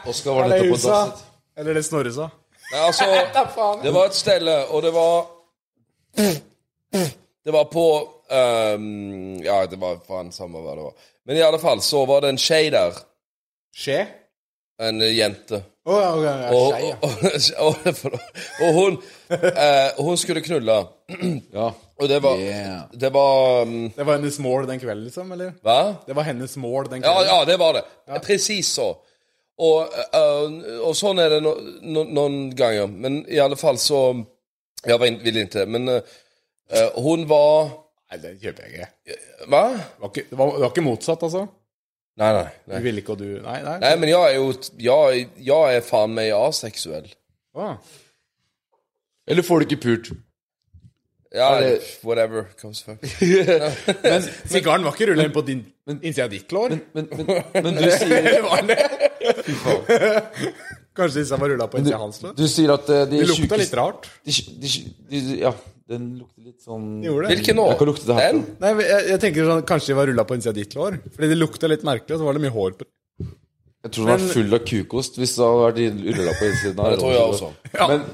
[SPEAKER 5] Oskar var nettopp på dass.
[SPEAKER 3] Eller det Snorre sa.
[SPEAKER 4] Nei, altså, det var et sted, og det var Det var på ehm, Ja, det var faen samme hva det var. Men i alle fall så var det en skje der.
[SPEAKER 3] Skje?
[SPEAKER 4] En jente.
[SPEAKER 3] Å, ja, ok, ja,
[SPEAKER 4] Og,
[SPEAKER 3] skje, ja.
[SPEAKER 4] og, og, og hun eh, Hun skulle knulle.
[SPEAKER 5] Ja.
[SPEAKER 4] Og det var
[SPEAKER 5] Yeah.
[SPEAKER 4] Det var mm,
[SPEAKER 3] Det var hennes mål den kvelden, liksom? eller?
[SPEAKER 4] Hva?
[SPEAKER 3] Det var hennes mål den
[SPEAKER 4] Ja,
[SPEAKER 3] kvelden?
[SPEAKER 4] ja, det var det. Presis så. Og, eh, og sånn er det no, no, noen ganger. Men i alle fall så Jeg var in, ville ikke. Men eh, eh, hun var
[SPEAKER 3] Nei, det kjøper jeg ikke.
[SPEAKER 4] Hva?
[SPEAKER 3] Det var ikke, det var, det var ikke motsatt, altså?
[SPEAKER 4] Nei, nei.
[SPEAKER 3] Du
[SPEAKER 4] Nei,
[SPEAKER 3] ville ikke, og du Nei, nei.
[SPEAKER 4] nei men jeg er jo Jeg, jeg er faen meg aseksuell.
[SPEAKER 3] Å.
[SPEAKER 5] Eller får du ikke pult?
[SPEAKER 4] Ja,
[SPEAKER 5] det-
[SPEAKER 4] whatever comes first.
[SPEAKER 3] Sigaren var ikke rulla inn på din innsida av ditt lår?
[SPEAKER 5] Men, men, men du, sier,
[SPEAKER 3] Eller var den det? Kanskje disse var rulla på innsida av hans lår?
[SPEAKER 5] du sier at eh, de
[SPEAKER 3] Det lukta litt
[SPEAKER 5] sjukeste
[SPEAKER 3] rart.
[SPEAKER 5] de, sj- de, sj- de, Ja, den lukter litt sånn
[SPEAKER 3] Gjorde det?
[SPEAKER 4] Hvilken nå?
[SPEAKER 5] Jeg kan lukte det her.
[SPEAKER 4] Den?
[SPEAKER 3] Nei, men jeg, jeg tenker sånn, Kanskje de var rulla på innsida av ditt lår? Fordi det lukta litt merkelig, og så var det mye hår på
[SPEAKER 5] Jeg tror den var full av kukost hvis det hadde vært i- rulla på innsiden. av
[SPEAKER 4] det tror jeg også.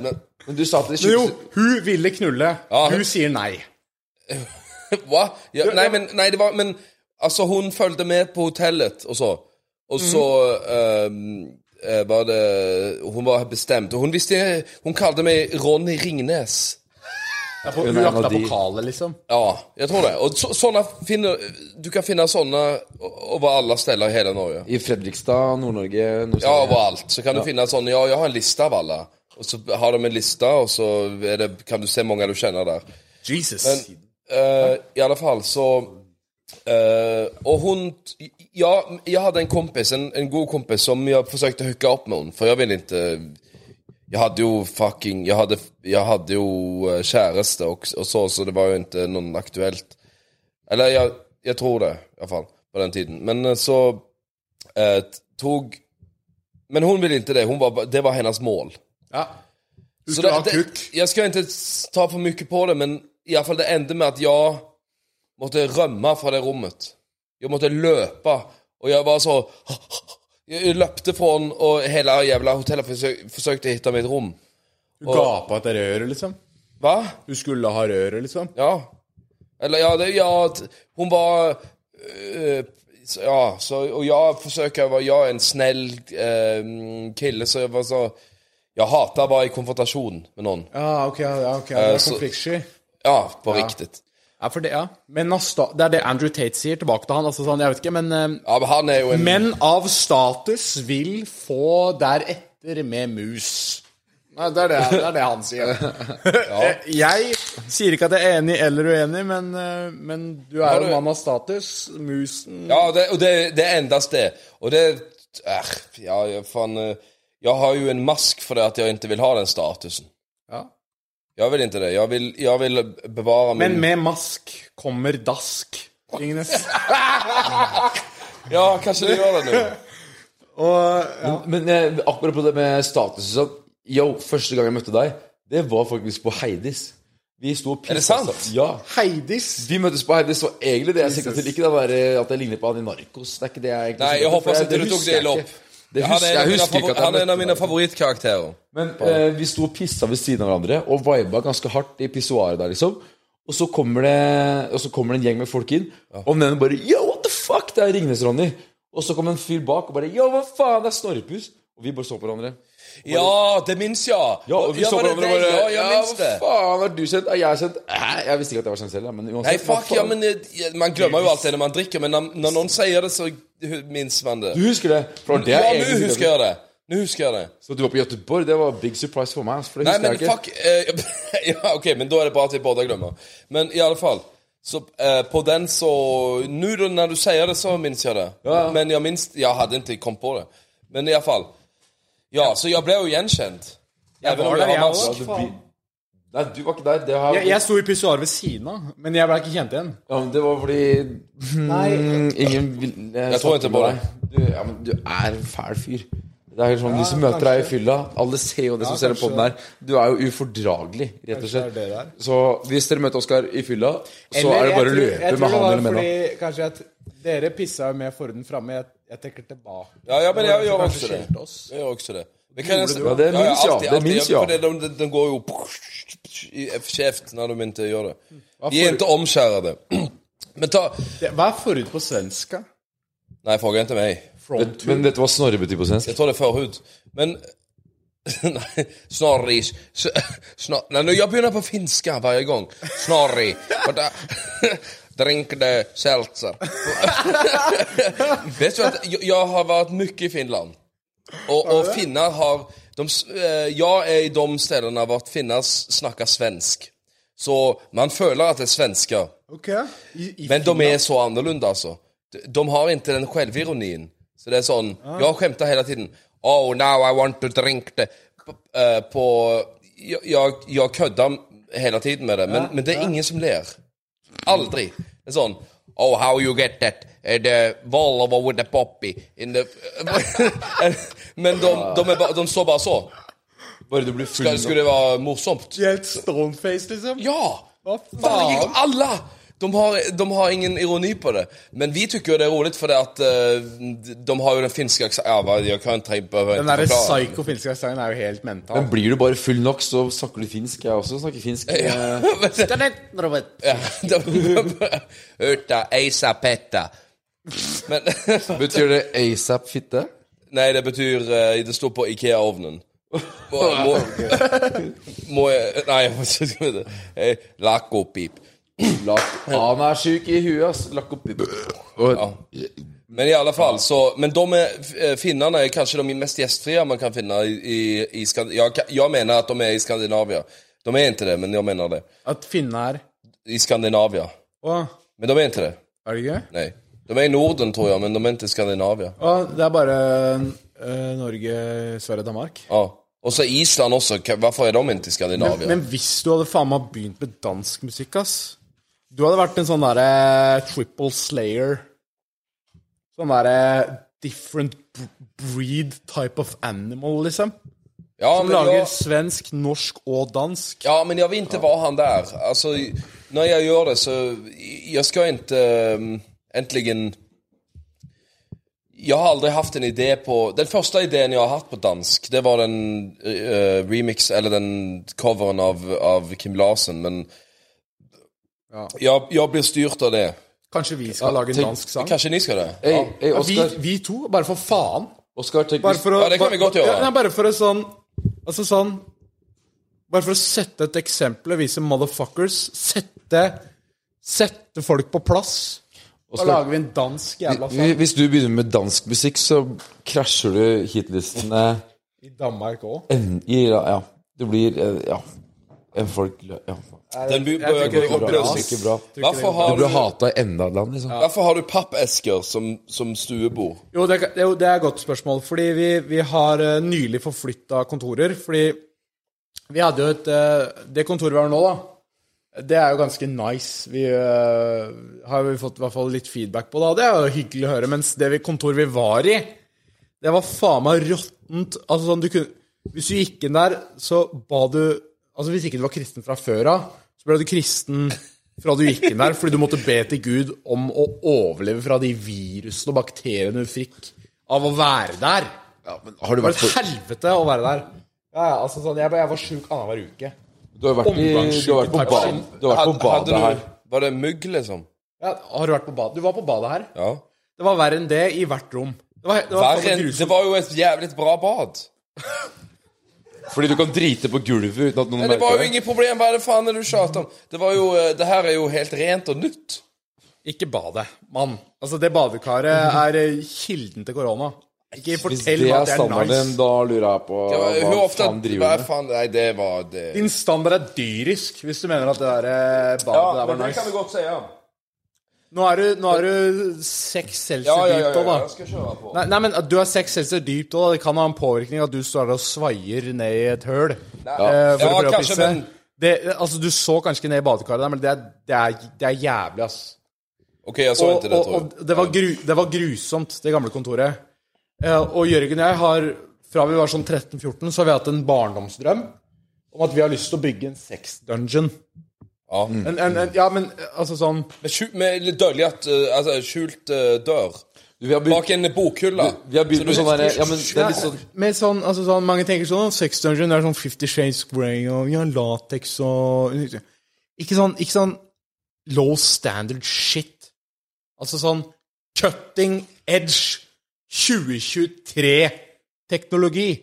[SPEAKER 5] Men, men du sa at det
[SPEAKER 3] Men jo,
[SPEAKER 5] sjukeste
[SPEAKER 3] hun ville knulle.
[SPEAKER 4] Ja.
[SPEAKER 3] Hun sier nei.
[SPEAKER 4] Hva? Ja, nei, men, nei, det var Men altså, hun fulgte med på hotellet, og så Og så eh, eh, var det Hun var bestemt. Og hun visste Hun kalte meg Ronny Ringnes.
[SPEAKER 3] Hun
[SPEAKER 5] er en
[SPEAKER 3] jakta
[SPEAKER 5] av de.
[SPEAKER 3] på kalet, liksom.
[SPEAKER 4] Ja, jeg tror det. Og så, sånne finner Du kan finne sånne over alle steder i hele Norge.
[SPEAKER 5] I Fredrikstad, Nord-Norge
[SPEAKER 4] Ja,
[SPEAKER 5] Nord-Sverige.
[SPEAKER 4] overalt. Så kan du finne sånn Ja, jeg har en liste av alle. Og så har de en liste, og så er det, kan du se mange du kjenner der.
[SPEAKER 3] Jesus.
[SPEAKER 4] Eh, I alle fall så Eh, og hun Ja, jeg hadde en kompis, en, en god kompis, som jeg forsøkte å hooke opp med henne, for jeg ville ikke Jeg hadde jo fucking Jeg hadde, jeg hadde jo eh, kjæreste og, og så, så det var jo ikke noen aktuelt. Eller jeg, jeg tror det, iallfall, på den tiden. Men eh, så eh, tog Men hun ville ikke det. Hun var, ba- det var hennes mål. Så
[SPEAKER 3] skulle
[SPEAKER 4] det-
[SPEAKER 3] ha
[SPEAKER 4] det-
[SPEAKER 3] kuk.
[SPEAKER 4] Jeg skal ikke s- ta for mye på det, men i alle fall det endte med at jeg måtte rømme fra det rommet. Jeg måtte løpe, og jeg var så Jeg løpte fra den, og hele jævla hotellet forsøk, forsøkte å finne mitt rom.
[SPEAKER 3] Du gapa etter røret, liksom?
[SPEAKER 4] Hva?
[SPEAKER 3] Du skulle ha røret, liksom?
[SPEAKER 4] Ja. Eller ja, det, ja t- Hun var øh, så- Ja, så, og jeg forsøker å være Jeg er en snill eh, kille, så jeg var så Jeg hater å være i konfrontasjon med noen.
[SPEAKER 3] Ja, ok. ja, ok, ja, det er
[SPEAKER 4] så-
[SPEAKER 3] Konfliktsky.
[SPEAKER 4] Ja, på riktig.
[SPEAKER 3] Ja, for det, ja. Men av sta det er det Andrew Tate sier tilbake til han. altså sånn, jeg vet ikke, men eh,
[SPEAKER 4] Ja, men han er jo en
[SPEAKER 3] Menn av status vil få deretter med mus. Nei, det er det, det, er det han sier. Eh, Jeg sier ikke at jeg er enig eller uenig, men, eh, men du er jo
[SPEAKER 4] du-
[SPEAKER 3] en mann av status. Musen
[SPEAKER 4] Ja, det, og det, det er endast det. Og det er, Ja, jeg, faen eh, Jeg har jo en mask for det at jeg ikke vil ha den statusen.
[SPEAKER 3] Ja.
[SPEAKER 4] Jeg vil ikke det. Jeg vil, jeg vil bevare min
[SPEAKER 3] Men med mask kommer dask. Ingen
[SPEAKER 4] Ja, kanskje du gjør det nå.
[SPEAKER 5] Men eh, akkurat på det med status og sånn Yo, første gang jeg møtte deg, det var faktisk på Heidis. Vi sto og pissa.
[SPEAKER 4] Er det sant?
[SPEAKER 5] sammen. Ja.
[SPEAKER 3] Heidis.
[SPEAKER 5] Vi møttes på Heidis, og egentlig det jeg sikta til, ikke det var eh, at jeg ligner på han i Narkos. Det er ikke det jeg egentlig
[SPEAKER 4] Nei, jeg
[SPEAKER 5] sikter til, for
[SPEAKER 4] håper
[SPEAKER 5] jeg-
[SPEAKER 4] ikke du tok
[SPEAKER 5] husker
[SPEAKER 4] det i
[SPEAKER 5] jeg
[SPEAKER 4] lopp.
[SPEAKER 5] ikke. Det
[SPEAKER 4] Han
[SPEAKER 5] husker,
[SPEAKER 4] er en av
[SPEAKER 5] jeg
[SPEAKER 4] mine
[SPEAKER 5] husker ikke
[SPEAKER 4] favor-
[SPEAKER 5] at jeg
[SPEAKER 4] han er en av
[SPEAKER 5] møtte
[SPEAKER 4] mine
[SPEAKER 5] deg.
[SPEAKER 4] favorittkarakterer.
[SPEAKER 5] Men eh, vi sto og pissa ved siden av hverandre og viba ganske hardt i pissoaret der, liksom. Og så kommer det Og så kommer det en gjeng med folk inn, og den ene bare Yo, what the fuck? Det er Ringnes-Ronny. Og så kom en fyr bak og bare Yo, hva faen? Det er Snorrepus. Og vi bare så på hverandre.
[SPEAKER 4] Ja, det minnes jeg.
[SPEAKER 5] Ja, og vi
[SPEAKER 4] Ja,
[SPEAKER 5] så på
[SPEAKER 4] var det
[SPEAKER 5] hverandre og
[SPEAKER 4] deg? Ja,
[SPEAKER 5] bare
[SPEAKER 4] jeg minnes det.
[SPEAKER 5] hva faen? Er du kjent? Er jeg kjent? Hæ? Jeg visste ikke at jeg var kjent selv, ja, men uansett.
[SPEAKER 4] Nei,
[SPEAKER 5] hva
[SPEAKER 4] fuck, ja,
[SPEAKER 5] faen?
[SPEAKER 4] men eh, Man glemmer jo alltid når man drikker, men når, når noen sier det, så minnes man det.
[SPEAKER 5] Du husker det? For det
[SPEAKER 4] Ja,
[SPEAKER 5] er
[SPEAKER 4] nå
[SPEAKER 5] egentlig-
[SPEAKER 4] husker jeg det. Nå husker jeg det.
[SPEAKER 5] Så du var på Göteborg, det var big surprise for meg. ass, For det
[SPEAKER 4] Nei,
[SPEAKER 5] husker
[SPEAKER 4] men
[SPEAKER 5] jeg ikke.
[SPEAKER 4] fuck eh, Ja, ok, men da er det bra at vi båda glemmer. Men i alle fall så eh, på den så Nå da, når du sier det, så minnes jeg det. Men jeg minns Jeg hadde ikke kommet på det. Men i alle fall Ja, så jeg ble jo gjenkjent. Jeg
[SPEAKER 3] var der, jeg også.
[SPEAKER 5] Ja, du blir- Nei, du var ikke der. Det, har...
[SPEAKER 3] Jeg, jeg sto i pissoaret ved siden av, men jeg ble ikke kjent igjen.
[SPEAKER 5] Ja, men det var fordi Nei Hmm, Ingen vil Jeg
[SPEAKER 4] tror ikke på det.
[SPEAKER 5] Du, ja, men du er en fæl fyr. Det er helt sånn, De som møter deg i fylla Alle ser jo det som ser på den her. Du er jo ufordragelig, rett og slett.
[SPEAKER 3] det er det
[SPEAKER 5] Så hvis dere møter Oskar i fylla, så er det bare å løpe med han eller med han.
[SPEAKER 3] Kanskje at dere pissa jo med forhuden framme. Jeg, jeg tenker tilbake.
[SPEAKER 4] Ja, ja, men jeg
[SPEAKER 3] Kanskje
[SPEAKER 4] gjør
[SPEAKER 3] kanskje
[SPEAKER 4] også det.
[SPEAKER 3] skilte oss.
[SPEAKER 4] Jeg gjør også det. Vi kan-
[SPEAKER 5] det? Ja, det minns jeg.
[SPEAKER 4] alltid,
[SPEAKER 5] Det
[SPEAKER 4] alltid.
[SPEAKER 5] minns jeg.
[SPEAKER 4] For det- den de, de går jo i kjeft når de ikke gjør det. Vi er ikke omskjærede. Men ta
[SPEAKER 3] Det- Hva er forhud på svenska?
[SPEAKER 4] Nei, fråga ikke meg.
[SPEAKER 5] Vet- Men vet du hva Snorre betyr på svensk?
[SPEAKER 4] Jeg tror det er forhud. Men Nei, Snorri s- snor, Nei, nå, jeg begynner på finska hver gang. Snorri. Og da- Drink the seltzer. Vet du at jeg, jeg har vært mye i Finland. Og, og finner har de, s- eh, Jeg er i de stedene hvor finner s- snakker svensk. Så man føler at det er svensker.
[SPEAKER 3] Ok. I, i
[SPEAKER 4] Men de er så annorlunda alltså. De- De har inte den självironin. Så det är sån, jag skämtar hela tiden. Oh, now I want to drink the... P- eh, På... Jag, jag, jag köddar hela tiden med det, men, men det är ingen som ler. Aldrig. Det är sån, oh how you get that, eh, the Volvo with the poppy in the... eh, men de, de, är bara, de står bara så.
[SPEAKER 5] Bare du blir full
[SPEAKER 4] Skulle- Skulle det vara morsomt?
[SPEAKER 3] Helt stoneface, liksom?
[SPEAKER 4] Ja!
[SPEAKER 3] Hva
[SPEAKER 4] Faen.
[SPEAKER 3] faen?
[SPEAKER 4] Alle! De har, de har ingen ironi på det. Men vi syns jo det er rolig, for det at eh, de har jo den finske aksen... Ja, hva- jeg kan ikke behøver
[SPEAKER 3] Den
[SPEAKER 4] ikke
[SPEAKER 3] derre
[SPEAKER 4] forklare.
[SPEAKER 3] psyko-finske sangen er jo helt mental.
[SPEAKER 5] Men blir du bare full nok, så snakker du finsk. Jeg også snakker finsk. Eh,
[SPEAKER 4] Ja, de- Uta, eisa, petta. Men
[SPEAKER 5] Betyr det asap fitte?
[SPEAKER 4] Nei, det betyr eh, Det står på Ikea-ovnen. Må, må, må jeg Nei, jeg må ikke eh, Lakopip.
[SPEAKER 5] Lak- Han er sjuk i huet, ass. Lakk opp i Og-
[SPEAKER 4] Men i alle fall, så Men de er, eh, finnarna är kanske de mest gästfria man kan finna i, i, i Skand- jag, kan- jag menar att de är i Skandinavia. De är inte det, men jag menar det.
[SPEAKER 3] At finne er
[SPEAKER 4] I Skandinavia.
[SPEAKER 3] Å,
[SPEAKER 4] Men de är inte det.
[SPEAKER 3] Er det ikke?
[SPEAKER 4] Nei. De er i Norden, tror jeg, men de er ikke i Skandinavia.
[SPEAKER 3] Og det er bare eh, Norge, Sverige, Danmark.
[SPEAKER 4] Ja. Ah. Og så Island også. Hva- Hvorfor er de ikke i Skandinavia?
[SPEAKER 3] Men hvis du hadde faen meg begynt med dansk musikk, ass Du hadde vært en sånn derre triple slayer. Sånn derre different b- breed type of animal, liksom.
[SPEAKER 4] ja,
[SPEAKER 3] Som
[SPEAKER 4] men
[SPEAKER 3] lager
[SPEAKER 4] jeg,
[SPEAKER 3] svensk, norsk og dansk.
[SPEAKER 4] ja, men jeg vil ikke være han der. Altså, når jeg gjør det, så Jeg skal ikke um, egentlig Jeg har aldri hatt en idé på Den første ideen jeg har hatt på dansk, det var den eh, remix, eller den coveren av, av Kim Larsen, men jeg, jeg blir styrt av det.
[SPEAKER 3] Kanskje vi skal lage en dansk sang?
[SPEAKER 4] Kanskje ni skal det?
[SPEAKER 5] Hey, hey,
[SPEAKER 3] Ja, vi,
[SPEAKER 5] Oscar,
[SPEAKER 3] vi to? Bare for faen?
[SPEAKER 5] Oscar tenk
[SPEAKER 3] Bare for å,
[SPEAKER 4] Ja, det kan vi godt gjøre.
[SPEAKER 3] Ja, nei, bare for å sånn Altså sånn Bare for å sette et eksempel og vise motherfuckers Sette Sette folk på plass. Da
[SPEAKER 5] Oskar.
[SPEAKER 3] lager vi en dansk jævla
[SPEAKER 5] hvis,
[SPEAKER 3] sang.
[SPEAKER 5] hvis du begynner med dansk musikk, så krasjer du hitlistene
[SPEAKER 3] I Danmark òg.
[SPEAKER 5] en- i Ja. Det blir eh, Ja. En folk ja.
[SPEAKER 4] Den bu- bør gå opp
[SPEAKER 5] bra.
[SPEAKER 4] løs.
[SPEAKER 5] Ikke bra.
[SPEAKER 4] Hvorfor
[SPEAKER 5] Du
[SPEAKER 4] har
[SPEAKER 5] blir
[SPEAKER 4] du,
[SPEAKER 5] hata i enda et land, liksom.
[SPEAKER 4] hvorfor har du pappesker som, som stuebord?
[SPEAKER 3] Jo, det, er- jo, det er et godt spørsmål. Fordi vi, vi har eh, nylig forflytta kontorer. Fordi vi hadde jo et eh, Det kontoret vi har nå, da, det er jo ganske nice. Vi eh, har jo fått i hvert fall litt feedback på det, og det er jo hyggelig å høre. Mens det vi- kontoret vi var i, Det var faen meg råttent. Altså, sånn, du kunne, hvis du gikk inn der, så ba du Altså, hvis ikke du var kristen fra før av, så ble du kristen fra du gikk inn der, fordi du måtte be til Gud om å overleve fra de virusene og bakteriene du fikk av å være der.
[SPEAKER 5] Ja, men har du
[SPEAKER 3] Det var
[SPEAKER 5] vært
[SPEAKER 3] et
[SPEAKER 5] på,
[SPEAKER 3] helvete å være der. Ja, ja, altså sånn, Jeg, jeg var sjuk annenhver uke.
[SPEAKER 5] du har vært, i, du har vært på, ba, du har vært på
[SPEAKER 4] Hadde
[SPEAKER 5] badet her.
[SPEAKER 4] du, var det mygg, liksom?
[SPEAKER 3] Ja, har du vært på badet? Du var på badet her.
[SPEAKER 4] Ja.
[SPEAKER 3] Det var verre enn det i hvert rom. Det var, det var
[SPEAKER 4] Verre
[SPEAKER 3] faen meg
[SPEAKER 4] enn
[SPEAKER 3] grusomt.
[SPEAKER 4] Det var jo et jævlig bra bad.
[SPEAKER 5] Fordi du kan drite på gulvet uten at noen
[SPEAKER 4] Men det var
[SPEAKER 5] merker
[SPEAKER 4] jo
[SPEAKER 5] det.
[SPEAKER 4] ingen problem. Hva er det faen er det du tjater om? Det var jo eh, Det her er jo helt rent og nytt.
[SPEAKER 3] Ikke badet, mann. Altså, det
[SPEAKER 4] Mhm.
[SPEAKER 3] badekaret er eh, kilden til korona. Ikke
[SPEAKER 5] Hvis
[SPEAKER 3] fortell
[SPEAKER 5] det
[SPEAKER 3] meg
[SPEAKER 5] er
[SPEAKER 3] at det er
[SPEAKER 5] standarden din,
[SPEAKER 3] nice.
[SPEAKER 5] da lurer jeg på
[SPEAKER 4] Det var,
[SPEAKER 5] hva
[SPEAKER 4] hvor ofte
[SPEAKER 5] faen
[SPEAKER 4] hva
[SPEAKER 5] driver du
[SPEAKER 4] er
[SPEAKER 5] med.
[SPEAKER 4] faen Nei, det var det
[SPEAKER 3] Din standard er dyrisk, hvis du mener at det der eh, badet der var nice.
[SPEAKER 4] godt si, ja.
[SPEAKER 3] Nå er du, nå er du seks celsius
[SPEAKER 4] Ja, ja, ja,
[SPEAKER 3] dypt òg,
[SPEAKER 4] ja. Jeg
[SPEAKER 3] da.
[SPEAKER 4] skal kjøre på.
[SPEAKER 3] Nei, nei, men at du er seks celsius dypt òg, det kan ha en påvirkning at du står der og svaier ned i et høl eh, for
[SPEAKER 4] Ja,
[SPEAKER 3] å prøve å
[SPEAKER 4] kanskje,
[SPEAKER 3] pisse.
[SPEAKER 4] men-
[SPEAKER 3] Det, altså, du så kanskje ikke ned i badekaret der, men det er, det er, det er jævlig, ass.
[SPEAKER 4] OK, jeg så
[SPEAKER 3] og,
[SPEAKER 4] ikke det,
[SPEAKER 3] og,
[SPEAKER 4] tror jeg.
[SPEAKER 3] og det, var gru, det var grusomt, det gamle kontoret. Eh, og Jørgen og jeg har, fra vi var sånn 13-14, så har vi hatt en barndomsdrøm om at vi har lyst til å bygge en sex-dungeon.
[SPEAKER 4] Ja.
[SPEAKER 5] Mm.
[SPEAKER 3] En, en, en, ja, men eh, altså sånn
[SPEAKER 4] Med, skjult, med døljet, eh, altså skjult eh, dør.
[SPEAKER 5] Vi har begynt,
[SPEAKER 4] Bak en bokhylle.
[SPEAKER 5] vi har begynt med sånn derre Ja, men det er litt sånn
[SPEAKER 3] med sånn, altså sånn, Mange tenker sånn Sex dungeon det er sånn Fifty Shades Grey og ja, latex og ikke sånn, ikke sånn low standard shit. Altså sånn cutting edge 2023-teknologi.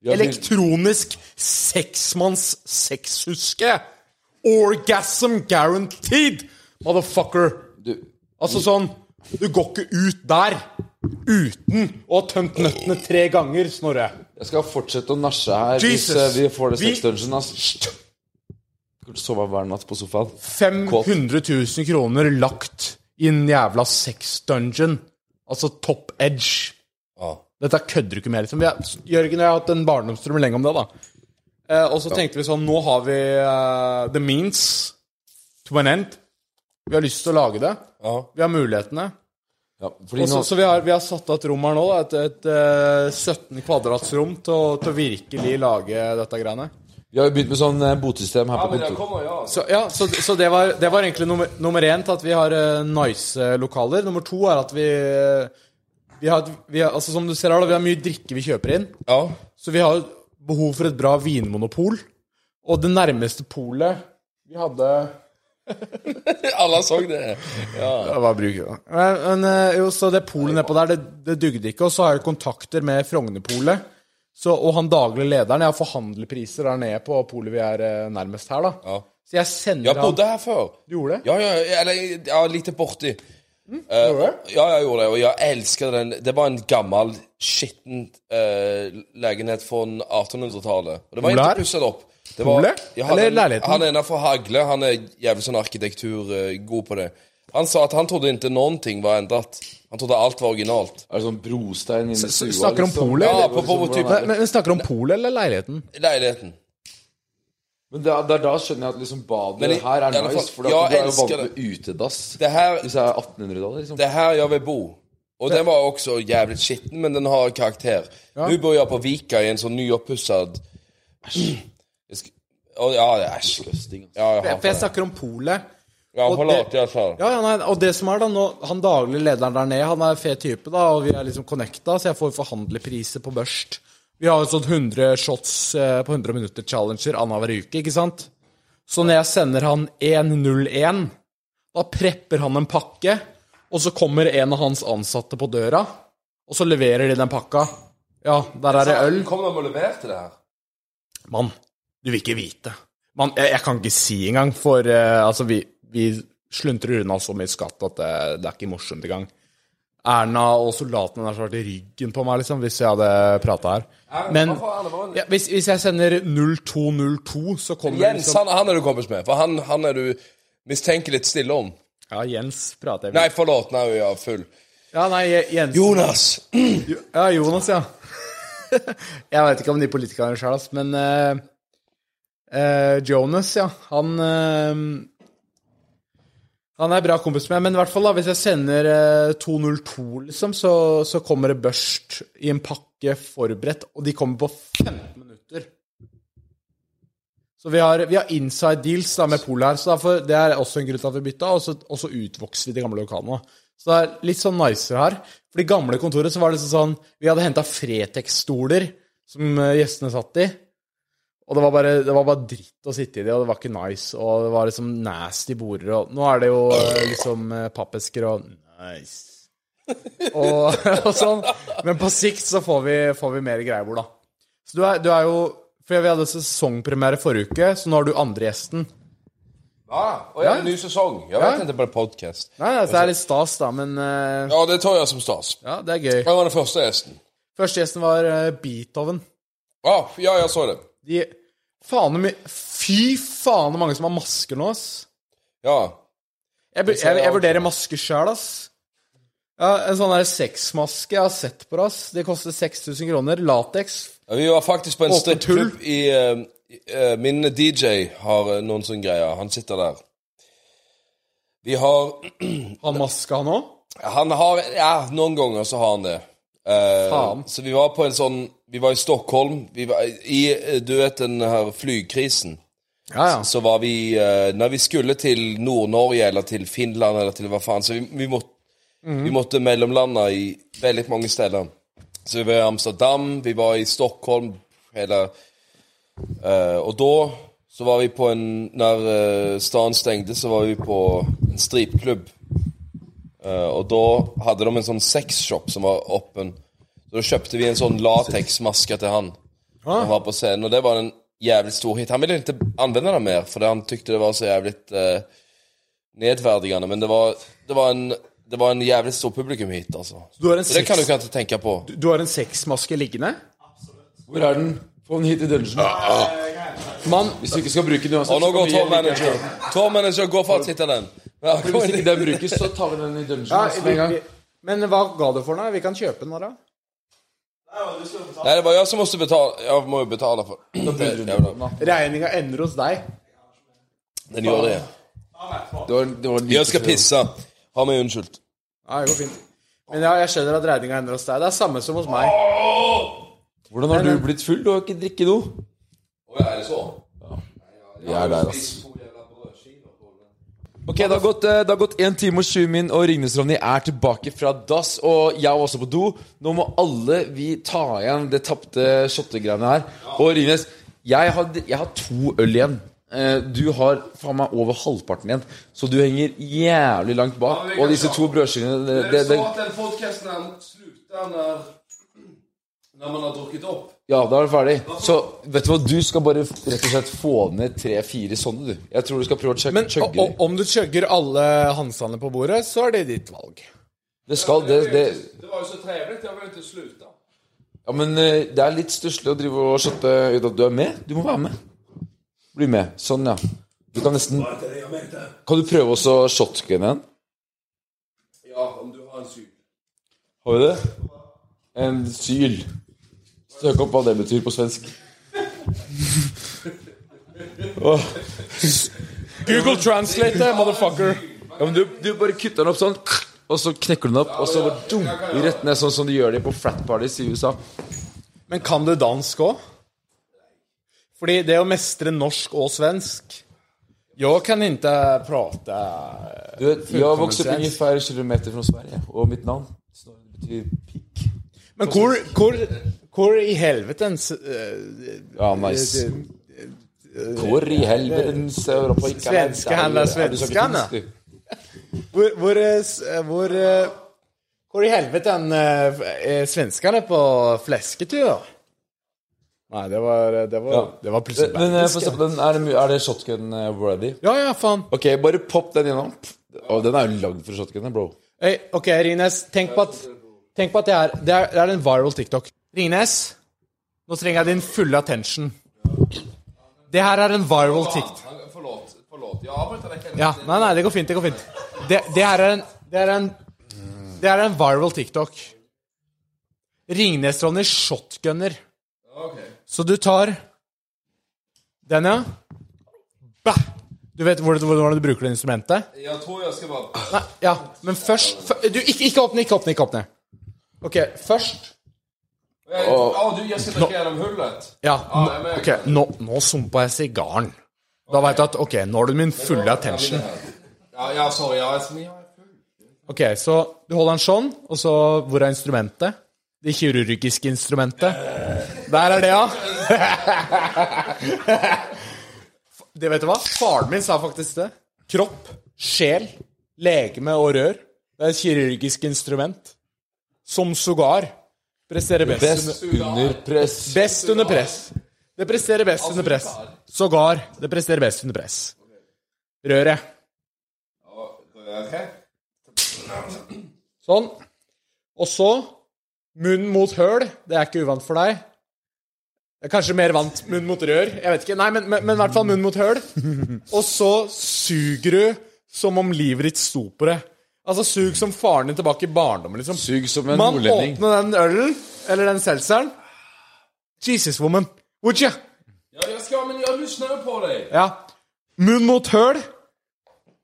[SPEAKER 5] vi har begynt-
[SPEAKER 3] Elektronisk seksmanns sexhuske. Orgasm guaranteed, motherfucker.
[SPEAKER 5] du-
[SPEAKER 3] Altså sånn Du går ikke ut der uten å ha tømt nøttene tre ganger, Snorre.
[SPEAKER 5] Jeg skal fortsette å nasje her
[SPEAKER 3] Jesus!
[SPEAKER 5] hvis eh, vi får det
[SPEAKER 3] Vi-
[SPEAKER 5] sex dungeon. ass. Skal du sove hver natt på sofaen?
[SPEAKER 3] 500 000 kroner lagt i en jævla sex-dungeon. Altså top edge.
[SPEAKER 4] Ja.
[SPEAKER 3] Dette kødder du ikke med. Liksom. Vi har, Jørgen og jeg har hatt en barndomsdrøm lenge om det. da. Eh, og så tenkte vi sånn Nå har vi eh, the means to an end. Vi har lyst til å lage det.
[SPEAKER 4] Ja.
[SPEAKER 3] Vi har mulighetene.
[SPEAKER 5] Ja, fordi
[SPEAKER 3] Og så-
[SPEAKER 5] nå,
[SPEAKER 3] så vi har, vi har satt av et rom her nå, da, et, et eh, 17 kvadratsrom, til å, til å virkelig lage dette greiene.
[SPEAKER 5] vi har jo begynt med sånn eh, botsystem her på
[SPEAKER 4] men jeg
[SPEAKER 5] kontoret.
[SPEAKER 4] kommer, ja.
[SPEAKER 3] Så, ja, så, så det, var, det var egentlig nummer, nummer én til at vi har eh, nice lokaler. Nummer to er at vi, eh, vi, har, et- vi har, altså Som du ser her, da, vi har mye drikke vi kjøper inn.
[SPEAKER 4] ja.
[SPEAKER 3] Så vi har behov for et bra vinmonopol. Og det nærmeste polet vi hadde
[SPEAKER 4] Alle så det.
[SPEAKER 3] Det var bruk, da. Men, men eh, jo, så det polet nedpå der, det, det dugde ikke. Og så har jeg kontakter med Frognerpolet. Så- Og han daglig lederen. Jeg har forhandlerpriser der nede på polet vi er eh, nærmest her, da.
[SPEAKER 4] Ja.
[SPEAKER 3] Så jeg sender
[SPEAKER 4] Jeg bodde her før.
[SPEAKER 3] Du gjorde det? Mm.
[SPEAKER 4] Ja, ja, ja, eller ja, lite borti. Eh, ja, jeg gjorde det, og jeg elsket den. Det var en gammel, skitten eh, leilighet fra 1800-tallet. Og det var
[SPEAKER 3] Ole her?
[SPEAKER 4] ikke pusset opp. Det var,
[SPEAKER 3] Ole?
[SPEAKER 4] Ja, han,
[SPEAKER 3] Eller
[SPEAKER 4] er-
[SPEAKER 3] leiligheten?
[SPEAKER 4] Han er innenfor Hagle. Han er jævlig sånn arkitektur eh, god på det. Han sa at han trodde ikke noen ting var endret. Han trodde alt var originalt.
[SPEAKER 5] Er det sånn brostein inni stua?
[SPEAKER 3] snakker om
[SPEAKER 5] liksom?
[SPEAKER 3] polet,
[SPEAKER 5] Ja,
[SPEAKER 4] eller?
[SPEAKER 5] på, på, på,
[SPEAKER 4] Hvordan
[SPEAKER 5] typen.
[SPEAKER 3] Men, men snakker du om polet eller leiligheten?
[SPEAKER 4] I leiligheten.
[SPEAKER 5] Men det er, det er da skjønner jeg at liksom badet
[SPEAKER 4] Men i-
[SPEAKER 5] her
[SPEAKER 4] i
[SPEAKER 5] er
[SPEAKER 4] alle
[SPEAKER 5] nice,
[SPEAKER 4] fall-
[SPEAKER 5] for da
[SPEAKER 4] ja,
[SPEAKER 5] du er jo
[SPEAKER 4] elsker
[SPEAKER 5] vant med utedass.
[SPEAKER 4] Det her,
[SPEAKER 5] Hvis jeg er 1800-tallet, liksom.
[SPEAKER 4] det her jeg vil bo. Og den var også jævlig skitten, men den har karakter. Nå bor jeg på Vika i en sånn nyoppusset Jeg sk- Å, Ja, det er æsj.
[SPEAKER 5] Disgusting, altså.
[SPEAKER 4] Ja, jeg
[SPEAKER 3] For jeg
[SPEAKER 4] hater det.
[SPEAKER 3] snakker om polet.
[SPEAKER 4] Ja,
[SPEAKER 3] og
[SPEAKER 4] forlat,
[SPEAKER 3] det-
[SPEAKER 4] jeg sa det.
[SPEAKER 3] Ja, ja, nei, og det som er da nå, Han daglig lederen der nede, han er fet type, da, og vi er liksom connecta, så jeg får forhandlepriser på børst. Vi har jo sånn 100 shots eh, på 100 minutter-challenger annenhver uke, ikke sant? Så når jeg sender han 101, da prepper han en pakke, og så kommer en av hans ansatte på døra, og så leverer de den pakka. Ja, der er det øl.
[SPEAKER 4] Kom de og leverte det her?
[SPEAKER 3] Mann, du vil ikke vite. Mann, jeg, jeg kan ikke si engang, for eh, altså, vi, vi sluntrer unna så mye skatt at det, det er ikke morsomt engang. Erna og soldatene deres har vært i ryggen på meg, liksom, hvis jeg hadde prata her. Men ja, hvis, hvis jeg sender 0202, så kommer det
[SPEAKER 4] Jens,
[SPEAKER 3] liksom
[SPEAKER 4] han, han er du kompis med, for han, han er du mistenker litt stille om.
[SPEAKER 3] Ja, Jens prater jeg
[SPEAKER 4] Nei, forlåt, nå er jeg full.
[SPEAKER 3] Ja, nei, Jens.
[SPEAKER 4] Jonas!
[SPEAKER 3] Ja, Jonas, ja. jeg veit ikke om de politikerne sjøl, ass, men eh, eh, Jonas, ja. Han eh, Han er bra kompis med meg, men i hvert fall da, hvis jeg sender eh, 202, liksom, så, så kommer det børst i en pakke forberedt, og de kommer på 15 minutter. Så vi har, vi har inside deals da med polet her, så derfor, det er også en grunn til at vi bytta. Og så, og så utvokser vi de gamle lokalene. Så det er litt sånn nicere her. For i gamle kontoret så var det sånn Vi hadde henta Fretex-stoler som eh, gjestene satt i. Og det var, bare, det var bare dritt å sitte i de, og det var ikke nice. Og det var liksom nasty border, og nå er det jo eh, liksom eh, pappesker og Nice. Og, og sånn. Men på sikt så får vi, får vi mer greiebord, da. Så du er, du er jo For vi hadde sesongpremiere forrige uke, så nå har du andre gjesten.
[SPEAKER 4] Ah, Ja, og jeg er en ny sesong. Jeg vet ikke på podcast.
[SPEAKER 3] Nei, altså, det er litt stas, da, men eh,
[SPEAKER 4] Ja, det tar jeg som stas.
[SPEAKER 3] Ja, det er gøy.
[SPEAKER 4] Jeg var den første gjesten.
[SPEAKER 3] Første gjesten var eh, Beethoven.
[SPEAKER 4] Ja, ja, jeg så det.
[SPEAKER 3] De Faen så mye Fy faen så mange som har masker nå, ass.
[SPEAKER 4] Ja.
[SPEAKER 3] Jeg, bu- jeg, jeg vurderer masker sjøl, ass. Ja, En sånn der sexmaske jeg har sett på, ass. Det koster 6000 kroner. Lateks.
[SPEAKER 4] Ja, Vi var faktisk på en
[SPEAKER 3] Åpent
[SPEAKER 4] strippklubb i eh, eh, Min DJ har eh, noen sånne greier. Han sitter der. Vi har
[SPEAKER 3] Han maska, han òg?
[SPEAKER 4] Han har Ja, noen ganger så har han det. Eh,
[SPEAKER 3] Faen.
[SPEAKER 4] så vi var på en sånn Vi var i Stockholm. Vi var i eh, Du vet den her flykrisen.
[SPEAKER 3] Ja, ja.
[SPEAKER 4] Så var vi eh, Når vi skulle til Nord-Norge eller til Finland eller til hva faen Så vi, vi, må, vi måtte mellomlande i veldig mange steder. Så vi var i Amsterdam, vi var i Stockholm hele eh, Og da så var vi på en Når uh, staden stengte, så var vi på en stripklubb. Eh, og da hadde de en sånn sexshop som var åpen. Så da kjøpte vi en sånn lateksmaske til han. Han var på scenen, og det var en jævlig stor hit. Han ville ikke anvende den mer, fordi han tykte det var så jævlig eh, nedverdigende. Men det var, det, var en, det var en jævlig stor publikumhit, altså.
[SPEAKER 3] Du har en
[SPEAKER 4] Så det kan du ikke
[SPEAKER 3] sex-
[SPEAKER 4] tenke på.
[SPEAKER 3] Du har en sexmaske liggende?
[SPEAKER 5] Hvor er den? Få den hit i dungeon.
[SPEAKER 3] Mann,
[SPEAKER 5] Hvis du ikke skal bruke den uansett,
[SPEAKER 4] Og nå
[SPEAKER 5] så kan
[SPEAKER 4] går
[SPEAKER 5] vi
[SPEAKER 4] tour
[SPEAKER 5] gi den
[SPEAKER 4] manager. Tour manager går for å titte den. Ja,
[SPEAKER 5] likevel. Hvis ikke den brukes, så tar vi den i dungeon
[SPEAKER 3] ja,
[SPEAKER 5] altså, med
[SPEAKER 3] vi,
[SPEAKER 5] en gang.
[SPEAKER 3] vi, men hva ga du for den? da? Vi kan kjøpe den, da.
[SPEAKER 4] Nei, det var jeg som måtte betale. Jeg må jo betale for det. jævla.
[SPEAKER 3] Regninga ender hos deg.
[SPEAKER 4] Den gjør det.
[SPEAKER 5] Det var, det var en
[SPEAKER 4] Jeg skal
[SPEAKER 5] liten-
[SPEAKER 4] pisse. Har meg unnskyldt.
[SPEAKER 3] Ja, det går fint. Men ja, jeg skjønner at regninga ender hos deg. Det er samme som hos meg.
[SPEAKER 5] Hvordan har du blitt full? Du har ikke drikket noe.
[SPEAKER 4] Å ja, er det så?
[SPEAKER 5] Vi er der, ass. Ok, Det har gått, eh, det har gått 1 time og 20 min, og Ringnes Ronny er tilbake fra dass. Og jeg var også på do. Nå må alle vi ta igjen det tapte shottegreiene her. Og Ringnes, jeg har, jeg har to øl igjen. Eh, Du har faen meg over halvparten igjen, så du henger jævlig langt bak. Og disse to brødskivene det, det, det,
[SPEAKER 4] at den podkasten slutter når, når man har drukket opp.
[SPEAKER 5] Ja, da er du ferdig. Så vet du hva, du skal bare rett og slett få ned tre-fire sånne, du. Jeg tror du skal prøve å chugge
[SPEAKER 3] Men
[SPEAKER 5] chugge
[SPEAKER 3] o- o-
[SPEAKER 5] de.
[SPEAKER 3] om du chugger alle hansene på bordet, så er det ditt valg.
[SPEAKER 5] Det skal det, det
[SPEAKER 4] Det var jo så trevlig. Jeg vil ikke slutte.
[SPEAKER 5] Ja, men eh, det er litt stusslig å drive og shotte ut at du er med. Du må være med. Bli med. Sånn, ja. Du kan nesten Kan du prøve også shotgun igjen? Har vi det? En syl. Søk opp hva det betyr på svensk.
[SPEAKER 3] Google translate det, motherfucker!
[SPEAKER 5] Ja, men du, du bare kutter den opp sånn, og så knekker du den opp, og så bare dum, rett ned, sånn som de gjør det på frat parties i USA.
[SPEAKER 3] Men kan du dansk òg? Fordi det å mestre norsk og svensk Jeg kan ikke prate
[SPEAKER 5] Du vet, jeg vokste opp ingen færre kilometer fra Sverige, og mitt navn Snorre betyr pikk.
[SPEAKER 3] Men hvor, hvor, hvor i helvetens eh,
[SPEAKER 5] Ja, nice. Hvor i helvetens Europa ikke er-
[SPEAKER 3] Svenske handler
[SPEAKER 5] Er sånn du- er du så ikke
[SPEAKER 3] svenskene.
[SPEAKER 5] finsk, du?
[SPEAKER 3] Hvor, hvor, eh, s- eh, hvor, eh, hvor i helveten eh, er svenskene på flesketur? Nei, det var, eh, det var,
[SPEAKER 5] Ja.
[SPEAKER 3] det var plutselig
[SPEAKER 5] Men eh, få se på den. Er det, mu- er det shotgun eh, worthy?
[SPEAKER 3] Ja, ja, faen.
[SPEAKER 5] Ok, bare pop den gjennom. Å, den er jo lagd for shotgun, bro.
[SPEAKER 3] Hey, ok, Rines, tenk på at, tenk på at det, er, det, er, det er en viral TikTok. Rines, nå trenger jeg din fulle attention. Det her er en viral TikTok.
[SPEAKER 5] Forlåt. forlåt. Jeg avbryter deg ikke.
[SPEAKER 3] Ja, nei, nei, det går fint, det går fint. Det, det her er en, det er en, det er en viral TikTok. Ringnes-Ronny shotgunner. Så du tar den, ja. Bah! Du vet hvor- hvordan du bruker det instrumentet?
[SPEAKER 4] Jeg tror jeg skal bare
[SPEAKER 3] Nei, ja, men først fø- du, ikke, ikke åpne, ikke åpne, ikke åpne. Ok, først
[SPEAKER 4] du, jeg skal drikke gjennom hullet.
[SPEAKER 3] Ja, nå, ok, nå, nå sumpa jeg sigaren. Da veit du at OK, nå har du min fulle attention.
[SPEAKER 4] Ja, ja, sorry. Ja, jeg jeg er full.
[SPEAKER 3] Ok, Så du holder den sånn, og så Hvor er instrumentet? Det kirurgiske instrumentet. Der er det, ja. Det vet du hva? Faren min sa faktisk det. Kropp, sjel, legeme og rør. Det er et kirurgisk instrument. Som sågar presterer best. under-
[SPEAKER 5] Best under press.
[SPEAKER 3] Best under press. Det presterer best under press. Sågar. Det presterer best under press. Røret. Sånn. Og så munn mot høl. Det er ikke uvant for deg. Jeg er kanskje mer vant munn mot rør. Jeg vet ikke. Nei, men, men, men i hvert fall munn mot høl. Og så suger du som om livet ditt sto på det. Altså sug som faren din tilbake i barndommen, liksom.
[SPEAKER 5] Sug som en
[SPEAKER 3] Man
[SPEAKER 5] nordlending.
[SPEAKER 3] åpner den ølen, eller den seltzeren. Jesus, woman. Would you?
[SPEAKER 4] Ja, jeg skal, men jeg lysner jo på deg.
[SPEAKER 3] Ja. Munn mot høl.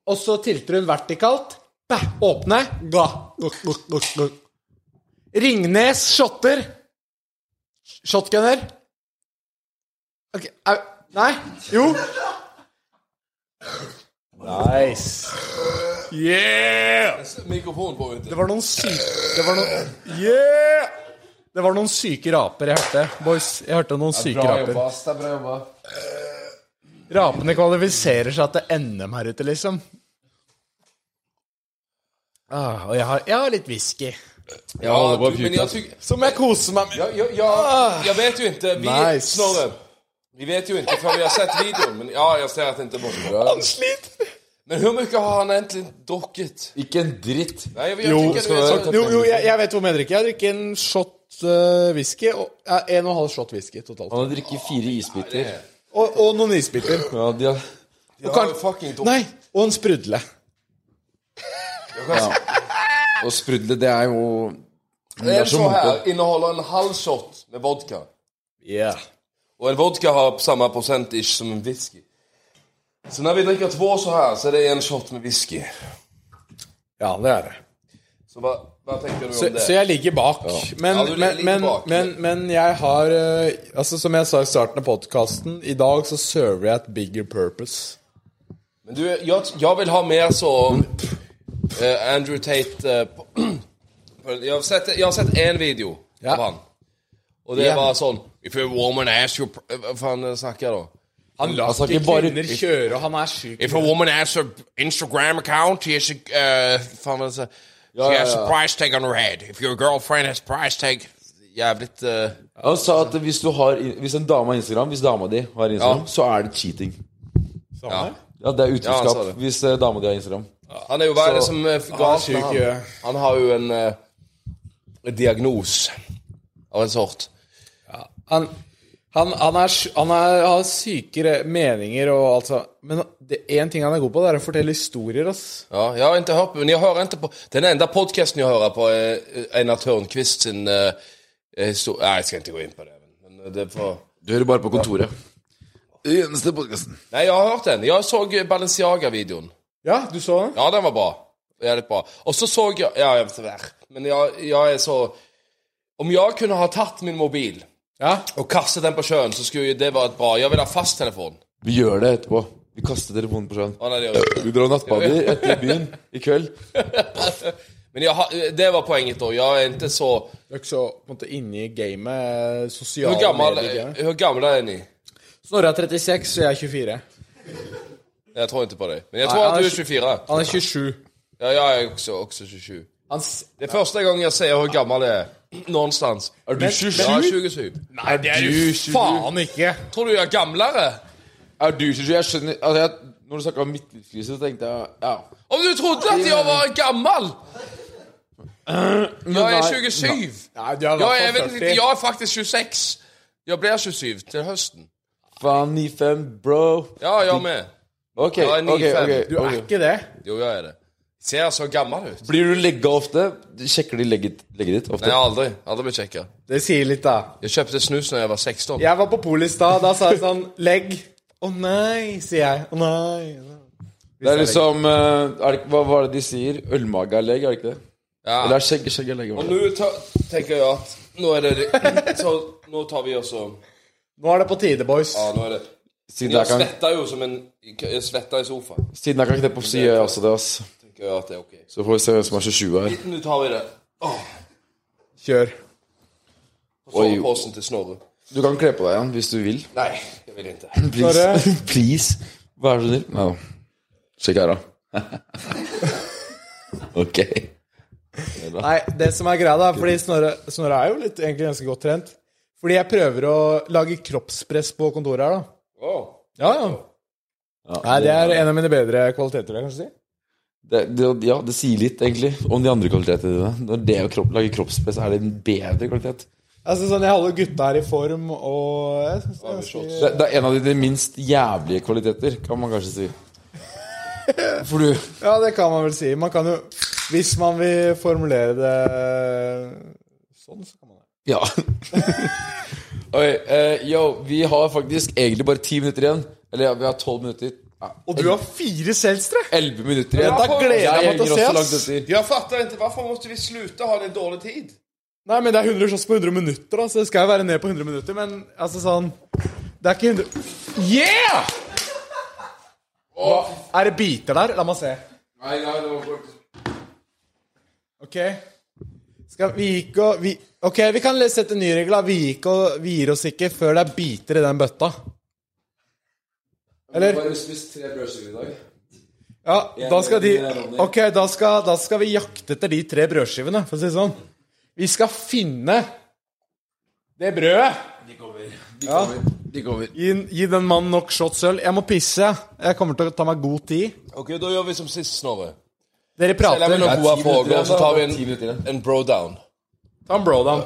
[SPEAKER 3] Og så tilter hun vertikalt. Bæ, åpne. Ga. Guk, guk, guk, guk. Ringnes shotter. Shotgunner. Ok, au. Nei. Jo. Nice. Yeah!
[SPEAKER 4] Mikrofonen på ute.
[SPEAKER 3] Det var noen syke Det var noen Yeah! Det var noen syke raper jeg hørte. Boys, jeg hørte noen syke
[SPEAKER 5] Bra
[SPEAKER 3] raper.
[SPEAKER 5] jobba. ass. Det er bra jobba.
[SPEAKER 3] Rapene kvalifiserer seg til NM her ute, liksom. Ah, og jeg har, jeg har litt whisky.
[SPEAKER 5] Jeg holder på å
[SPEAKER 4] du, men
[SPEAKER 5] puke.
[SPEAKER 4] jag
[SPEAKER 5] ass.
[SPEAKER 4] tycker...
[SPEAKER 3] Som jeg koser meg med.
[SPEAKER 4] Ja, ja, ja, jag vet ju inte. Vi,
[SPEAKER 3] Nice.
[SPEAKER 4] Snorre. Vi vet ju inte för vi har sett videon. Men ja, jag ser att det inte är borta. Men hur mycket har han egentligen druckit?
[SPEAKER 5] Ikke en dritt.
[SPEAKER 4] Nej, jag
[SPEAKER 3] Jo,
[SPEAKER 4] tycker det är så...
[SPEAKER 3] jo, jo jeg, jeg vet hvor mye jeg drikker. Jeg drikker en shot eh, whisky. Og, ja, en og en halv shot whisky totalt.
[SPEAKER 5] Han har drukket fire isbiter.
[SPEAKER 3] Og, og noen isbiter.
[SPEAKER 5] Ja, de har...
[SPEAKER 4] Jag har fucking druckit.
[SPEAKER 3] Nei, og en sprudle.
[SPEAKER 5] Og sprudle, det er jo
[SPEAKER 4] Det
[SPEAKER 5] Det
[SPEAKER 4] är
[SPEAKER 5] er så
[SPEAKER 4] så
[SPEAKER 5] mye.
[SPEAKER 4] här innehåller en halv shot med vodka.
[SPEAKER 3] Yeah.
[SPEAKER 4] Och en vodka har samma procent-ish som en whisky. Så när vi dricker två så här så är det en shot med whisky.
[SPEAKER 3] Ja, det er det.
[SPEAKER 4] Så vad, vad tänker du
[SPEAKER 3] Så,
[SPEAKER 4] om det?
[SPEAKER 3] så jeg ligger bak. Men,
[SPEAKER 4] Ja, du ligger
[SPEAKER 3] men, men,
[SPEAKER 4] bak.
[SPEAKER 3] men, men jeg har eh, Altså, som jeg sa i starten av podkasten, i dag så server jeg et bigger purpose.
[SPEAKER 4] Men du, jag, jag vill ha mer så eh, Andrew Tate eh, på, på, jag, har sett, jag har sett en video
[SPEAKER 3] Ja.
[SPEAKER 4] av han Och det var sån If a woman asks you pr- eh, Vad fan eh, snackar jag då?
[SPEAKER 3] Han lar
[SPEAKER 5] Altså,
[SPEAKER 3] ikke
[SPEAKER 5] ikke bare-
[SPEAKER 3] kvinner kjøre, og han er syk.
[SPEAKER 4] If a woman asks her Instagram account She has a, eh, fan, alltså,
[SPEAKER 5] ja,
[SPEAKER 4] she has
[SPEAKER 5] ja.
[SPEAKER 4] a price tag on her head If your girlfriend has price tag Jävligt eh,
[SPEAKER 5] Han sa at hvis, du har, hvis en dame har Instagram, hvis dama di har Instagram,
[SPEAKER 4] Ja.
[SPEAKER 5] så er det cheating.
[SPEAKER 4] ja.
[SPEAKER 5] Ja, det er
[SPEAKER 4] Ja, han
[SPEAKER 5] utroskap
[SPEAKER 4] sa det.
[SPEAKER 5] hvis eh, dama di har Instagram.
[SPEAKER 4] Han är ju, vad är det som eh, gav
[SPEAKER 3] sjuk,
[SPEAKER 4] han?
[SPEAKER 3] ja.
[SPEAKER 4] Han har ju en eh, diagnos Av en sort
[SPEAKER 3] Han, Han, han, er, sy- han er, har sykere meninger og alt sånt. Men én ting han er god på, det er å fortelle historier, ass.
[SPEAKER 4] Ja, jeg har ikke hørt, men jeg hører ikke på Den enda podcasten jeg hører på, er Einar Tørnquist sin eh, historie Nei, jeg skal ikke gå inn på det. Men uh, det får...
[SPEAKER 5] Du hører bare på kontoret. Eneste podkasten.
[SPEAKER 4] Nei, jeg har hørt den. Jeg så Balenciaga-videoen.
[SPEAKER 3] Ja, du så den?
[SPEAKER 4] Ja, den var bra. Jævlig bra. Og så så jeg Ja, jeg vet ikke. Men jeg, jeg er så Om jeg kunne ha tatt min mobil
[SPEAKER 3] Ja.
[SPEAKER 4] og kastet den på sjøen, så skulle jo det vært bra. Jeg vil ha fasttelefon.
[SPEAKER 5] Vi gjør det etterpå. Vi kaster telefonen på sjøen.
[SPEAKER 4] Å, nei, det gjør jeg ikke.
[SPEAKER 5] Vi drar nattbader etter byen i kveld.
[SPEAKER 4] Men jeg, har- det var poenget, da. Jeg er ikke så
[SPEAKER 3] Du er ikke så på en måte inne i gamet eh, sosiale
[SPEAKER 4] Hvor gammel,
[SPEAKER 3] medier.
[SPEAKER 4] hvor gammel er ni?
[SPEAKER 3] Snorre er 36, og jeg er 24.
[SPEAKER 4] Jeg tror ikke på deg. Men jeg
[SPEAKER 3] Nei,
[SPEAKER 4] tror at
[SPEAKER 3] jeg
[SPEAKER 4] du
[SPEAKER 3] er
[SPEAKER 4] er 24.
[SPEAKER 3] Han er 27.
[SPEAKER 4] Ja, jeg er også, også 27.
[SPEAKER 3] Han s-
[SPEAKER 4] Det er første gang jeg ser hvor gammel jeg er. Någonstans.
[SPEAKER 5] Er du 27?
[SPEAKER 4] Ja, 27.
[SPEAKER 3] Nei, det er
[SPEAKER 5] du
[SPEAKER 3] jo faen ikke!
[SPEAKER 4] Tror du jeg er gamlere?
[SPEAKER 5] Er du 27? Jeg skjønner altså jeg, Når du snakka om midtlivskrise, så tenkte jeg ja.
[SPEAKER 4] Om du trodde at jeg var gammel! Jeg er 27.
[SPEAKER 3] Nei, du er i
[SPEAKER 4] Jeg
[SPEAKER 3] hvert
[SPEAKER 4] er,
[SPEAKER 3] fall
[SPEAKER 4] vel-
[SPEAKER 3] 40.
[SPEAKER 4] jeg er faktisk 26. Jeg blir 27 til høsten.
[SPEAKER 5] Faen, 9-5, bro.
[SPEAKER 4] Ja, jeg er med.
[SPEAKER 5] Ok,
[SPEAKER 4] Ja,
[SPEAKER 5] ok,
[SPEAKER 4] 9-5.
[SPEAKER 5] ok.
[SPEAKER 3] Du er
[SPEAKER 5] ok.
[SPEAKER 3] ikke det.
[SPEAKER 4] Jo, jeg er det. Ser så gammel ut.
[SPEAKER 5] Blir du legga ofte? Sjekker de legget, legget ditt
[SPEAKER 4] Nei,
[SPEAKER 5] ofte?
[SPEAKER 4] jeg har aldri. Aldri blitt sjekka.
[SPEAKER 3] Det sier litt, da.
[SPEAKER 4] Jeg kjøpte snus når jeg var 16.
[SPEAKER 3] Jeg var på polet i stad. Da sa jeg sånn Legg. Å nei, sier jeg. Å nei.
[SPEAKER 5] Det er liksom eh, er det, Hva var det de sier? Ølmage er legg, er det ikke det?
[SPEAKER 4] Ja.
[SPEAKER 5] Eller er skjegg, skjegg er legg? var
[SPEAKER 4] Og
[SPEAKER 5] det?
[SPEAKER 4] nå ta- tenker jeg at nå er det Så nå tar vi også
[SPEAKER 3] Nå er det på tide, boys.
[SPEAKER 4] Ja, nå er det
[SPEAKER 5] Siden
[SPEAKER 4] Jeg
[SPEAKER 5] jeg kan,
[SPEAKER 4] svetter jo som en Jeg svetter i sofaen.
[SPEAKER 5] siden jeg kan kneppe opp, så gjør jeg også det. ass
[SPEAKER 4] Tenker jeg at det er ok.
[SPEAKER 5] Så får vi se hvem som er 27 her.
[SPEAKER 4] Nå tar vi det. Åh,
[SPEAKER 3] Kjør.
[SPEAKER 4] på
[SPEAKER 5] Oi.
[SPEAKER 4] soveposen til Snorre.
[SPEAKER 5] Du kan kle på deg igjen hvis du vil.
[SPEAKER 4] Nei, jeg vil ikke.
[SPEAKER 5] Please. Please. Vær så snill. Nei da. Sjekk her, da. ok.
[SPEAKER 3] Nei, det som er greia, da Fordi Snorre, Snorre er jo litt, egentlig ganske godt trent. Fordi jeg prøver å lage kroppspress på kontoret her, da.
[SPEAKER 4] Åh.
[SPEAKER 3] Ja, ja. Nei, det er en av mine bedre kvaliteter, vil jeg kanskje si.
[SPEAKER 5] Det, det, ja, det sier litt, egentlig, om de andre kvalitetene dine. Når det å kropp, lage kroppspress er det en bedre kvalitet.
[SPEAKER 3] Altså, sånn, jeg holder gutta her i form, og jeg synes det er ganske
[SPEAKER 5] Det, det er en av dine minst jævlige kvaliteter, kan man kanskje si. For du
[SPEAKER 3] Ja, det kan man vel si. Man kan jo Hvis man vil formulere det sånn, så kan man det.
[SPEAKER 5] Ja. Oi, eh, yo, vi har faktisk egentlig bare ti minutter igjen. Eller ja, vi har tolv minutter.
[SPEAKER 3] Og du har fire selvstre!
[SPEAKER 5] Elleve minutter igjen.
[SPEAKER 3] Ja, da gleder jeg meg til å se,
[SPEAKER 5] henger også
[SPEAKER 3] ass.
[SPEAKER 5] langt etter.
[SPEAKER 4] Jeg fatter ikke. Hvorfor måtte vi slutte å ha den dårlige tid?
[SPEAKER 3] Nei, men det er 100 shots på 100 minutter, da, så det skal jo være ned på 100 minutter, men altså sånn Det er ikke 100 Yeah! Hva- er det biter der? La meg se. OK. Skal vi gikk og vi, OK, vi kan le- sette en ny regel. da. Vi gikk og vi gir oss ikke før det er biter i den bøtta. Eller? Ja, da skal de Ok, da skal, da skal vi jakte etter de tre brødskivene, for å si det sånn. Vi skal finne det brødet.
[SPEAKER 5] De kommer.
[SPEAKER 3] Gi, gi den mannen nok shots øl. Jeg må pisse. jeg. Jeg kommer til å ta meg god tid.
[SPEAKER 4] Ok, da gjør vi som sist, Snorre.
[SPEAKER 3] Dere prater.
[SPEAKER 4] Eller vi noen gode
[SPEAKER 5] minutter
[SPEAKER 4] frågor,
[SPEAKER 5] igjen,
[SPEAKER 4] så tar vi
[SPEAKER 5] Ti minutter
[SPEAKER 4] en,
[SPEAKER 5] igjen.
[SPEAKER 4] en bro down.
[SPEAKER 3] Ta en bro down.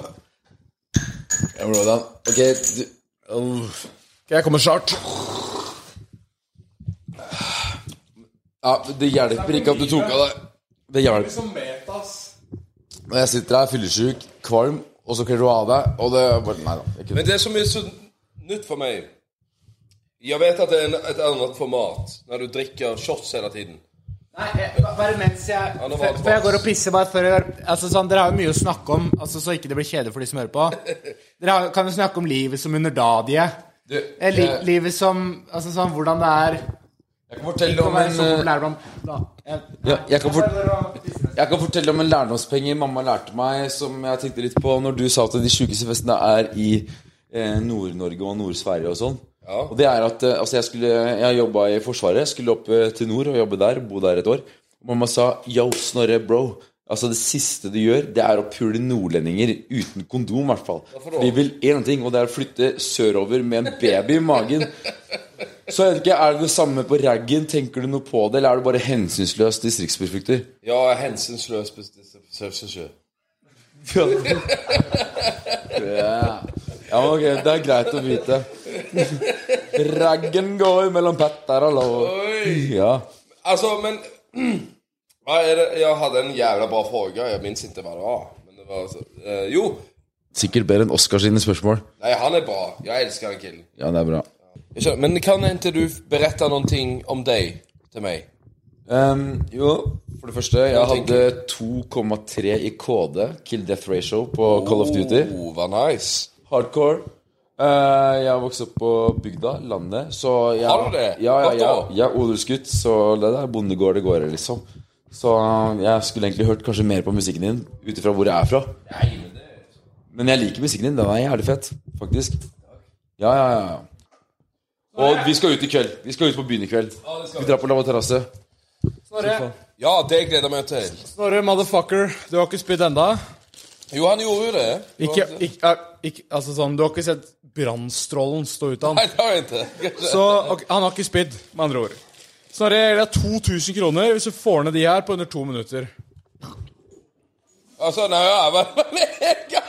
[SPEAKER 5] Ja, bro, da. Ok, du Uff.
[SPEAKER 3] Ok, jeg kommer snart.
[SPEAKER 5] Ja, det hjelper ikke at du tok av deg Det hjelper. Når jeg sitter her fyllesyk, kvalm, og så kler du av deg, og det er bare Nei da. Jeg
[SPEAKER 4] Men
[SPEAKER 5] kødder.
[SPEAKER 4] det som er så nytt for meg Jeg vet at det er en, et annet format når du drikker shots hele tiden.
[SPEAKER 3] Nei, jeg, bare mens jeg
[SPEAKER 4] nå var
[SPEAKER 3] før,
[SPEAKER 4] det
[SPEAKER 3] før jeg
[SPEAKER 4] bra.
[SPEAKER 3] går og pisser, bare før jeg gjør Altså sånn, Dere har jo mye å snakke om, altså så ikke det blir kjedelig for de som hører på. Dere har, kan jo snakke om livet som underdadige.
[SPEAKER 5] Du,
[SPEAKER 3] Eh, Li,
[SPEAKER 5] jeg-
[SPEAKER 3] livet som Altså sånn hvordan det er
[SPEAKER 5] Jeg kan fortelle
[SPEAKER 3] Å
[SPEAKER 5] om
[SPEAKER 3] være
[SPEAKER 5] en
[SPEAKER 3] så
[SPEAKER 5] eh,
[SPEAKER 3] populær blant da. Jeg,
[SPEAKER 5] ja, jeg, kan fort-
[SPEAKER 3] for...
[SPEAKER 5] jeg kan fortelle om en lærdomspenge mamma lærte meg, som jeg tenkte litt på når du sa at de sjukeste festene er i eh, Nord-Norge og Nord-Sverige og sånn. Og det er at eh, altså jeg, skulle, jeg jobba i Forsvaret, skulle opp eh, til nord og jobbe der, bo der et år. Og mamma sa 'yo, Snorre, bro'. Altså Det siste du gjør, det er å pule nordlendinger uten kondom, i hvert fall. De vil én ting, og det er å flytte sørover med en baby i magen. Så jeg vet ikke, Er det det samme på raggen? Tenker du noe på det, eller er du bare hensynsløs distriktsbefrukter?
[SPEAKER 4] Jeg er hensynsløs. bes- bes- bes- bes- bes-
[SPEAKER 5] Ja. Ja, men ok, Det er greit å vite. Raggen går mellom Petter og Lov.
[SPEAKER 4] Oi!
[SPEAKER 5] Ja.
[SPEAKER 4] Altså, men ja, er det, Jeg hadde en jævla bra fråga. Jeg minnes ikke hva det var. Men det var altså, eh, jo,
[SPEAKER 5] Sikkert bedre enn Oscar sine spørsmål.
[SPEAKER 4] nei, han er bra. Jeg elsker den killen.
[SPEAKER 5] Ja, det er bra.
[SPEAKER 4] Jeg skjønner, Men kan ikke du berette noen ting om deg til meg?
[SPEAKER 5] Ehm, jo, for det første, jeg hadde 2,3 i KD, kill death ratio, på Call of Duty.
[SPEAKER 4] Oh, hva nice.
[SPEAKER 5] Hardcore. Eh, jeg vokste opp på bygda, landet, så jeg,
[SPEAKER 4] Har du det?
[SPEAKER 5] Ja, ja,
[SPEAKER 4] Godt
[SPEAKER 5] ja,
[SPEAKER 4] da.
[SPEAKER 5] jeg er odelsgutt, så det der bondegård det går i, liksom. Så eh, jeg skulle egentlig hørt kanskje mer på musikken din ut ifra hvor jeg er fra. Men jeg liker musikken din. Den er jævlig fett, faktisk. Ja, ja, ja. ja. Og vi skal ut i kveld. Vi skal ut på byen i kveld. Vi drar på Lava Terrasse.
[SPEAKER 4] Ja, det gleder jeg meg til.
[SPEAKER 3] Snorre, motherfucker, du har ikke spydd enda.
[SPEAKER 4] Jo, han gjorde jo det.
[SPEAKER 3] Ikke, ikke, eh, ikke, altså sånn, du har ikke sett brannstrålen stå ut av
[SPEAKER 4] Nei,
[SPEAKER 3] han.
[SPEAKER 4] det har jeg ikke.
[SPEAKER 3] Så ok, han har ikke spydd, med andre ord. Snorre, det er 2000 kroner hvis du får ned de her på under to minutter.
[SPEAKER 4] Altså, nei, ja, men, men jeg,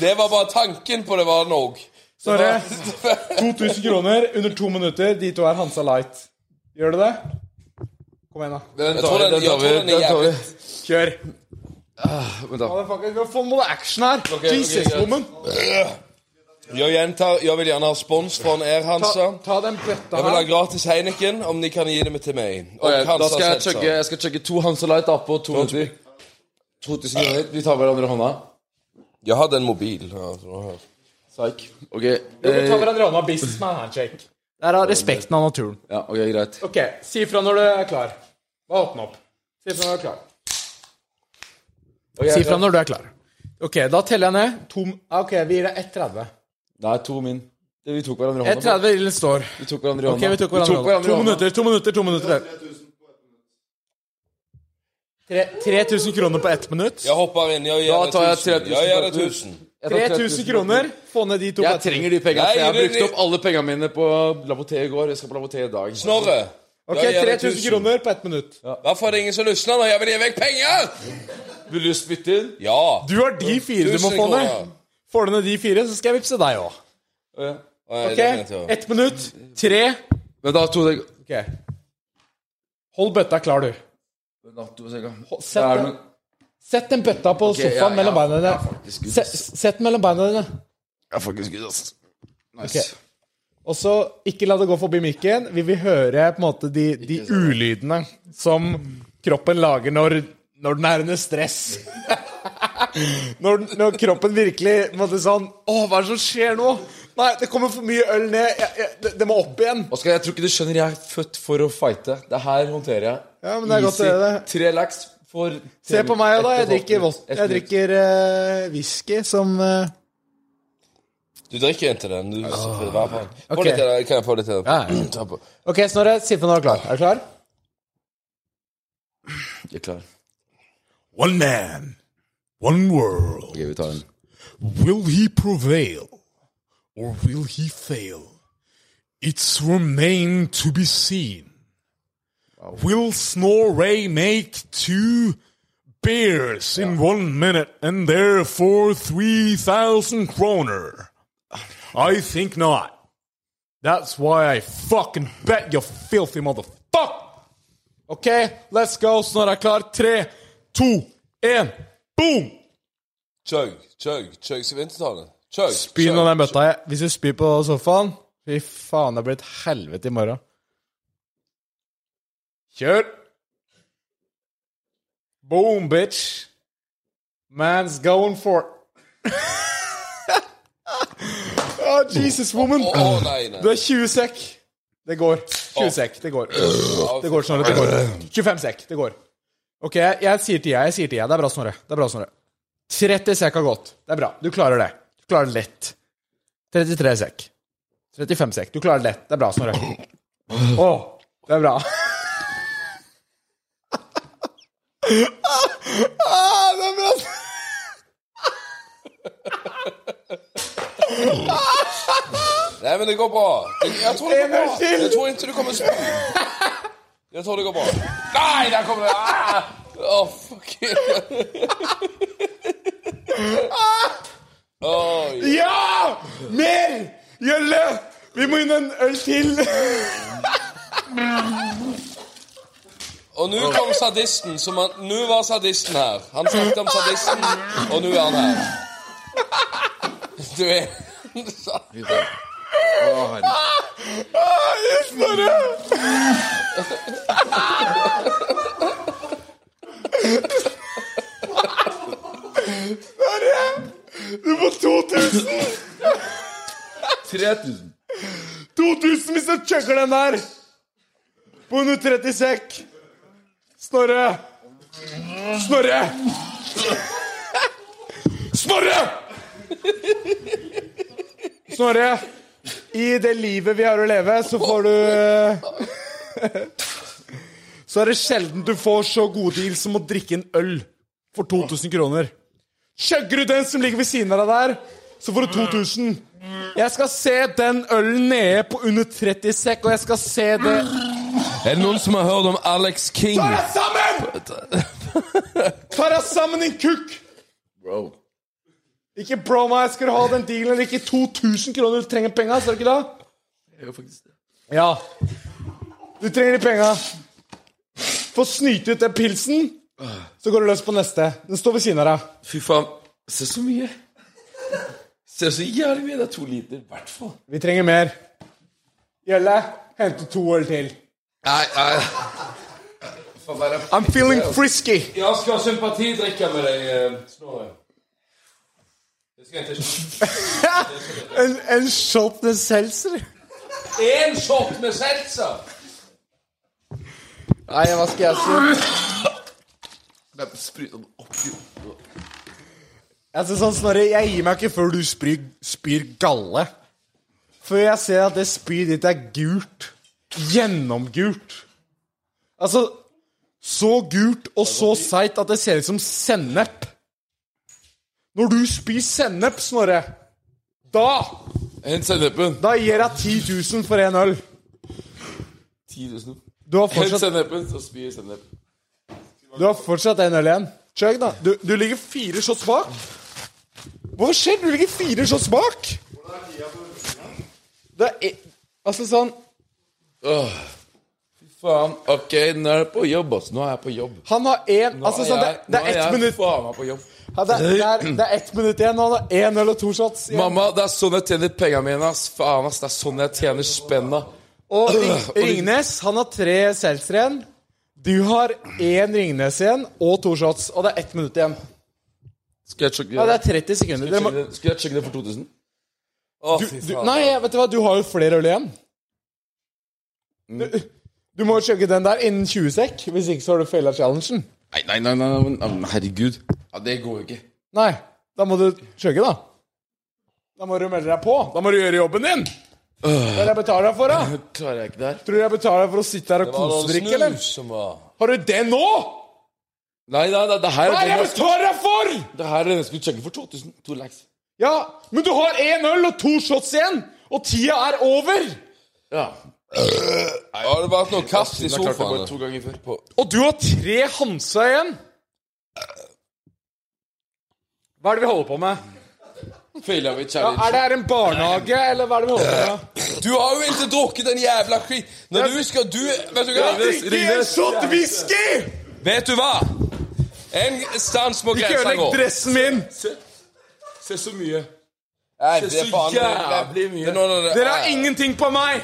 [SPEAKER 4] Det var bare tanken på det var nok.
[SPEAKER 3] Snorre, 2000 kroner under to minutter. De to er Hansa Light. Gjør du det? Kom igjen, da.
[SPEAKER 5] Den Ah,
[SPEAKER 4] Jeg tror den, jeg tror den er jævlig
[SPEAKER 3] Kjør.
[SPEAKER 5] Vent da.
[SPEAKER 3] Motherfucker, vi må få noe action her. Jesus,
[SPEAKER 4] greit.
[SPEAKER 3] woman.
[SPEAKER 4] Jeg gjentar, jeg vil gjerne ha spons fra en Air Hansa.
[SPEAKER 3] Ta den bøtta
[SPEAKER 4] Jeg vil ha
[SPEAKER 3] her.
[SPEAKER 4] gratis Heineken, om de kan gi dem til meg. Og
[SPEAKER 5] Ok, da
[SPEAKER 4] Hansa
[SPEAKER 5] skal jeg
[SPEAKER 4] Seltzer.
[SPEAKER 5] chugge, jeg skal chugge to Hansa Light da, på to minutter. 2000 kroner. Vi tar hverandre i hånda.
[SPEAKER 4] Jeg hadde en mobil. Ja, tror jeg.
[SPEAKER 5] Psyk. Ok.
[SPEAKER 3] Du
[SPEAKER 5] Eh,
[SPEAKER 3] tar hverandre i hånda. Businessman handshake. Det er av respekten av naturen.
[SPEAKER 5] ja, ok, greit.
[SPEAKER 3] Ok, si ifra når du er klar. Bare åpne opp. Si ifra når du er klar. si ifra når du er klar. Ok, da teller jeg ned. Tom ah, Ok, vi gir deg 1,30.
[SPEAKER 5] Nei, to min. Det, vi tok hverandre i hånda.
[SPEAKER 3] 1,30 Ilden står.
[SPEAKER 5] Vi tok hverandre i
[SPEAKER 3] Ok,
[SPEAKER 5] hånda.
[SPEAKER 3] vi tok hverandre.
[SPEAKER 5] i hånda.
[SPEAKER 3] to minutter, to minutter, to minutter. Tre- 3000 kroner på ett minutt.
[SPEAKER 4] jeg hopper inn. Jeg
[SPEAKER 5] Da
[SPEAKER 4] gir
[SPEAKER 5] tar jeg
[SPEAKER 4] det 1000. Jeg gir det
[SPEAKER 5] 3000.
[SPEAKER 4] 1000.
[SPEAKER 5] Jeg tar
[SPEAKER 3] 3000 kroner. Få ned de to.
[SPEAKER 5] Jeg trenger de pengene.
[SPEAKER 4] Nei,
[SPEAKER 5] for Jeg har
[SPEAKER 4] det-
[SPEAKER 5] brukt opp alle pengene mine på Laboté i går. Jeg skal på Laboté i dag.
[SPEAKER 4] Snorre.
[SPEAKER 3] Ok,
[SPEAKER 4] jeg gir deg
[SPEAKER 3] 3000 kroner på ett minutt.
[SPEAKER 4] Hvorfor er det ingen som lysner når jeg vil gi vekk penger?
[SPEAKER 5] Vil du spytte inn?
[SPEAKER 4] Ja.
[SPEAKER 3] Du har de fire du
[SPEAKER 4] 1000
[SPEAKER 3] må få
[SPEAKER 4] kroner.
[SPEAKER 3] ned. Får du ned de fire, så skal jeg vippse deg òg.
[SPEAKER 4] Nei,
[SPEAKER 3] Ok,
[SPEAKER 4] det kan jeg ikke gjøre.
[SPEAKER 3] ett minutt. Tre.
[SPEAKER 5] Men da to deg...
[SPEAKER 3] Ok. Hold bøtta klar, du.
[SPEAKER 5] Men da to deg...
[SPEAKER 3] Sett
[SPEAKER 5] Det er
[SPEAKER 3] den-
[SPEAKER 5] noen-
[SPEAKER 3] Sett den bøtta på sofaen
[SPEAKER 5] ja, ja.
[SPEAKER 3] mellom beina dine.
[SPEAKER 5] faktisk, Gud,
[SPEAKER 3] Se- Sett den mellom beina dine.
[SPEAKER 5] Jeg er fuckings gud, ass.
[SPEAKER 3] Ok. Og så ikke la det gå forbi mikken. Vi vil høre på en måte de, de ulydene som kroppen lager når, når den er under stress. når, den- når kroppen virkelig på en måte sånn Å, hva er det som skjer nå? Nei, det kommer for mye øl ned. Jeg, jeg, det, det må opp igjen.
[SPEAKER 5] Oskar, jeg tror ikke du skjønner. Jeg er født for å fighte. Det her håndterer jeg.
[SPEAKER 3] Ja, men det er godt å høre det.
[SPEAKER 5] Tre lax for
[SPEAKER 3] Se på meg, da. Jeg drikker, vått-
[SPEAKER 5] Ett
[SPEAKER 3] jeg
[SPEAKER 5] minutt.
[SPEAKER 3] drikker eh, whisky som eh,
[SPEAKER 4] Du drikker ikke den.
[SPEAKER 5] Ah.
[SPEAKER 4] Du, Få litt til det. Kan jeg få litt til det? Ta på.
[SPEAKER 3] OK, Snorre. Si ifra når du er klar. Er du klar?
[SPEAKER 5] Jeg er klar.
[SPEAKER 7] One man, one world.
[SPEAKER 5] Ok, vi tar den.
[SPEAKER 7] Will he prevail or will he fail? It's remain to be seen. Will Snorre make two beers in one minute and therefore 3,000 kroner? I think not. That's why I fucking bet you filthy motherfucker.
[SPEAKER 3] OK, let's go. Snorre er klar. Tre, to, én. Boom!
[SPEAKER 4] Chug, chug, chug. Skal vi ikke ta den? Chug.
[SPEAKER 3] Spy nå den bøtta. jeg. Hvis du spyr på sofaen Fy faen, det blir et helvete i morgen. Kjør! Boom, bitch. Man's going for oh, Jesus, woman.
[SPEAKER 4] Å nei,
[SPEAKER 3] Du
[SPEAKER 4] nei.
[SPEAKER 3] er 20 sekk. Det går. 20 sekk. Det går. Det går, Snorre. Det går. 25 sekk. Det går. OK, jeg, jeg sier til jeg, jeg sier til jeg. Det er bra, Snorre. Det er bra, Snorre. 30 sekk har gått. Det er bra. Du klarer det. Du klarer det lett. 33 sekk. 35 sekk. Du klarer det lett. Det er bra, Snorre. Å, det er bra. Ah, det er bra.
[SPEAKER 4] Nei, men det går bra. Det- Jeg tror det går
[SPEAKER 3] En gang
[SPEAKER 4] bra.
[SPEAKER 3] til.
[SPEAKER 4] Jeg tror ikke du kommer spy. Jeg tror det går bra. Nei, der kommer det. Ah! Å, fuck.
[SPEAKER 7] Ja! Mer! Gjølle! Vi må inn en øl til!
[SPEAKER 4] Og nå kom sadisten. Som han, nå var sadisten her. Han snakket om sadisten, og nå er han her. Du er
[SPEAKER 7] Du får 2000!
[SPEAKER 5] 3000.
[SPEAKER 7] 2000 hvis du chucker den der! På 130 sekk. Snorre! Snorre! Snorre!
[SPEAKER 3] Snorre, i det livet vi har å leve, så får du eh, Så er det sjelden du får så gode deals som å drikke en øl for 2000 kroner. Chugger du den som ligger ved siden av deg der, så får du 2000. Jeg skal se den ølen nede på under 30 sekk, og jeg skal se det
[SPEAKER 4] Er det noen som har hørt om Alex King?
[SPEAKER 7] Ta deg sammen!
[SPEAKER 3] Ta deg sammen, din kukk!
[SPEAKER 5] Bro.
[SPEAKER 3] Ikke bro meg, skal du ha den dealen eller ikke? 2000 kroner, du trenger penga, skal du ikke da? Ja. Du trenger de penga. Få snyte ut den pilsen, så går du løs på neste. Den står ved siden av deg.
[SPEAKER 5] Fy faen. Se så mye. Se så jævlig mye. Det er to liter i hvert fall.
[SPEAKER 3] Vi trenger mer. Gjelle, hente to øl til.
[SPEAKER 5] Nei, nei.
[SPEAKER 3] I'm feeling frisky.
[SPEAKER 4] Jeg skal sympatidrikke med deg, eh, Snorre. Det skal jeg ikke.
[SPEAKER 3] En, en shot med seltzer.
[SPEAKER 4] Én shot med seltzer!
[SPEAKER 3] Nei, hva skal jeg si?
[SPEAKER 5] Det er spruta den opp i
[SPEAKER 3] Jeg synes sånn, Snorre, jeg gir meg ikke før du spyr, spyr galle. Før jeg ser at det spyet ditt er gult. Gjennomgult. Altså, så gult og så seigt at det ser ut som sennep. Når du spyr sennep, Snorre, da,
[SPEAKER 5] Hent sennepen.
[SPEAKER 3] da gir jeg 10 000 for én øl.
[SPEAKER 5] 10 000.
[SPEAKER 3] Du har
[SPEAKER 5] Hent
[SPEAKER 3] fortsatt,
[SPEAKER 5] sennepen, så spyr sennep.
[SPEAKER 3] du har fortsatt en øl igjen. Chug, da. Du, du ligger fire shots bak. Hva skjer? Du ligger fire shots bak. Det er e- Altså sånn
[SPEAKER 5] Åh. Fy faen. Ok, nå er det på jobb, ass. Nå er jeg på jobb.
[SPEAKER 3] Han har én
[SPEAKER 5] Nå
[SPEAKER 3] Altså,
[SPEAKER 5] er
[SPEAKER 3] sånn, det,
[SPEAKER 5] jeg-
[SPEAKER 3] det
[SPEAKER 5] nå
[SPEAKER 3] er ett minutt
[SPEAKER 5] faen meg på jobb.
[SPEAKER 3] ja, det, er- det, er, det er ett minutt igjen, og han har én eller to shots. igjen.
[SPEAKER 5] Mamma, det er sånn jeg tjener pengene mine, ass. Faen, ass. Det er sånn jeg tjener spenna.
[SPEAKER 3] Og Ring- Ringnes han har tre seltzer igjen. Du har én Ringnes igjen og to shots, og det er ett minutt igjen.
[SPEAKER 5] Skal jeg sjekke
[SPEAKER 3] Ja, Det er 30 sekunder. Dere må,
[SPEAKER 5] Skal jeg- Skal jeg sjekke det for 2000? Å, fy
[SPEAKER 3] du,
[SPEAKER 5] faen.
[SPEAKER 3] nei, vet du hva, du har jo flere øl igjen. Du, du må chugge den der innen 20 sekk, hvis ikke så har du faila challengen.
[SPEAKER 5] Nei, nei, nei, nei, nei, nei, men herregud. Ja, det går jo ikke.
[SPEAKER 3] Nei, da må du chugge, da. Da må du melde deg på. Da må du gjøre jobben din. Det er det jeg betaler deg for, da.
[SPEAKER 5] Klarer jeg ikke det her?
[SPEAKER 3] Tror du jeg betaler for å sitte her
[SPEAKER 4] Var
[SPEAKER 3] og
[SPEAKER 4] det
[SPEAKER 3] kosedrikke,
[SPEAKER 4] noen
[SPEAKER 3] eller?
[SPEAKER 4] snus som var
[SPEAKER 3] Har du det nå?!
[SPEAKER 5] Nei, nei, nei, det her
[SPEAKER 3] Hva er
[SPEAKER 5] er
[SPEAKER 3] det
[SPEAKER 5] den
[SPEAKER 3] jeg
[SPEAKER 5] jeg,
[SPEAKER 3] betaler deg for?!
[SPEAKER 5] det her er den jeg skulle sjekke for 2000. To lags.
[SPEAKER 3] Ja, men du har én øl og to shots igjen! Og tida er over!
[SPEAKER 5] Ja.
[SPEAKER 4] Har det vært noe kast i
[SPEAKER 5] Jeg klarte det bare
[SPEAKER 4] sofaen?
[SPEAKER 5] to ganger før.
[SPEAKER 3] Og du har tre Hansa igjen! Hva er det vi holder på med?
[SPEAKER 5] Faila vi
[SPEAKER 3] Ja,
[SPEAKER 5] challenge.
[SPEAKER 3] er det her en barnehage, eller hva er det vi holder på med?
[SPEAKER 4] Du har jo ikke drukket den jævla skit... Når du skal du Vet du hva?
[SPEAKER 3] en shot Sånn, whisky!
[SPEAKER 4] Vet du hva? En stans må
[SPEAKER 3] Ikke
[SPEAKER 4] grensa
[SPEAKER 3] ødelegg
[SPEAKER 4] gå.
[SPEAKER 3] dressen min!
[SPEAKER 5] Se så mye.
[SPEAKER 4] Nei,
[SPEAKER 5] Det
[SPEAKER 4] det
[SPEAKER 5] er
[SPEAKER 4] er
[SPEAKER 5] så
[SPEAKER 4] faen
[SPEAKER 5] jævlig mye.
[SPEAKER 4] Det er noe av det-
[SPEAKER 3] Dere har ingenting på meg!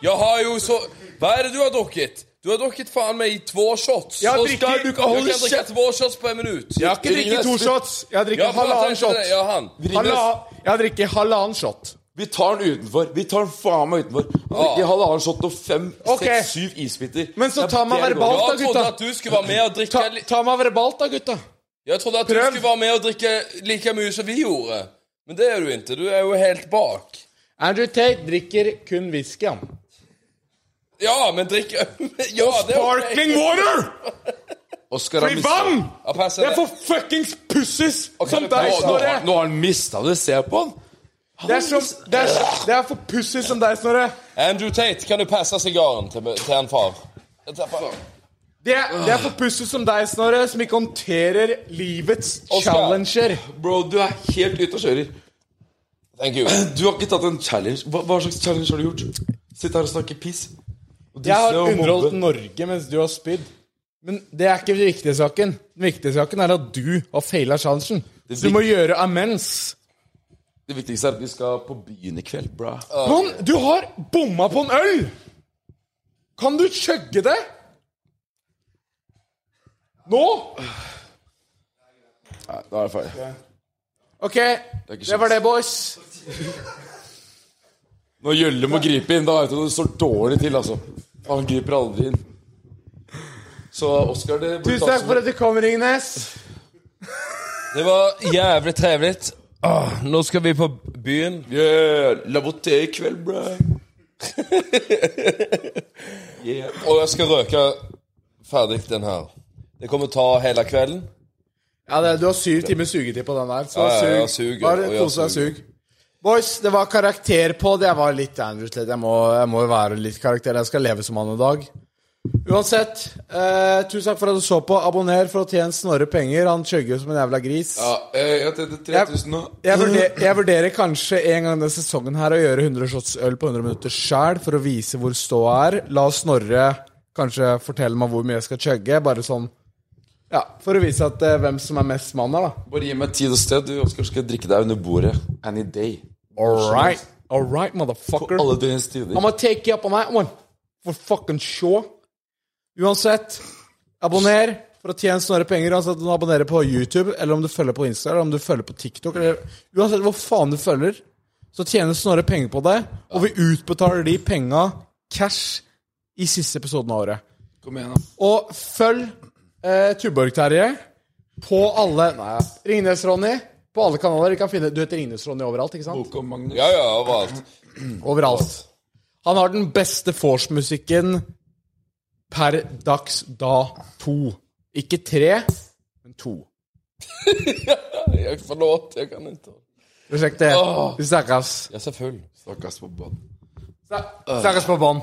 [SPEAKER 4] Jeg har jo så Hva er det du har drukket? Du har drukket fakken meg två shots.
[SPEAKER 3] Jeg
[SPEAKER 4] Så
[SPEAKER 3] drikker-
[SPEAKER 4] skal du ikke holde
[SPEAKER 3] Jeg kan drikke
[SPEAKER 4] kjeft! Två shots på en minutt.
[SPEAKER 3] Jeg har ikke drukket to shots. Jeg
[SPEAKER 4] Ja,
[SPEAKER 3] har drukket
[SPEAKER 4] for jeg
[SPEAKER 3] halvannen
[SPEAKER 4] tenkte
[SPEAKER 3] shot.
[SPEAKER 4] det. Ja, han.
[SPEAKER 3] Halva- Jeg har drukket halvannen shot.
[SPEAKER 5] Vi tar den utenfor. Vi tar den faen meg utenfor. Ikke halvannen shot og fem,
[SPEAKER 3] Ah. Ok.
[SPEAKER 5] seks, syv isbiter.
[SPEAKER 3] Men så
[SPEAKER 5] Det er
[SPEAKER 3] ta meg
[SPEAKER 5] det det går i.
[SPEAKER 3] verbalt, da,
[SPEAKER 4] Jeg trodde
[SPEAKER 3] gutta.
[SPEAKER 4] at du skulle være med og drikke
[SPEAKER 3] Ta,
[SPEAKER 4] li-
[SPEAKER 3] ta meg verbalt, da, gutta.
[SPEAKER 4] Jeg trodde at du
[SPEAKER 3] Prøv.
[SPEAKER 4] skulle være med og drikke like mye som vi gjorde. Men det er du ikke. Du er jo helt bak.
[SPEAKER 3] Andrew Tate drikker kun whisky, han.
[SPEAKER 4] Ja, men drikk Ja, det er ok.
[SPEAKER 3] Sparkling water!
[SPEAKER 5] Oscar har
[SPEAKER 3] I
[SPEAKER 5] mistet-
[SPEAKER 3] vann!
[SPEAKER 4] Ja, passer
[SPEAKER 3] Det er
[SPEAKER 4] det.
[SPEAKER 3] for fuckings pussies som
[SPEAKER 5] Nå,
[SPEAKER 3] deg,
[SPEAKER 5] nå,
[SPEAKER 3] Snorre.
[SPEAKER 5] nå har han mista det. Se på han.
[SPEAKER 3] Det er, som, det, er, det er for pussies som deg, Snorre.
[SPEAKER 4] Andrew Tate, kan du passe sigaren til, til en far? Jeg tar på-
[SPEAKER 3] Det er, det er for pussies som deg, Snorre, som ikke håndterer livets
[SPEAKER 4] Oskar.
[SPEAKER 3] challenger.
[SPEAKER 5] Bro, du er helt ute og kjører.
[SPEAKER 4] Thank you.
[SPEAKER 5] Du har ikke tatt en challenge. Hva, hva slags challenge har du gjort? Sitte her og snakke piss? Og
[SPEAKER 3] Jeg har
[SPEAKER 5] disse og
[SPEAKER 3] underholdt
[SPEAKER 5] mobbe.
[SPEAKER 3] Norge mens du har spydd. Men det er ikke den viktige saken. Den viktige saken er at du har faila challengen. Så du må gjøre amends.
[SPEAKER 5] Det viktigste er at vi skal på byen i kveld, bra.
[SPEAKER 3] Men du har bomma på en øl! Kan du chugge det? Nå?
[SPEAKER 5] Nei, da er jeg ferdig.
[SPEAKER 3] OK, det,
[SPEAKER 5] ikke
[SPEAKER 3] var
[SPEAKER 5] sjans.
[SPEAKER 3] det, boys.
[SPEAKER 5] Når Gjølle må gripe inn, da vet du at det står dårlig til, altså. Han griper aldri inn. Så Oskar, det burde
[SPEAKER 3] Tusen takk for at du kom, Ringnes.
[SPEAKER 4] Det var jævlig trevelig. Åh, Nå skal vi på byen.
[SPEAKER 5] Yeah, La voté i kveld, bra.
[SPEAKER 4] Og jeg skal røke ferdig den her. Det kommer ta hele kvelden.
[SPEAKER 3] Ja, det, Du har syv timer sugetid på den der, så
[SPEAKER 4] ja, ja,
[SPEAKER 3] sug.
[SPEAKER 4] suger,
[SPEAKER 3] Bare
[SPEAKER 4] og jeg
[SPEAKER 3] kos deg og sug. Boys, det var karakter på det. Jeg var litt down, rett og slett. Jeg må, jeg må jo være litt karakter. Jeg skal leve som han en dag. Uansett, eh, tusen takk for at du så på. Abonner for å tjene Snorre penger. Han chugger jo som en jævla gris.
[SPEAKER 5] Ja, eh, jeg tjente 3000 nå.
[SPEAKER 3] Jeg, vurderer, jeg vurderer kanskje en gang denne sesongen her å gjøre 100 shots øl på 100 minutter sjæl, for å vise hvor ståa er. La Snorre kanskje fortelle meg hvor mye jeg skal chugge. Bare sånn Ja, for å vise at eh, hvem som er mest mann her, da.
[SPEAKER 5] Bare gi meg tid og sted, du, Oskar, skal jeg drikke deg under bordet. Any day.
[SPEAKER 3] All right. All right, motherfucker.
[SPEAKER 5] Alle døgnets tider.
[SPEAKER 3] I'm gonna take you up on that one. For fucking sure. Uansett, abonner for å tjene snarere penger. Uansett om du abonnerer på YouTube, eller om du følger på Insta, eller om du følger på TikTok, eller uansett hvor faen du følger, så tjener Snorre penger på det, og vi utbetaler de penga cash i siste episoden av året.
[SPEAKER 5] Kom igjen, da.
[SPEAKER 3] Og følg eh, Tuborg-Terje på alle Nei, ja. Ringnes-Ronny på alle kanaler. Du, kan finne, du heter Ringnes-Ronny overalt, ikke sant?
[SPEAKER 5] Kom, Magnus.
[SPEAKER 4] Ja, ja, overalt.
[SPEAKER 3] Overalt. Han har den beste vorspiel-musikken per dags da to. Ikke tre, men to.
[SPEAKER 4] Jeg Forlåt, jeg kan ikke.
[SPEAKER 3] Prosjektet. Vi snakkes.
[SPEAKER 4] Jeg er så full.
[SPEAKER 5] Stakkars på banen.
[SPEAKER 3] Snakkes på bånn.